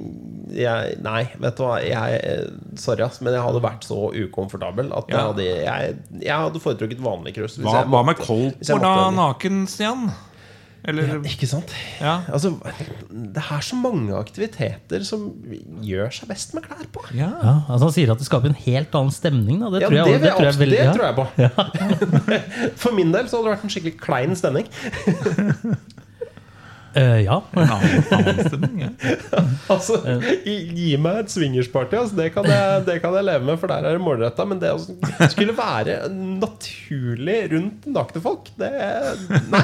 Speaker 3: jeg Nei, vet du hva. Jeg, eh, sorry, ass, men jeg hadde vært så ukomfortabel at jeg,
Speaker 1: Ja.
Speaker 3: hadde, jeg, jeg hadde foretrukket vanlig krus. hvis
Speaker 1: Hva,
Speaker 3: jeg
Speaker 1: hva med
Speaker 3: måtte- hvis jeg
Speaker 1: Coltmore, da?
Speaker 3: måtte-
Speaker 1: Naken, Stian? Eller
Speaker 3: Ikke sant?
Speaker 1: Ja.
Speaker 3: Altså, det er så mange aktiviteter som gjør seg best med klær på.
Speaker 1: ja.
Speaker 2: Ja, altså Han sier at det skaper en helt annen stemning. da. Det
Speaker 3: Ja,
Speaker 2: tror jeg,
Speaker 3: det, vil jeg,
Speaker 2: tror jeg
Speaker 3: absolutt-
Speaker 2: veldig-
Speaker 3: det
Speaker 2: ja.
Speaker 3: tror jeg på. For min del så hadde det vært en skikkelig klein stemning.
Speaker 2: Eh, ja.
Speaker 1: En annen, annen stemning, ja.
Speaker 3: Altså, gi- gi meg et swingersparty. Altså, det, kan jeg, det kan jeg leve med, for der er det målretta. Men det å skulle være naturlig rundt nakne folk, det Nei.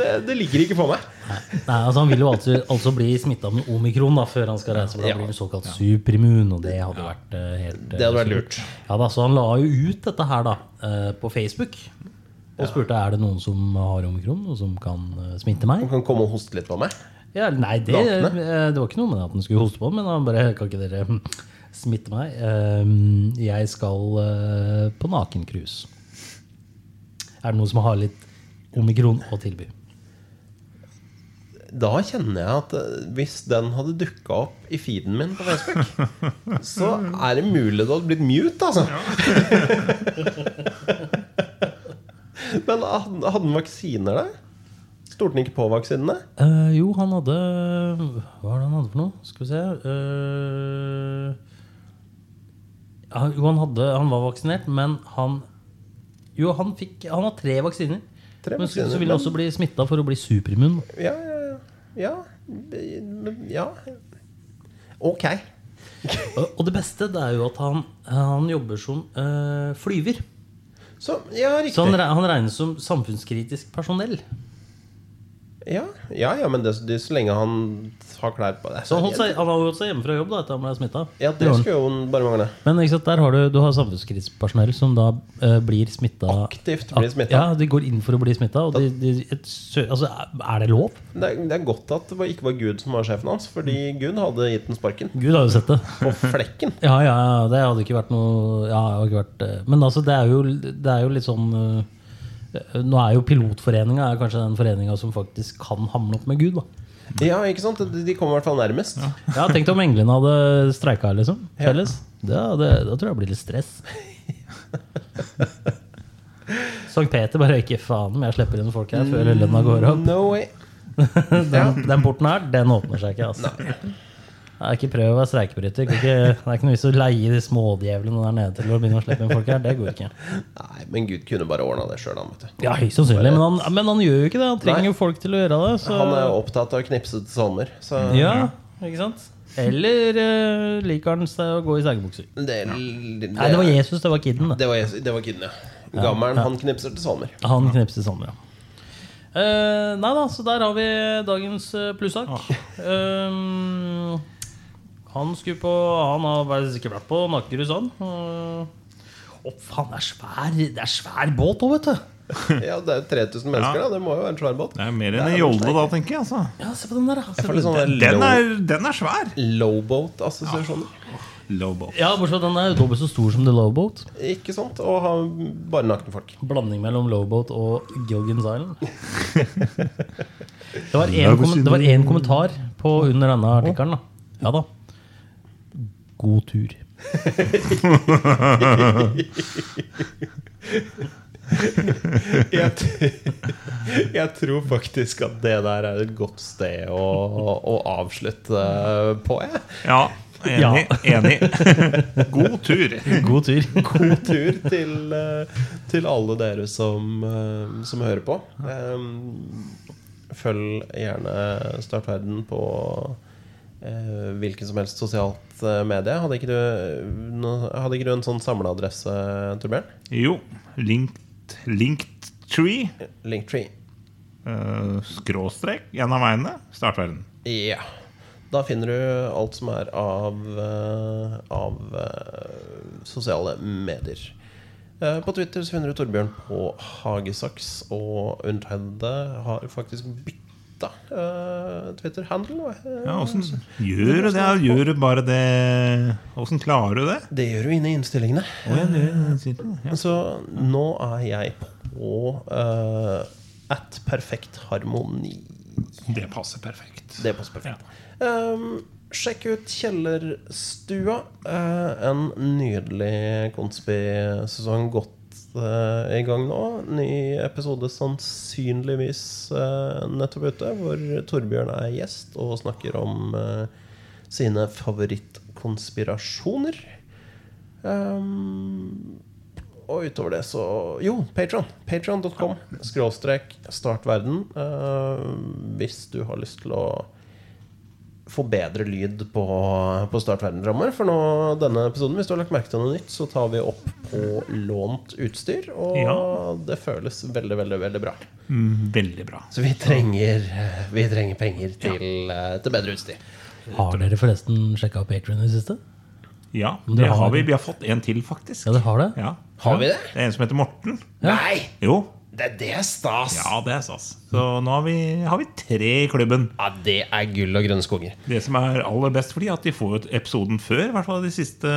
Speaker 3: Det, det ligger ikke på meg.
Speaker 2: Nei, altså Han vil jo altså, altså bli smitta med omikron da, før han skal reise. for Da
Speaker 3: Ja.
Speaker 2: blir han såkalt superimmun, og det hadde vært eh, helt eh,
Speaker 3: Det hadde vært
Speaker 2: sjukt.
Speaker 3: lurt.
Speaker 2: Ja da, Så han la jo ut dette her da, eh, på Facebook og spurte er det noen som har omikron og som kan eh, smitte meg.
Speaker 3: Du kan komme og hoste litt på meg.
Speaker 2: Ja, nei, det, eh, det var ikke noe med at han skulle hoste på den, men han bare Kan ikke dere hm, smitte meg? Eh, Jeg skal eh, på nakencruise. Er det noen som har litt omikron å tilby?
Speaker 3: Da kjenner jeg at eh, hvis den hadde dukka opp i feeden min på Facebook, så er det mulig det hadde blitt mute, altså. Men hadde hadde den vaksiner der? Stolte den ikke på vaksinene?
Speaker 2: Eh, jo, han hadde Hva var det han hadde for noe? Skal vi se Eh, ja, Jo, han, hadde, han var vaksinert, men han Jo, han fikk Han har tre vaksiner.
Speaker 3: Tre
Speaker 2: men så-
Speaker 3: vaksiner,
Speaker 2: så vil han
Speaker 3: men-
Speaker 2: også bli smitta for å bli superimmun.
Speaker 3: Ja, ja, ja. Ja. men- ja. Ok.
Speaker 2: Og og det beste det er jo at han, han jobber som eh, flyver.
Speaker 3: Så, ja,
Speaker 2: Så han, Sånn
Speaker 3: riktig.
Speaker 2: re- han regnes som samfunnskritisk personell.
Speaker 3: Ja, ja, ja men det, det, så lenge han har klær på det
Speaker 2: Så han, holdt seg, han har holdt seg hjemme fra jobb da, etter han ble smitta.
Speaker 3: Ja, det skulle jo bare mangle.
Speaker 2: Men ikke sant, der har du, du har samfunnskrisepersonell som da eh, blir smitta
Speaker 3: Aktivt blir smittet.
Speaker 2: Ja, de går inn for å bli smitta. Og de, de, et, sø- altså, er det lov?
Speaker 3: Det er, det er godt at det var- ikke var Gud som var sjefen hans, fordi
Speaker 2: Mm.
Speaker 3: Gud hadde gitt den sparken.
Speaker 2: Gud har jo sett det.
Speaker 3: På flekken.
Speaker 2: Ja, ja, ja, det hadde ikke vært noe ja, det hadde ikke vært, eh, Men altså, det er jo, det er jo litt sånn eh, Nå er jo Pilotforeninga er kanskje den foreninga som faktisk kan hamle opp med Gud. da
Speaker 3: Ja, ikke sant? De de kom i hvert fall nærmest.
Speaker 2: Ja, Tenk om englene hadde streika liksom, felles. Da, det, da tror jeg det blir litt stress. Sankt Peter bare ikke faen om jeg slipper inn folk her før lønna går opp.
Speaker 3: No way.
Speaker 2: Den, den porten her, den åpner seg ikke. altså Nei, ikke prøv å være streikebryter. Kan ikke- Det er ikke noe vits å leie de smådjevlene der nede til å begynne å slippe inn folk her. Det går ikke.
Speaker 3: Nei, men Gud kunne bare ordna det sjøl, han, vet du.
Speaker 2: Ja, høyst sannsynlig, men han, men han gjør jo ikke det. Han trenger
Speaker 3: Nei.
Speaker 2: jo folk til å gjøre det. Så,
Speaker 3: Han er jo opptatt av knipsete salmer, så
Speaker 2: ja, ikke sant? Eller eh, liker han seg å gå i sengebukser?
Speaker 3: det, det,
Speaker 2: Nei, det var Jesus, det var kiden. Da.
Speaker 3: Det var, Jesus- det var kiden, ja. Gammelen, han knipser til salmer.
Speaker 2: Han knipset sammen, ja. Eh, nei da, så der har vi dagens eh, plussak. Eh, han skulle på Han har vel sikkert vært på Nakerus, han. Eh, Å, faen, det er svær Det er svær båt òg, vet du.
Speaker 3: Ja, Det er jo 3000 mennesker, da. Det må jo være en svær båt.
Speaker 1: Det er mer enn en jolle, da, tenker jeg. altså
Speaker 2: Ja, se på den der, da. Se på
Speaker 3: Jeg sånn- får litt
Speaker 2: den.
Speaker 3: sånne
Speaker 1: Den
Speaker 3: low,
Speaker 1: er, den er svær!
Speaker 3: lowboat-assosiasjoner.
Speaker 1: Lobo.
Speaker 2: Ja, bortsett fra den er jo dobbelt så stor som The Lowboat.
Speaker 3: Ikke sant? Og ha bare nakne folk.
Speaker 2: Blanding mellom Lowboat og Gilgan's Island. Det var en kommen- det var én kommentar på under denne artikkelen. da. Ja da. God tur.
Speaker 3: jeg, t- jeg tror faktisk at det der er et godt sted å, å avslutte på, jeg.
Speaker 1: Ja, enig. enig. God tur.
Speaker 2: God tur.
Speaker 3: God tur til, eh, til alle dere som, eh, som hører på. Eh, Følg gjerne Start verden på eh, hvilken som helst sosialt eh, medie. Hadde ikke du, nå- hadde ikke du en sånn samleadresse, Torbjørn?
Speaker 1: Jo, linked, linked tree.
Speaker 3: Linktree.
Speaker 1: eh, skråstrek gjennom veiene. Startverden.
Speaker 3: Ja. Da finner du alt som er av, eh, av eh, sosiale medier. Eh, På Twitter så finner du Torbjørn på Hagesaks, og undertegnede har faktisk bytta Twitter-handle.
Speaker 1: Ja, åssen gjør du det? Gjør du bare det Åssen klarer du det?
Speaker 3: Det gjør du inne i innstillingene.
Speaker 1: Å, ja, det sier du. Ja.
Speaker 3: Så nå er jeg på eh, at perfekt harmoni.
Speaker 1: Det passer perfekt.
Speaker 3: Det passer perfekt. Ehm, sjekk ut Kjellerstua. Eh, en nydelig konspisesong godt eh, i gang nå. Ny episode sannsynligvis eh, nettopp ute, hvor Torbjørn er gjest og snakker om eh, sine favorittkonspirasjoner. Ehm, og utover det så Jo, Patron. Patron.com. Skråstrek startverden. Eh, hvis du har lyst til å få bedre lyd på, på startverdenrammer. For nå, denne episoden, hvis du har lagt merke til noe nytt, så tar vi opp på lånt utstyr. Og
Speaker 1: Ja.
Speaker 3: det føles veldig, veldig, veldig bra.
Speaker 1: Mm, Veldig bra.
Speaker 3: Så vi trenger, vi trenger penger til, eh, til bedre utstyr.
Speaker 2: Har dere forresten sjekka Patrion i det siste?
Speaker 1: Ja,
Speaker 2: det
Speaker 1: det
Speaker 2: har
Speaker 1: har vi.
Speaker 2: du.
Speaker 1: Vi har fått en til, faktisk.
Speaker 2: Ja, dere har det?
Speaker 1: Ja.
Speaker 3: Har vi det?
Speaker 1: Det er en som heter Morten.
Speaker 3: Nei!
Speaker 1: Jo.
Speaker 3: Det, det er stas!
Speaker 1: Ja, det er stas. Så nå har vi, har vi tre i klubben.
Speaker 3: Ja, det er gull og grønne skoger.
Speaker 1: Det som er aller best for de, er at de får ut episoden før. I hvert fall de siste,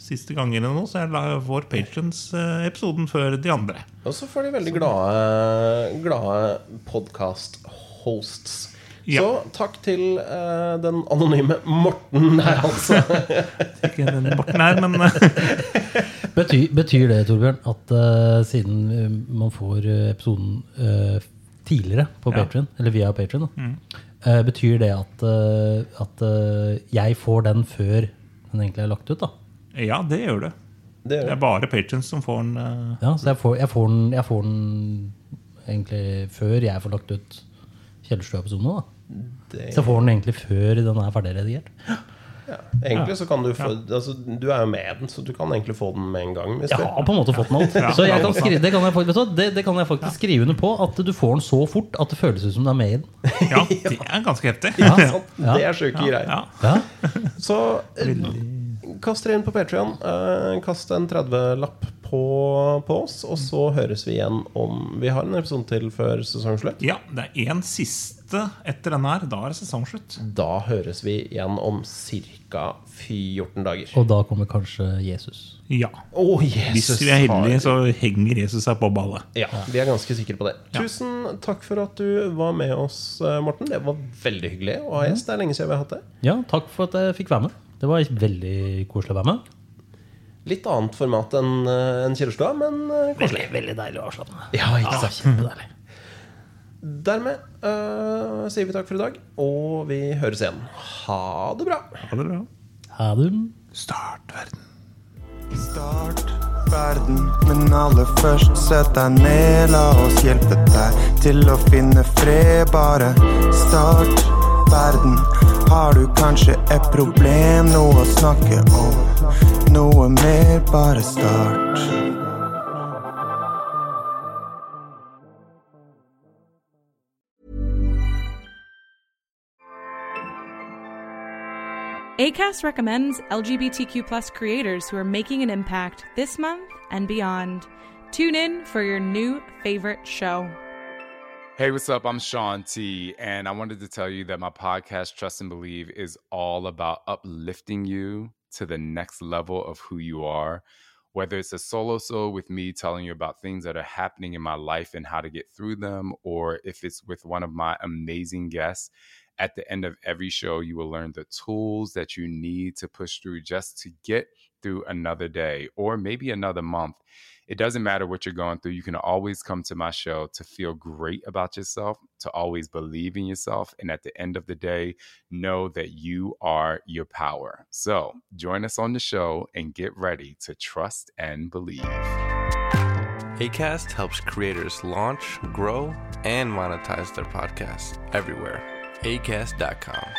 Speaker 1: siste gangene nå, så er la- vår patrons eh, episoden før de andre.
Speaker 3: Og så får de veldig glade, glade podkast-hosts.
Speaker 1: Ja.
Speaker 3: Så takk til eh, den anonyme Morten her, altså.
Speaker 1: Ikke den Morten her, men eh,
Speaker 2: Betyr, betyr det, Torbjørn, at eh, siden eh, man får eh, episoden eh, tidligere på
Speaker 1: Ja.
Speaker 2: Patreon, eller via Patrion, betyr det at, eh, at eh, jeg får den før den egentlig er lagt ut? da?
Speaker 1: Ja, det gjør det.
Speaker 3: Det
Speaker 1: Det
Speaker 3: gjør
Speaker 1: er bare patrons som får den. eh,
Speaker 2: Ja, Så jeg får, jeg får, den, jeg får den egentlig før jeg får lagt ut Kjellerstua-episoden òg, da.
Speaker 3: det.
Speaker 2: Så jeg får den egentlig før den er ferdig redigert.
Speaker 3: Egentlig så kan du få altså, Du er jo med den, så du kan egentlig få den med en gang. Hvis
Speaker 2: Jeg
Speaker 3: du-
Speaker 2: har på en måte fått den alt. Så jeg kan skrive, det, kan jeg, fakt- vet du, hva, det, det kan jeg faktisk skrive under på. At du får den så fort at det føles ut som du er med i den.
Speaker 1: Ja, det er ganske heftig.
Speaker 3: Ikke sant? Det er sjuke greier.
Speaker 1: Ja.
Speaker 2: Ja.
Speaker 3: Så eh, kast dere inn på Patrion. Eh, kast en 30-lapp på, på oss, og så høres vi igjen om Vi har en episode til før sesongslutt.
Speaker 1: ja, det er én siste etter denne her. Da er det sesongslutt.
Speaker 3: Da høres vi igjen om ca. 14 dager. Å,
Speaker 2: Og da kommer kanskje Jesus.
Speaker 1: Ja. Hvis
Speaker 3: Jesus!
Speaker 1: vi er heldige,
Speaker 3: har-
Speaker 1: så henger Jesus seg på ballet.
Speaker 3: Ja, vi er ganske sikre på det. Tusen takk for at du var med oss, eh, Morten. Det var veldig hyggelig å ha gjest. Det er lenge siden vi har hatt det.
Speaker 2: Ja, takk for at jeg fikk være med. Det var veldig koselig å være med.
Speaker 3: Litt annet format enn eh, enn Kjellstad, men eh,
Speaker 2: Veldig, veldig deilig og avslappende.
Speaker 3: Ja, ikke sant?
Speaker 2: Kjempedeilig.
Speaker 3: Dermed øh, sier vi takk for i dag, og vi høres igjen. Ha det bra.
Speaker 1: Ha det bra.
Speaker 2: Ha det.
Speaker 1: Start verden.
Speaker 4: Start verden, men aller først sett deg ned. La oss hjelpe deg til å finne fred. Bare start verden. Har du kanskje et problem, noe å snakke om? Noe mer, bare start.
Speaker 5: ACAST recommends LGBTQ plus creators who are making an impact this month and beyond. Tune in for your new favorite show.
Speaker 6: Hey, what's up? I'm Sean T, and I wanted to tell you that my podcast, Trust and Believe, is all about uplifting you to the next level of who you are. Whether it's a solo show with me telling you about things that are happening in my life and how to get through them, or if it's with one of my amazing guests, at the end of every show, you will learn the tools that you need to push through just to get through another day or maybe another month. It doesn't matter what you're going through. You can always come to my show to feel great about yourself, to always believe in yourself. And at the end of the day, know that you are your power. So join us on the show and get ready to trust and believe.
Speaker 7: ACAST helps creators launch, grow, and monetize their podcasts everywhere. ACAST.com.